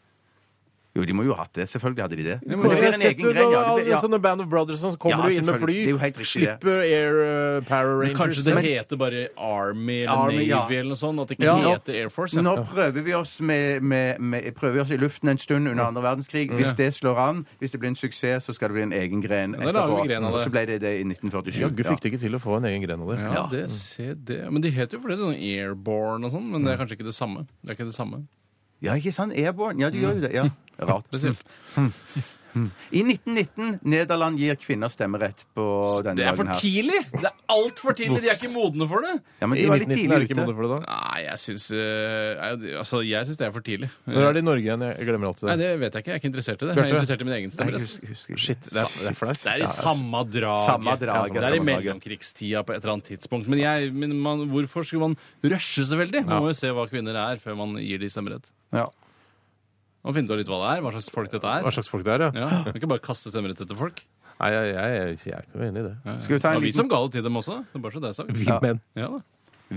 [SPEAKER 3] Jo, de må jo ha hatt det. Selvfølgelig hadde de det.
[SPEAKER 2] må
[SPEAKER 3] Men
[SPEAKER 2] jo ha
[SPEAKER 3] det blir
[SPEAKER 1] Jeg har
[SPEAKER 3] en egen
[SPEAKER 1] sett
[SPEAKER 3] gren, ja, det
[SPEAKER 1] alle
[SPEAKER 3] blir- ja.
[SPEAKER 1] sånne Band of Brothers som kommer
[SPEAKER 3] Ja,
[SPEAKER 1] du inn med fly,
[SPEAKER 3] selvfølgelig. Det er jo helt riktig, det.
[SPEAKER 1] slipper Air eh, Power Rangers
[SPEAKER 2] Kanskje det
[SPEAKER 1] Men-
[SPEAKER 2] heter bare Army eller
[SPEAKER 3] Army,
[SPEAKER 2] Navy
[SPEAKER 3] ja.
[SPEAKER 2] eller noe sånt? At det ikke
[SPEAKER 3] Ja.
[SPEAKER 2] heter Air Force? Ja.
[SPEAKER 3] Nå prøver vi oss, med, med, med, prøver vi oss i luften en stund under andre verdenskrig.
[SPEAKER 1] Mm.
[SPEAKER 3] Hvis det slår an, hvis det blir en suksess, så skal det bli en egen gren
[SPEAKER 2] da lager vi
[SPEAKER 3] etterpå.
[SPEAKER 2] gren av det.
[SPEAKER 3] Og så ble det det i 1947.
[SPEAKER 1] Jaggu fikk det ikke til å få en egen gren av det.
[SPEAKER 2] Ja, det ser det. Men de heter jo for det sånn Airborne og sånn, men det er kanskje ikke det samme. Det er ikke det samme.
[SPEAKER 3] Ja, ikke sant? Airborne. Ja, de gjør jo det.
[SPEAKER 1] Mm.
[SPEAKER 3] Ja. Rart.
[SPEAKER 2] Det ser-
[SPEAKER 3] I 1919 Nederland gir kvinner stemmerett på denne
[SPEAKER 2] Det er for
[SPEAKER 3] dagen her.
[SPEAKER 2] tidlig! Det er altfor tidlig! De er ikke modne for det!
[SPEAKER 3] Ja, men
[SPEAKER 1] I
[SPEAKER 3] de var
[SPEAKER 1] 1919 er
[SPEAKER 3] litt tidlig
[SPEAKER 1] det ikke
[SPEAKER 3] ute.
[SPEAKER 1] modne for det da?
[SPEAKER 2] Nei, jeg syns eh, Altså, jeg syns det er for tidlig. Eh,
[SPEAKER 1] Når er det i Norge igjen? Jeg jeg glemmer alltid
[SPEAKER 2] Nei,
[SPEAKER 1] det.
[SPEAKER 2] det vet jeg ikke. Jeg er ikke interessert i det. Jeg er
[SPEAKER 1] Bjarte?
[SPEAKER 2] interessert i min egen
[SPEAKER 3] Nei,
[SPEAKER 2] stemme.
[SPEAKER 3] jeg husker- husker ikke.
[SPEAKER 1] Shit, det er, det er flaut.
[SPEAKER 2] Det er i samme draget.
[SPEAKER 3] Samme draget,
[SPEAKER 2] det er i
[SPEAKER 3] samme draget.
[SPEAKER 2] mellomkrigstida på et eller annet tidspunkt. Men, jeg, men man, hvorfor skulle man rushe så veldig? Man må jo se hva kvinner er, før man gir de stemmerett.
[SPEAKER 3] Ja.
[SPEAKER 2] Man finner ut litt hva det er, hva slags folk dette
[SPEAKER 1] Hva
[SPEAKER 2] er.
[SPEAKER 1] slags folk det er, ja.
[SPEAKER 2] Ja, man kan ikke bare kaste stemmerett etter folk.
[SPEAKER 1] Nei, jeg, jeg, jeg, jeg er ikke enig i det.
[SPEAKER 3] Skal vi ta
[SPEAKER 2] Det var
[SPEAKER 3] en
[SPEAKER 2] vi som
[SPEAKER 3] liten
[SPEAKER 2] ga det til dem også. Det er bare så det er sagt.
[SPEAKER 1] Vi menn.
[SPEAKER 2] Ja, da.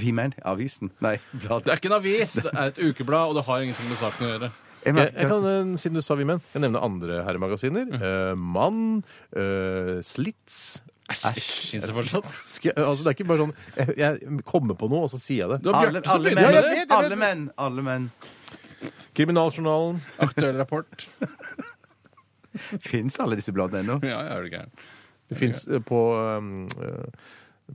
[SPEAKER 3] Vi menn. Avisen. Nei.
[SPEAKER 2] Det er ikke en avis, det er et ukeblad, og det har ingenting med saken å gjøre.
[SPEAKER 3] Jeg
[SPEAKER 1] Jeg,
[SPEAKER 3] merker
[SPEAKER 1] jeg
[SPEAKER 3] at-
[SPEAKER 1] kan, eh, siden du sa vi menn, jeg nevner andre herremagasiner. Eh, Mann, eh, Slits
[SPEAKER 2] Æsj! Fins det fortsatt?
[SPEAKER 1] Skal jeg, altså, det er ikke bare sånn jeg, jeg kommer på noe, og så sier jeg det.
[SPEAKER 2] Det var
[SPEAKER 3] alle,
[SPEAKER 2] Bjarte som
[SPEAKER 3] alle,
[SPEAKER 2] begynte
[SPEAKER 1] Ja,
[SPEAKER 2] med
[SPEAKER 1] jeg
[SPEAKER 2] det.
[SPEAKER 1] vet.
[SPEAKER 3] menn, alle menn. Alle menn.
[SPEAKER 1] Kriminaljournalen.
[SPEAKER 2] Aktuell rapport.
[SPEAKER 3] Fins alle disse bladene ennå?
[SPEAKER 2] Ja, jeg er du gæren.
[SPEAKER 1] Det fins på um, eh,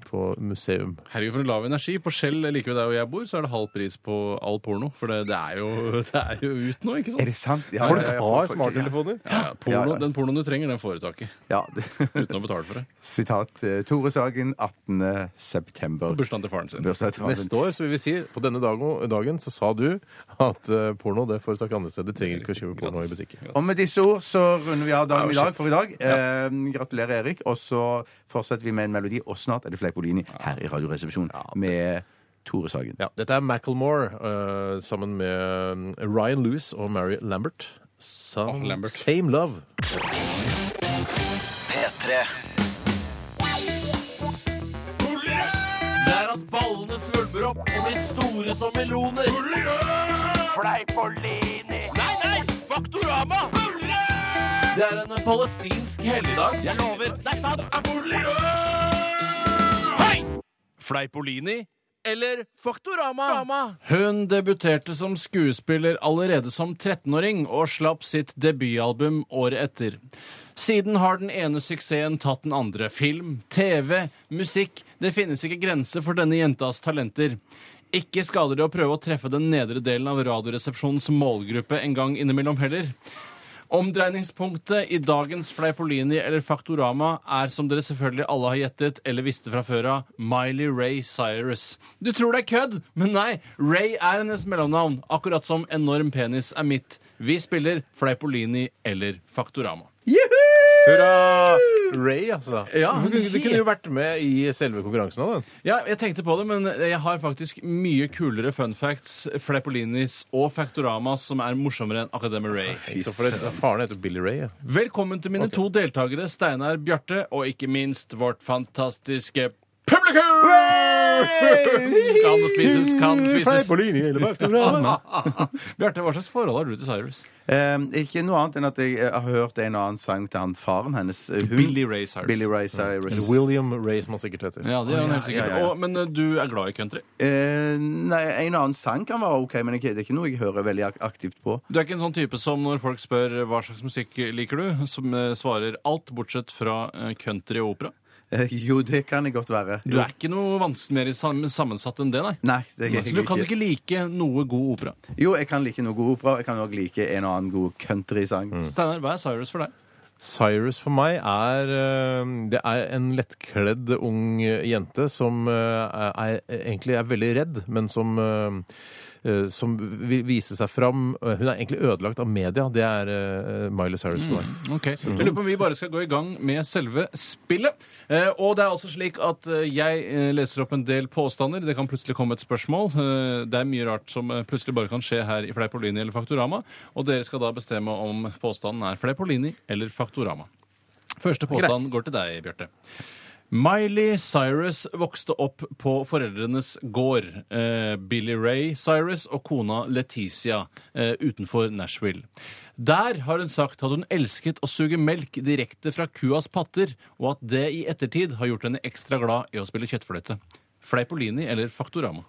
[SPEAKER 1] på museum.
[SPEAKER 2] Herregud, for en lav energi. På Skjell, like ved der hvor jeg bor, så er det halv pris på all porno. For det, det, er, jo, det er jo ut nå, ikke
[SPEAKER 3] Er
[SPEAKER 2] sant?
[SPEAKER 3] det sant? Ja,
[SPEAKER 1] Folk
[SPEAKER 3] ja, ja,
[SPEAKER 1] har
[SPEAKER 3] folk-
[SPEAKER 1] smarttelefoner.
[SPEAKER 2] Ja, ja, porno,
[SPEAKER 3] Ja, ja.
[SPEAKER 2] Den pornoen du trenger, den får du tak i.
[SPEAKER 3] Ja. ja.
[SPEAKER 2] Uten å betale for det.
[SPEAKER 3] Sitat eh, Tore Sagen, 18. september.
[SPEAKER 2] På bursdagen til faren sin.
[SPEAKER 3] Bursdag til
[SPEAKER 1] Neste år så vil vi si på denne dagen, dagen så sa du at eh, porno det får du tak i andre steder. Trenger ikke å kjøpe porno i butikken.
[SPEAKER 3] Og med disse ord så runder vi av dagen
[SPEAKER 1] Oh,
[SPEAKER 3] i dag
[SPEAKER 1] shit.
[SPEAKER 3] for i dag. Eh, gratulerer, Erik. Og så fortsetter vi med en melodi, og snart er det Fleipolini her i Radioresepsjonen med Tore Sagen.
[SPEAKER 1] Ja, dette er Macclemore eh, sammen med eh, Ryan Lewis og Mary Lambert. Some,
[SPEAKER 2] Åh, Lambert.
[SPEAKER 1] Same Love.
[SPEAKER 4] P3
[SPEAKER 7] Det er at ballene svulmer opp og blir store som meloner. Fleipolini. Nei, nei! Faktorama! Det er en palestinsk helligdag. Jeg lover. Det er sant. Hei! Fleipolini
[SPEAKER 2] eller Faktorama. Hun debuterte som skuespiller allerede som 13-åring og slapp sitt debutalbum året etter. Siden har den ene suksessen tatt den andre. Film, TV, musikk. Det finnes ikke grenser for denne jentas talenter. Ikke skader det å prøve å treffe den nedre delen av Radioresepsjonens målgruppe en gang innimellom heller. Omdreiningspunktet i dagens Fleipolini eller Faktorama er, som dere selvfølgelig alle har gjettet eller visste fra før av, Miley Ray Cyrus. Du tror det er kødd, men nei. Ray er hennes mellomnavn, akkurat som Enorm penis er mitt. Vi spiller Fleipolini eller Faktorama.
[SPEAKER 1] Hurra! Ray, altså.
[SPEAKER 2] Ja,
[SPEAKER 1] Det kunne jo vært med i selve konkurransen av den.
[SPEAKER 2] Ja, jeg tenkte på det, men jeg har faktisk mye kulere fun facts, Fleipolinis og Faktoramas, som er morsommere enn akkurat det med Ray.
[SPEAKER 1] Så for det, faren heter Billy Ray. Ja.
[SPEAKER 2] Velkommen til mine to deltakere, Steinar Bjarte, og ikke minst vårt fantastiske publikum! Kan det spises, kan det spises. Bjarte, hva slags forhold har du til Cyrus?
[SPEAKER 3] Ehm, ikke noe annet enn at jeg eh, har hørt en og annen sang til han faren hennes. eh, Hun,
[SPEAKER 2] Billy Ray Cyrus.
[SPEAKER 3] Billy Ray Cyrus.
[SPEAKER 1] William Ray, som han sikkert heter.
[SPEAKER 2] Ja, det er han helt sikkert.
[SPEAKER 3] ja, ja, ja.
[SPEAKER 2] Og, men eh, du er glad i country?
[SPEAKER 3] Eh, nei, en og annen sang kan være OK, men ikke, det er ikke noe jeg hører veldig ak- aktivt på.
[SPEAKER 2] Du er ikke en sånn type som når folk spør hva slags musikk liker du, som eh, svarer alt bortsett fra eh, country og opera?
[SPEAKER 3] Eh, jo, det kan jeg godt være.
[SPEAKER 2] Du er ikke noe vans- mer sam- sammensatt enn det, nei.
[SPEAKER 3] Nei, det er jeg
[SPEAKER 2] Så du kan
[SPEAKER 3] ikke.
[SPEAKER 2] ikke like noe god opera.
[SPEAKER 3] Jo, jeg kan like noe god opera, og jeg kan òg like en og annen god countrysang.
[SPEAKER 1] Mm.
[SPEAKER 2] Steinar, hva er Cyrus for deg?
[SPEAKER 1] Cyrus for meg er eh, Det er en lettkledd ung jente som eh, er, egentlig er veldig redd, men som eh, eh, som vi- viser seg fram Eh, Hun er egentlig ødelagt av media. Det er eh, Miley Cyrus for meg.
[SPEAKER 2] Ok, Jeg lurer på om vi bare skal gå i gang med selve spillet. Eh, og det er altså slik at eh, jeg eh, leser opp en del påstander. Det kan plutselig komme et spørsmål. Eh, det er mye rart som eh, plutselig bare kan skje her i Fleipolini eller Faktorama. Og dere skal da bestemme om påstanden er Fleipolini eller Faktorama. Første påstand går til deg, Bjarte. Miley Cyrus vokste opp på foreldrenes gård. Eh, Billy Ray Cyrus og kona Leticia eh, utenfor Nashville. Der har hun sagt at hun elsket å suge melk direkte fra kuas patter, og at det i ettertid har gjort henne ekstra glad i å spille kjøttfløyte. Fleipolini eller Faktorama?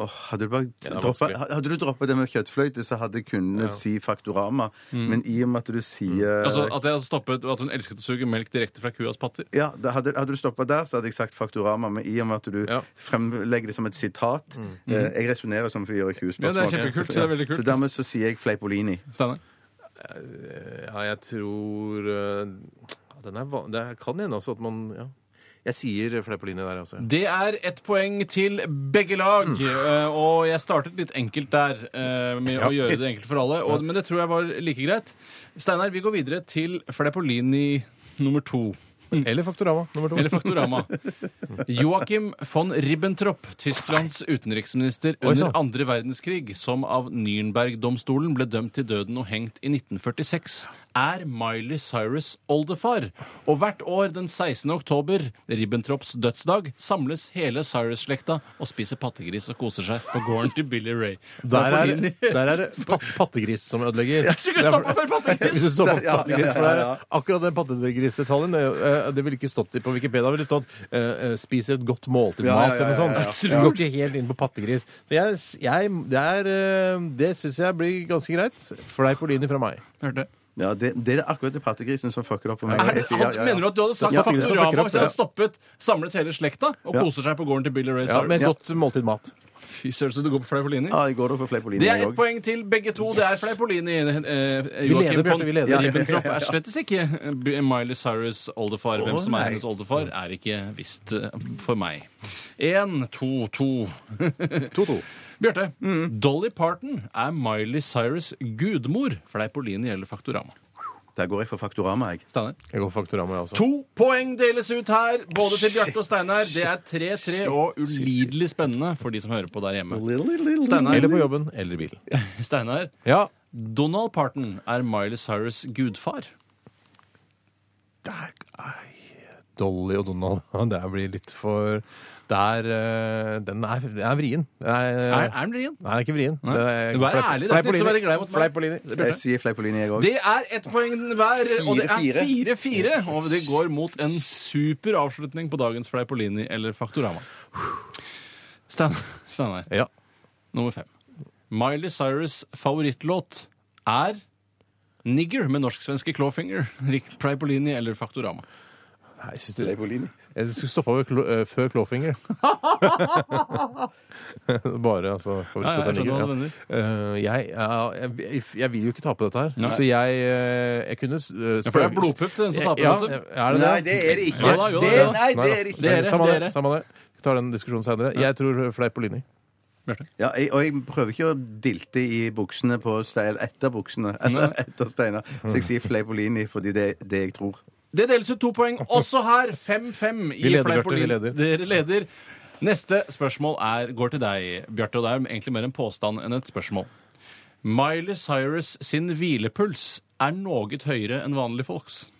[SPEAKER 3] Åh, hadde, du bare
[SPEAKER 1] er
[SPEAKER 3] droppet,
[SPEAKER 1] vanskelig.
[SPEAKER 3] hadde du droppet det med kjøttfløyte, så hadde jeg kunnet si Faktorama.
[SPEAKER 2] Mm.
[SPEAKER 3] Men i og med at du
[SPEAKER 1] Mm.
[SPEAKER 3] sier
[SPEAKER 2] Altså At jeg hadde stoppet at hun elsket å suge melk direkte fra kuas patter.
[SPEAKER 3] ja, da hadde, hadde du stoppa der, så hadde jeg sagt Faktorama. Men i og med at du
[SPEAKER 1] Ja. Mm.
[SPEAKER 3] fremlegger det som et sitat eh, Jeg resonnerer som 24
[SPEAKER 2] Ja,
[SPEAKER 3] spørsmål.
[SPEAKER 2] det er kjempekult, så det er veldig kult.
[SPEAKER 3] Så dermed så sier jeg Fleipolini.
[SPEAKER 2] Steinar?
[SPEAKER 1] Ja, jeg tror eh, ja, den er, van- Det kan hende altså at man ja. Jeg sier Fleipolini der, altså.
[SPEAKER 2] Det er ett poeng til begge lag. eh, Og jeg startet litt enkelt der eh, med å gjøre det enkelt for alle. Og, men det tror jeg var like greit. Steinar, vi går videre til Fleipolini nummer to.
[SPEAKER 1] Eller Faktorama nummer to.
[SPEAKER 2] Eller Faktorama. Joachim von Ribbentrop, Tysklands utenriksminister
[SPEAKER 1] Oi,
[SPEAKER 2] under
[SPEAKER 1] sann.
[SPEAKER 2] andre verdenskrig, som av Nürnberg-domstolen ble dømt til døden og hengt i 1946, er Miley Cyrus' oldefar. Og hvert år den 16. oktober, Ribbentrops dødsdag, samles hele Cyrus-slekta og spiser pattegris og koser seg på gården til Billy Ray.
[SPEAKER 1] Der er,
[SPEAKER 2] Napolini.
[SPEAKER 1] der er det pat pattegris som ødelegger.
[SPEAKER 2] så ikke stoppe for pattegris!
[SPEAKER 1] Hvis du stopper for
[SPEAKER 3] Ja, ja, ja,
[SPEAKER 1] pattegris, for det
[SPEAKER 3] ja.
[SPEAKER 1] er akkurat den pattegrisdetaljen det, eh, det ville ikke stått i på Wikipedia. Det ville stått eh, eh, 'spiser et godt måltid
[SPEAKER 3] Ja,
[SPEAKER 1] mat'
[SPEAKER 3] ja, ja,
[SPEAKER 1] eller noe sånt.
[SPEAKER 3] ja,
[SPEAKER 1] Det
[SPEAKER 3] ja.
[SPEAKER 1] går ikke helt inn på pattegris. Så jeg, jeg, det er, eh, det syns jeg blir ganske greit. Fleipolini fra meg.
[SPEAKER 2] Hørte.
[SPEAKER 3] Ja, det, det er akkurat det pattegrisen som fucker opp på meg.
[SPEAKER 2] Er det,
[SPEAKER 3] Jeg sier, ja, ja, ja.
[SPEAKER 2] Mener du at du hadde sagt
[SPEAKER 1] Ja, pattegris som fucker
[SPEAKER 2] Faktorama
[SPEAKER 1] opp,
[SPEAKER 2] hvis jeg hadde stoppet, samles hele slekta og koser seg på gården til Billy Ray
[SPEAKER 1] Ja,
[SPEAKER 2] Cyrus?
[SPEAKER 1] med et godt måltid mat.
[SPEAKER 2] Fy søren, så du går på Fleipolini?
[SPEAKER 3] Ja, jeg går da for Fleipolini
[SPEAKER 2] Det er
[SPEAKER 3] jeg
[SPEAKER 2] ett
[SPEAKER 3] òg.
[SPEAKER 2] poeng til begge to. Det er Fleipolini. Eh,
[SPEAKER 1] Vi leder, Bjarte. Vi leder.
[SPEAKER 3] Ja, ja,
[SPEAKER 2] Ribbentrop er slettes ikke eh, B- Miley Cyrus' oldefar. Hvem som er hennes oldefar, er ikke visst eh, for meg. Én, to, to.
[SPEAKER 1] 2-2.
[SPEAKER 2] Bjarte,
[SPEAKER 1] Mm.
[SPEAKER 2] Dolly Parton er Miley Cyrus' gudmor. Fleipolini eller Faktorama?
[SPEAKER 3] Der går jeg for Faktorama, jeg.
[SPEAKER 2] Steinar?
[SPEAKER 1] Jeg går for Faktorama, jeg også.
[SPEAKER 2] To poeng deles ut her, både til Bjarte og Steinar. Det er 3-3 og ulidelig spennende for de som hører på der hjemme.
[SPEAKER 1] Eller på
[SPEAKER 2] Steinar,
[SPEAKER 1] jobben. Eller i bilen.
[SPEAKER 2] Steinar
[SPEAKER 1] Ja.
[SPEAKER 2] Donald Parton er Miley Cyrus' gudfar.
[SPEAKER 1] Der, ai, Dolly og Donald. Det her blir litt for der eh, Den er, den er vrien. Den er,
[SPEAKER 2] Er, er den vrien?
[SPEAKER 1] Nei, den er ikke vrien.
[SPEAKER 2] Nei.
[SPEAKER 1] Det er-
[SPEAKER 2] Du er
[SPEAKER 1] fleip-
[SPEAKER 2] ærlig, det er ikke så
[SPEAKER 1] fleipolini.
[SPEAKER 2] veldig glad mot meg.
[SPEAKER 1] Fleipolini.
[SPEAKER 3] Jeg sier Fleipolini, jeg òg.
[SPEAKER 2] Det er ett poeng hver, og det
[SPEAKER 3] Fire,
[SPEAKER 2] er fire-fire. Og det går mot en super avslutning på dagens Fleipolini eller Faktorama. Stein- Steinar,
[SPEAKER 1] Ja.
[SPEAKER 2] nummer fem. Miley Cyrus' favorittlåt er Nigger med norsk-svenske Clawfinger. Rick Fleipolini eller Faktorama.
[SPEAKER 1] Nei, jeg syns du Jeg skulle stoppa ved Klo- eh, før Clawfinger. Bare, altså. for å
[SPEAKER 2] Ja, ja, jeg
[SPEAKER 1] ta
[SPEAKER 2] skjønner hva
[SPEAKER 1] Niger,
[SPEAKER 2] du mener.
[SPEAKER 1] Eh, jeg, ja, jeg, jeg vil jo ikke tape dette her,
[SPEAKER 2] Nei.
[SPEAKER 1] så jeg, eh, jeg kunne uh,
[SPEAKER 2] for det er blodpupp til den som taper,
[SPEAKER 1] Ja,
[SPEAKER 2] vet du.
[SPEAKER 1] er det det?
[SPEAKER 3] Nei, det er det ikke.
[SPEAKER 2] Jo da, jo da, jo
[SPEAKER 3] Det,
[SPEAKER 2] da.
[SPEAKER 3] nei, det
[SPEAKER 1] da.
[SPEAKER 3] er det ikke.
[SPEAKER 2] Det er det,
[SPEAKER 1] Samme
[SPEAKER 2] det er
[SPEAKER 1] det.
[SPEAKER 2] det.
[SPEAKER 1] Samme det. Vi tar den diskusjonen senere. Jeg tror eh, Fleipolini.
[SPEAKER 3] Ja, jeg, og jeg prøver ikke å dilte i buksene på Stein, etter buksene, eller etter Steinar. Så jeg sier Fleipolini fordi det er det jeg tror.
[SPEAKER 2] Det deles ut to poeng også her. 5-5 i
[SPEAKER 1] Vi leder, Bjarte,
[SPEAKER 2] Fleipolini.
[SPEAKER 1] vi leder.
[SPEAKER 2] Dere leder. Neste spørsmål er, går til deg, Bjarte. Og det er egentlig mer en påstand enn et spørsmål. Miley Cyrus sin hvilepuls er noe høyere enn vanlig folks.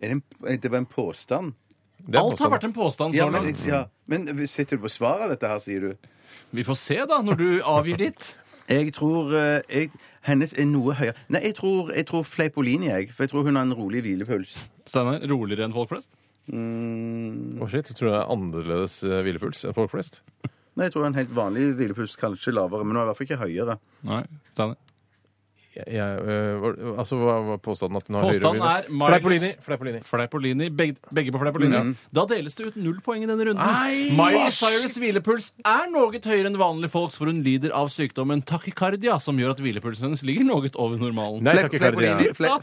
[SPEAKER 3] Er det, en, er det bare en påstand? Sånn,
[SPEAKER 1] Det er
[SPEAKER 2] Alt har vært en påstand
[SPEAKER 3] Ja,
[SPEAKER 2] så
[SPEAKER 3] men,
[SPEAKER 2] langt.
[SPEAKER 3] ja. men sitter du på svaret av dette her, sier du?
[SPEAKER 2] Vi får se, da, når du avgir ditt.
[SPEAKER 3] Jeg tror eh, jeg, hennes er noe høyere Nei, jeg tror, jeg tror Fleipolini, jeg. For jeg tror hun har en rolig hvilepuls.
[SPEAKER 2] Steinar, roligere enn folk flest?
[SPEAKER 1] Å, shit, tror du det er annerledes eh, hvilepuls enn folk flest?
[SPEAKER 3] Nei, jeg tror en helt vanlig hvilepuls kanskje lavere, men hun er i hvert fall ikke høyere.
[SPEAKER 2] Nei. Steinar.
[SPEAKER 1] Jeg, jeg, eh, var- altså, Hva var påstanden? at hun har
[SPEAKER 2] Påstanden
[SPEAKER 1] høyere
[SPEAKER 2] er
[SPEAKER 1] hvile?
[SPEAKER 2] Miley-
[SPEAKER 1] Fleipolini. Fleipolini.
[SPEAKER 2] Fleipolini. Begge, begge på Fleipolini. Da deles det ut null poeng i denne runden.
[SPEAKER 1] Mm. Nei,
[SPEAKER 2] Miley
[SPEAKER 1] hva
[SPEAKER 2] Cyrus' hvilepuls er noe høyere enn vanlige folks, for hun lider av sykdommen tachycardia, som gjør at hvilepulsen hennes ligger noe over normalen.
[SPEAKER 1] Nei,
[SPEAKER 3] Fle-
[SPEAKER 1] takk, Kardi, ja.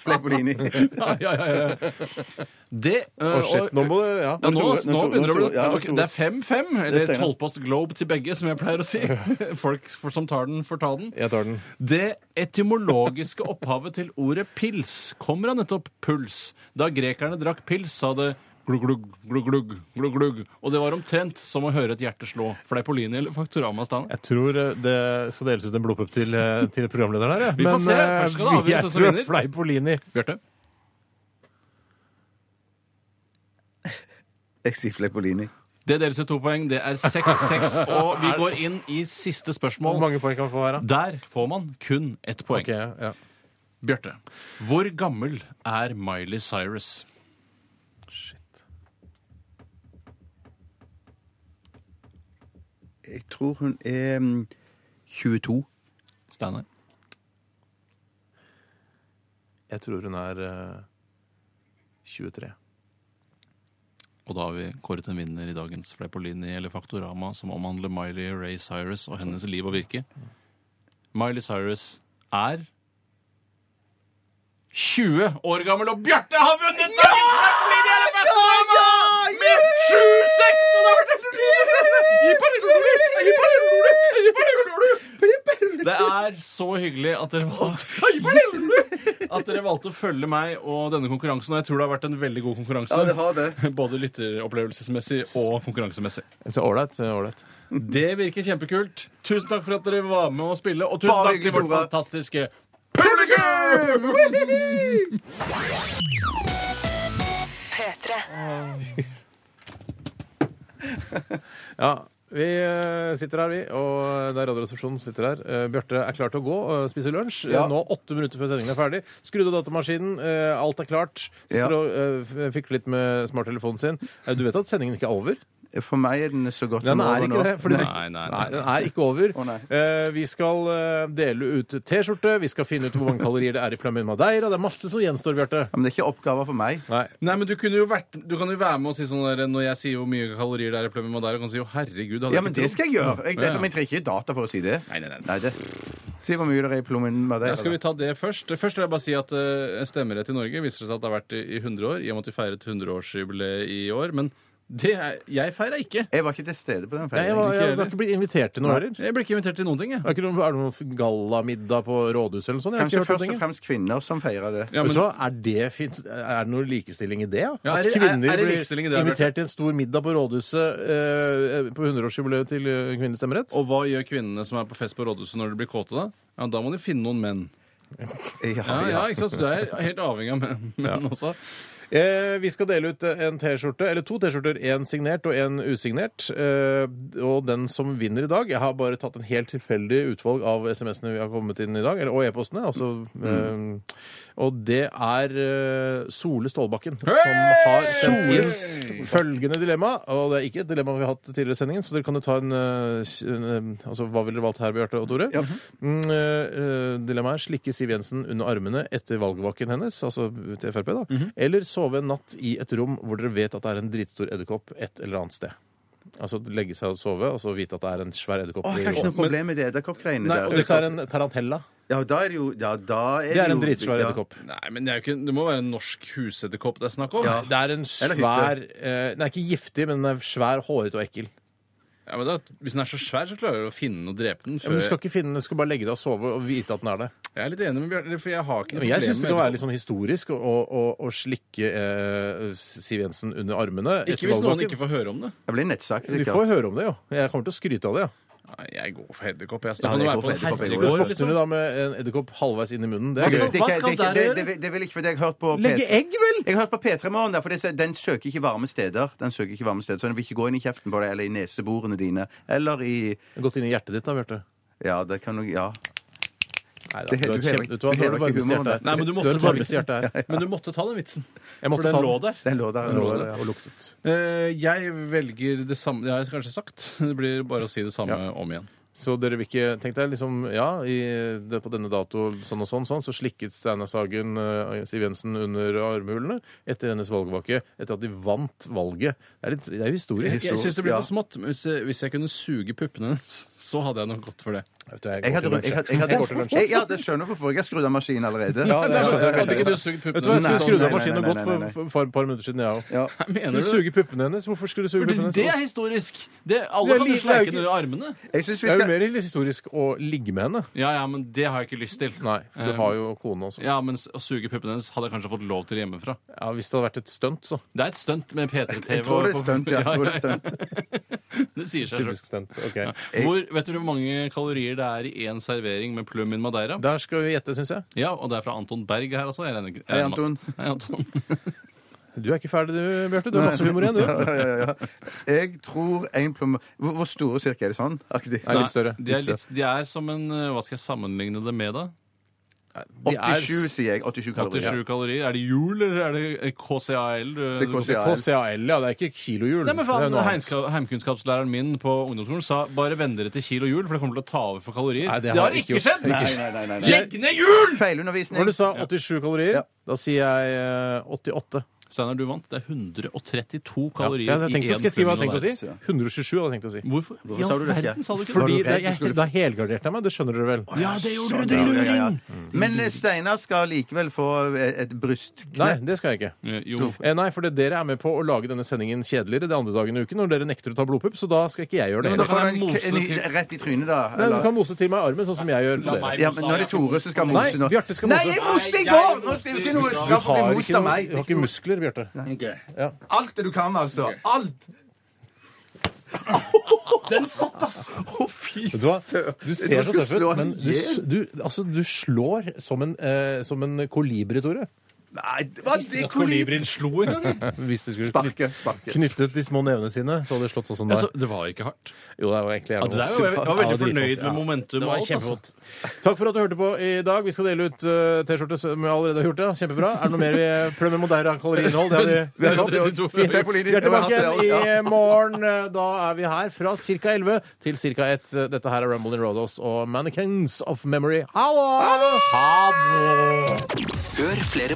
[SPEAKER 3] Fleipolini. Fle, Fleipolini.
[SPEAKER 2] Ja, ja, ja, ja. Det øh,
[SPEAKER 1] Å, shit.
[SPEAKER 2] og-
[SPEAKER 1] Nå må du Ja.
[SPEAKER 2] ja, nå, altså, nå
[SPEAKER 3] to- nå to-
[SPEAKER 2] begynner det å
[SPEAKER 3] nå to-
[SPEAKER 2] bli
[SPEAKER 3] ja, nå
[SPEAKER 2] ok,
[SPEAKER 3] to-
[SPEAKER 2] Det er 5-5, eller
[SPEAKER 3] stemmer.
[SPEAKER 2] tolvpost globe til begge, som jeg pleier å si. Folk for, som tar den, får ta den.
[SPEAKER 1] Jeg tar den.
[SPEAKER 2] Det etymologiske opphavet til ordet pils kommer av nettopp puls. Da grekerne drakk pils, sa det glugg-glugg, glugg-glugg, glugg-glugg. Og det var omtrent som å høre et hjerte slå. Fleipolini eller Faktorama, Steinar?
[SPEAKER 1] Jeg tror eh, det skal deles ut en blodpupp til, eh, til programlederen her. jeg.
[SPEAKER 2] Vi får
[SPEAKER 1] Men,
[SPEAKER 2] se.
[SPEAKER 1] eh,
[SPEAKER 2] Først skal det avgjøres hvem
[SPEAKER 1] jeg
[SPEAKER 2] som
[SPEAKER 1] tror
[SPEAKER 2] vinner.
[SPEAKER 1] Fleipolini.
[SPEAKER 2] Bjarte?
[SPEAKER 3] Jeg sier Fleipolini.
[SPEAKER 2] Det deles ut to poeng. Det er 6-6, og vi går inn i siste
[SPEAKER 1] Hvor
[SPEAKER 2] spørsmål.
[SPEAKER 1] mange poeng kan man få her, da?
[SPEAKER 2] Der får man kun ett poeng.
[SPEAKER 1] Ok, ja.
[SPEAKER 2] Bjarte, hvor gammel er Miley Cyrus?
[SPEAKER 3] Jeg tror hun er mm, 22.
[SPEAKER 2] Steinar?
[SPEAKER 1] Jeg tror hun er eh, 23.
[SPEAKER 2] Og da har vi kåret en vinner i dagens Fleipolini eller Faktorama, som omhandler Miley Ray Cyrus og hennes liv og virke. Miley Cyrus er 20 år gammel, og Bjarte har vunnet dagens Fleipolini eller Faktorama! Med 7-6! Og det har vært helt utrolig! Det er så hyggelig at dere valgte At dere valgte å følge meg og denne konkurransen. Og jeg tror det har vært en veldig god konkurranse.
[SPEAKER 3] har det.
[SPEAKER 2] Både lytteropplevelsesmessig og konkurransemessig.
[SPEAKER 1] Så ålreit. eh, ålreit.
[SPEAKER 2] Det virker kjempekult. Tusen takk for at dere var med å spille, og tusen
[SPEAKER 3] Bare
[SPEAKER 2] takk til vårt
[SPEAKER 3] hyggelig, Tore.
[SPEAKER 2] fantastiske
[SPEAKER 6] P3.
[SPEAKER 1] Ja, vi eh, sitter her, vi. Og det er Radioresepsjonen som sitter her. Eh, Bjarte er klar til å gå og spise lunsj.
[SPEAKER 3] Ja.
[SPEAKER 1] Eh, Nå åtte minutter før sendingen er ferdig. Skrudde datamaskinen. eh, Alt er klart. Sitter
[SPEAKER 3] Ja.
[SPEAKER 1] og eh, f- fikler litt med smarttelefonen sin. Eh, Du vet at sendingen ikke er over?
[SPEAKER 3] For meg er den så godt
[SPEAKER 1] Den
[SPEAKER 3] som
[SPEAKER 1] er
[SPEAKER 3] over
[SPEAKER 1] ikke
[SPEAKER 3] nå.
[SPEAKER 1] det. Fordi
[SPEAKER 2] Nei,
[SPEAKER 1] du-
[SPEAKER 2] nei, nei.
[SPEAKER 1] den er ikke over.
[SPEAKER 3] Å, nei.
[SPEAKER 1] Eh, vi skal eh, dele ut T-skjorte, vi skal finne ut hvor mange kalorier det er i Flamin Madeira. Det er masse som gjenstår, Bjarte.
[SPEAKER 3] Ja, men det er ikke oppgaver for meg.
[SPEAKER 1] Nei.
[SPEAKER 2] Nei, men du, kunne jo vært, du kan jo være med og si sånn der, Når jeg sier hvor mye kalorier det er i Plummy Madeira, kan du si jo herregud hadde
[SPEAKER 3] Ja,
[SPEAKER 2] jeg
[SPEAKER 3] men
[SPEAKER 2] ikke
[SPEAKER 3] det
[SPEAKER 2] trodd».
[SPEAKER 3] skal jeg gjøre. Jeg,
[SPEAKER 2] Ja, ja.
[SPEAKER 3] Men jeg trenger ikke data for å si det.
[SPEAKER 2] Nei, nei, nei.
[SPEAKER 3] Nei, det. Si hvor mye det er i plommen med
[SPEAKER 2] Ja,
[SPEAKER 3] deg.
[SPEAKER 2] skal vi ta det først? Først vil jeg bare si at eh, stemmerett i Norge viser det seg at det har vært i i 100 år, i og med at vi feiret 100-årsjubileet i år. Men det er, jeg feira ikke.
[SPEAKER 3] Jeg var ikke til stede på den
[SPEAKER 1] Nei, jeg,
[SPEAKER 3] feiringen.
[SPEAKER 1] var,
[SPEAKER 2] Ikke
[SPEAKER 1] jeg
[SPEAKER 2] heller.
[SPEAKER 1] har ikke blitt invitert til noe heller.
[SPEAKER 2] Jeg ble ikke invitert til noen ting, jeg.
[SPEAKER 1] Er det ikke noe, er det noe gallamiddag på rådhuset eller noe sånt? Jeg har ikke hørt
[SPEAKER 3] Kanskje
[SPEAKER 1] noe
[SPEAKER 3] først og
[SPEAKER 1] ting.
[SPEAKER 3] fremst kvinner som feirer det.
[SPEAKER 2] Ja,
[SPEAKER 1] Vet
[SPEAKER 2] men,
[SPEAKER 1] du hva? Er det, fins- er det noe likestilling i det? Ja?
[SPEAKER 2] Ja, er
[SPEAKER 1] At
[SPEAKER 2] det-
[SPEAKER 1] kvinner
[SPEAKER 2] er- er det likestilling i
[SPEAKER 1] blir
[SPEAKER 2] det, Bjarte?
[SPEAKER 1] invitert til en stor middag på rådhuset eh, på 100-årsjubileet til eh, kvinnelig stemmerett?
[SPEAKER 2] og hva gjør kvinnene som er på fest på rådhuset når de blir kåte, da? Ja, da må de finne noen menn.
[SPEAKER 3] Ja,
[SPEAKER 2] Ja,
[SPEAKER 3] ja.
[SPEAKER 2] ja, ikke sant? Så du er helt avhengig av menn, menn også.
[SPEAKER 1] Eh, vi skal dele ut en T-skjorte, eller to T-skjorter. Én signert og én usignert. Eh, og den som vinner i dag Jeg har bare tatt en helt tilfeldig utvalg av SMS-ene vi har kommet inn i dag, eller, og e-postene. Altså, eh, og det er eh, Sole Stålbakken som har sendt inn følgende dilemma. Og det er ikke et dilemma vi har hatt tidligere i sendingen, så dere kan jo ta en, eh, en eh, Altså, hva ville dere valgt her, Bjarte og Tore? Mm, eh, dilemmaet er slikke Siv Jensen under armene etter valgvaken hennes, altså til Frp, da, eller sove en natt i et rom hvor dere vet at det er en dritstor edderkopp et eller annet sted. Altså legge seg og sove, og så vite at det er en svær edderkopp.
[SPEAKER 3] Å,
[SPEAKER 1] i
[SPEAKER 3] jeg har ikke
[SPEAKER 1] rommet.
[SPEAKER 3] noe problem med det edderkoppgreiene
[SPEAKER 2] Nei, og
[SPEAKER 3] der.
[SPEAKER 1] Hvis det er en tarantella,
[SPEAKER 3] Ja, da er det jo ja, da er
[SPEAKER 1] det er en
[SPEAKER 3] jo-
[SPEAKER 1] dritsvær
[SPEAKER 3] ja.
[SPEAKER 1] edderkopp.
[SPEAKER 2] Nei, men det, er jo ikke, det må være en norsk husedderkopp det er snakk om.
[SPEAKER 3] Ja.
[SPEAKER 1] Det er en
[SPEAKER 3] Eller
[SPEAKER 1] svær eh, Den er ikke giftig, men den er svær, hårete og ekkel.
[SPEAKER 2] Ja, men da, hvis den er så svær, så klarer du å finne den og drepe den.
[SPEAKER 1] Ja,
[SPEAKER 2] Før...
[SPEAKER 1] men du skal ikke finne den, du skal bare legge deg og sove og vite at den er der.
[SPEAKER 2] Jeg er litt enig med Bjarte, for jeg har ikke
[SPEAKER 1] Men jeg syns det kan være litt sånn historisk å, å, å slikke eh, Siv Jensen under armene. etter
[SPEAKER 2] Ikke hvis noen
[SPEAKER 1] valgvaken.
[SPEAKER 2] ikke får høre om det.
[SPEAKER 3] Det blir nettsak.
[SPEAKER 1] Vi
[SPEAKER 3] sikkert.
[SPEAKER 1] får høre om det, jo. Jeg kommer til å skryte av det. ja.
[SPEAKER 2] Nei, jeg går for edderkopp. Jeg
[SPEAKER 3] Ja,
[SPEAKER 2] står
[SPEAKER 3] jeg
[SPEAKER 2] ja,
[SPEAKER 3] går
[SPEAKER 2] på
[SPEAKER 3] for edderkopp, jeg går
[SPEAKER 2] herregård,
[SPEAKER 3] for
[SPEAKER 1] Våkner
[SPEAKER 2] liksom.
[SPEAKER 1] du da med en edderkopp halvveis inn i munnen? Det
[SPEAKER 2] Hva
[SPEAKER 1] er
[SPEAKER 2] skal-
[SPEAKER 1] gøy.
[SPEAKER 3] Det- det-
[SPEAKER 2] hva skal
[SPEAKER 3] det- det-
[SPEAKER 2] der
[SPEAKER 3] det-
[SPEAKER 2] gjøre?
[SPEAKER 3] det- det- Det vil ikke, for det har jeg hørt på
[SPEAKER 1] Legge
[SPEAKER 3] P3.
[SPEAKER 1] egg, vel?
[SPEAKER 3] Jeg har hørt på P3-morgen, der, for det, den søker ikke varme steder. Den søker ikke varme steder, Så den vil ikke gå inn i kjeften på deg, eller i neseborene dine, eller i
[SPEAKER 1] Gått inn i hjertet ditt, da, Bjarte?
[SPEAKER 3] Ja, det kan nok Ja.
[SPEAKER 1] Nei da,
[SPEAKER 3] Det
[SPEAKER 1] du
[SPEAKER 3] heter-
[SPEAKER 1] har
[SPEAKER 3] du hever-
[SPEAKER 1] kjempe- vet du hva,
[SPEAKER 3] du
[SPEAKER 1] du har
[SPEAKER 3] hever
[SPEAKER 1] det
[SPEAKER 3] ikke
[SPEAKER 1] varmeste
[SPEAKER 3] humoren
[SPEAKER 1] hjertet her.
[SPEAKER 2] Nei, men du måtte
[SPEAKER 1] har det
[SPEAKER 2] ta
[SPEAKER 1] varmeste
[SPEAKER 2] vitsen.
[SPEAKER 1] hjertet her.
[SPEAKER 2] Men du måtte ta den vitsen.
[SPEAKER 1] Jeg
[SPEAKER 2] For
[SPEAKER 1] måtte
[SPEAKER 2] den
[SPEAKER 1] ta
[SPEAKER 2] lå
[SPEAKER 1] den.
[SPEAKER 2] der.
[SPEAKER 3] Den lå der. Den lå der, ja.
[SPEAKER 1] Og luktet.
[SPEAKER 2] Eh, jeg velger det samme Det har jeg kanskje sagt. Det blir bare å si det samme om igjen.
[SPEAKER 1] Så dere vil ikke Tenk deg liksom Ja, i, det, på denne dato sånn og sånn, sånn så slikket Steinar Sagen eh, Siv Jensen under armhulene etter hennes valgvake, etter at de vant valget. Det er litt det er jo historisk.
[SPEAKER 2] Jeg syns det blir
[SPEAKER 3] ja.
[SPEAKER 2] for smått. Men hvis, jeg- hvis jeg kunne suge puppene hennes, så hadde jeg nok gått for det.
[SPEAKER 1] Vet du, jeg
[SPEAKER 3] Jeg
[SPEAKER 1] går
[SPEAKER 3] hadde,
[SPEAKER 1] til lunsj,
[SPEAKER 3] jeg hadde,
[SPEAKER 1] jeg.
[SPEAKER 3] jeg hadde,
[SPEAKER 1] Jeg går til lunsj.
[SPEAKER 3] jeg, ja, det skjønner hvorfor jeg har skrudd av maskinen allerede.
[SPEAKER 1] Ja, det skjønner jeg
[SPEAKER 2] Hadde
[SPEAKER 1] veldig
[SPEAKER 2] ikke du
[SPEAKER 1] godt.
[SPEAKER 2] sugd
[SPEAKER 1] Vet du hva,
[SPEAKER 2] puppene
[SPEAKER 1] jeg skulle
[SPEAKER 3] Nei,
[SPEAKER 1] skrudd av
[SPEAKER 3] nei, nei,
[SPEAKER 1] maskinen og
[SPEAKER 3] nei,
[SPEAKER 1] gått
[SPEAKER 3] nei,
[SPEAKER 1] for,
[SPEAKER 3] nei.
[SPEAKER 1] for, et par minutter siden, jeg òg.
[SPEAKER 3] Ja.
[SPEAKER 2] Mener
[SPEAKER 1] Du
[SPEAKER 2] du
[SPEAKER 1] suger puppene hennes. Hvorfor skulle du suge puppene hennes?
[SPEAKER 2] Det er historisk! Det, alle
[SPEAKER 1] Det er
[SPEAKER 2] kan jo
[SPEAKER 1] li- det er
[SPEAKER 2] sleike
[SPEAKER 1] jo
[SPEAKER 2] under armene.
[SPEAKER 3] Jeg synes vi
[SPEAKER 1] Det er jo
[SPEAKER 3] skal...
[SPEAKER 1] mer historisk å ligge med henne.
[SPEAKER 2] Ja, ja, men det har jeg ikke lyst til.
[SPEAKER 1] Nei, for du
[SPEAKER 2] Eh,
[SPEAKER 1] har jo kone også.
[SPEAKER 2] Ja, men s- å suge puppene hennes hadde jeg kanskje fått lov til hjemmefra.
[SPEAKER 1] Ja, Hvis det hadde vært et stunt, så.
[SPEAKER 2] Det er et stunt med P3-TV.
[SPEAKER 3] Jeg tror det er stunt, ja. Jeg tror det er stunt.
[SPEAKER 2] Det sier seg selv.
[SPEAKER 1] Typisk stunt. Ok.
[SPEAKER 2] Hvor, vet du hvor mange kalorier det er i én servering med plum in madeira?
[SPEAKER 1] Der skal vi gjette, syns jeg.
[SPEAKER 2] Ja, og det er fra Anton Berg her, altså. Jeg regner ikke-
[SPEAKER 3] Hei, Anton.
[SPEAKER 2] Hei, Anton.
[SPEAKER 1] Du er ikke ferdig, du, Bjarte. Du har masse humor igjen, du.
[SPEAKER 3] Ja, ja, ja, ja. Jeg tror en plomme... Hvor, hvor store cirka er det sånn? Aktig.
[SPEAKER 1] Nei, litt større.
[SPEAKER 2] De er,
[SPEAKER 1] Litt
[SPEAKER 2] litt, de er som en eh, Hva skal jeg sammenligne det med, da?
[SPEAKER 1] De er
[SPEAKER 3] 87, sier jeg. 87 kalorier.
[SPEAKER 2] 87 kalorier. Er det jul, eller er det eh, KCAL? du-
[SPEAKER 3] Det er KCAL.
[SPEAKER 1] KCAL, ja. Det er ikke kilohjul.
[SPEAKER 2] Nei, men
[SPEAKER 1] Det
[SPEAKER 2] faen,
[SPEAKER 1] er noe annet.
[SPEAKER 2] heimska- Heimkunnskapslæreren min på ungdomsskolen sa bare vend dere til kilo hjul, for det kommer til å ta over for kalorier.
[SPEAKER 1] Nei, det har ikke gjort.
[SPEAKER 2] skjedd!
[SPEAKER 3] Nei, nei, nei, nei, nei.
[SPEAKER 2] Legg ned hjul!
[SPEAKER 3] Feilundervisning.
[SPEAKER 1] Når du sa 87 kalorier,
[SPEAKER 3] Ja.
[SPEAKER 1] da sier jeg eh, 88.
[SPEAKER 2] Steinar, du vant. Det er 132
[SPEAKER 1] Ja,
[SPEAKER 2] kalorier
[SPEAKER 1] jeg tenkte,
[SPEAKER 2] i én
[SPEAKER 1] skal jeg si hva jeg
[SPEAKER 2] pund
[SPEAKER 1] tenkte å si?
[SPEAKER 2] og der.
[SPEAKER 1] 127 hadde jeg tenkt å si.
[SPEAKER 2] Hvorfor?
[SPEAKER 3] Hvorfor sa du det ikke?
[SPEAKER 2] verden sa du
[SPEAKER 1] Fordi
[SPEAKER 2] ikke
[SPEAKER 3] du
[SPEAKER 1] det,
[SPEAKER 3] redd du
[SPEAKER 1] jeg,
[SPEAKER 3] skulle-
[SPEAKER 1] da helgarderte jeg meg. Det skjønner dere vel?
[SPEAKER 2] Ja, det gjorde
[SPEAKER 1] Sånn,
[SPEAKER 2] du,
[SPEAKER 3] Ja, ja, ja, ja.
[SPEAKER 1] Mm,
[SPEAKER 3] Men eh, Steinar skal likevel få eh, et et brystknekk.
[SPEAKER 1] Nei, det skal jeg ikke.
[SPEAKER 2] Jo.
[SPEAKER 1] Eh, Nei, for det, dere er med på å lage denne sendingen kjedeligere de andre dagene i uken når dere nekter å ta blodpupp, så da skal ikke jeg gjøre det.
[SPEAKER 2] Ja, men
[SPEAKER 1] heller.
[SPEAKER 3] Da får
[SPEAKER 2] kan
[SPEAKER 3] han
[SPEAKER 2] jeg mose
[SPEAKER 3] en-
[SPEAKER 2] til-
[SPEAKER 3] rett i trynet, da.
[SPEAKER 1] Nei,
[SPEAKER 3] eller-
[SPEAKER 1] du kan mose til meg i armen, sånn som jeg gjør til dere.
[SPEAKER 3] Ja, men nå er det Tore som skal mose
[SPEAKER 1] Nei,
[SPEAKER 3] nå.
[SPEAKER 1] Bjarte skal mose.
[SPEAKER 3] Nei, jeg moste i
[SPEAKER 7] Nei,
[SPEAKER 3] går!
[SPEAKER 7] jeg
[SPEAKER 3] Nå skal du ikke
[SPEAKER 7] moser.
[SPEAKER 3] noe
[SPEAKER 1] Du
[SPEAKER 3] straff å bli
[SPEAKER 1] har
[SPEAKER 3] most
[SPEAKER 1] ikke,
[SPEAKER 3] av
[SPEAKER 1] noe,
[SPEAKER 3] meg.
[SPEAKER 1] du har ikke muskler, Bjarte.
[SPEAKER 3] Alt det du kan, altså. Alt!
[SPEAKER 7] Den satt, ass!
[SPEAKER 3] Å, fy
[SPEAKER 1] Vet du hva?
[SPEAKER 3] søren.
[SPEAKER 1] Du
[SPEAKER 3] Jeg tror
[SPEAKER 1] ser
[SPEAKER 3] jeg
[SPEAKER 1] så tøff
[SPEAKER 3] skulle
[SPEAKER 1] ut,
[SPEAKER 3] slå han
[SPEAKER 1] men du, s- du, altså, du slår som en, eh, som en kolibri, Tore.
[SPEAKER 3] Nei, hva det er kolibri.
[SPEAKER 2] Kolibrien slo en gang.
[SPEAKER 1] Hvis de skulle
[SPEAKER 3] Sparke,
[SPEAKER 1] knytt-
[SPEAKER 3] sparke.
[SPEAKER 1] knyttet de små nevene sine, så hadde det slått sånn som der.
[SPEAKER 2] det var ikke hardt.
[SPEAKER 1] Jo, det var egentlig
[SPEAKER 2] Ja,
[SPEAKER 1] jævlig
[SPEAKER 2] det
[SPEAKER 1] vondt.
[SPEAKER 2] der var, jeg var veldig
[SPEAKER 1] Ja, det var
[SPEAKER 2] fornøyd
[SPEAKER 1] dritvondt,
[SPEAKER 2] med
[SPEAKER 1] ja.
[SPEAKER 2] momentum.
[SPEAKER 1] Det
[SPEAKER 2] og
[SPEAKER 1] var
[SPEAKER 2] alt, altså.
[SPEAKER 1] kjempevondt. Takk for at du hørte på i dag. Vi skal dele ut eh, T-skjorte som vi allerede har gjort. Ja. Kjempebra. Er det noe mer vi eh, plømmer Modeira kaloriinnhold? Det har vi.
[SPEAKER 3] Vi har hatt det også.
[SPEAKER 2] Vi
[SPEAKER 3] er på
[SPEAKER 1] Vi
[SPEAKER 3] linje.
[SPEAKER 1] er tilbake
[SPEAKER 3] Vi har hatt det også,
[SPEAKER 1] igjen
[SPEAKER 3] ja.
[SPEAKER 1] i morgen. Da er vi her fra ca. 11 til ca. 1. Dette her er Rumble in Rodos og Mannequins of Memory. Hallo!
[SPEAKER 4] Hør flere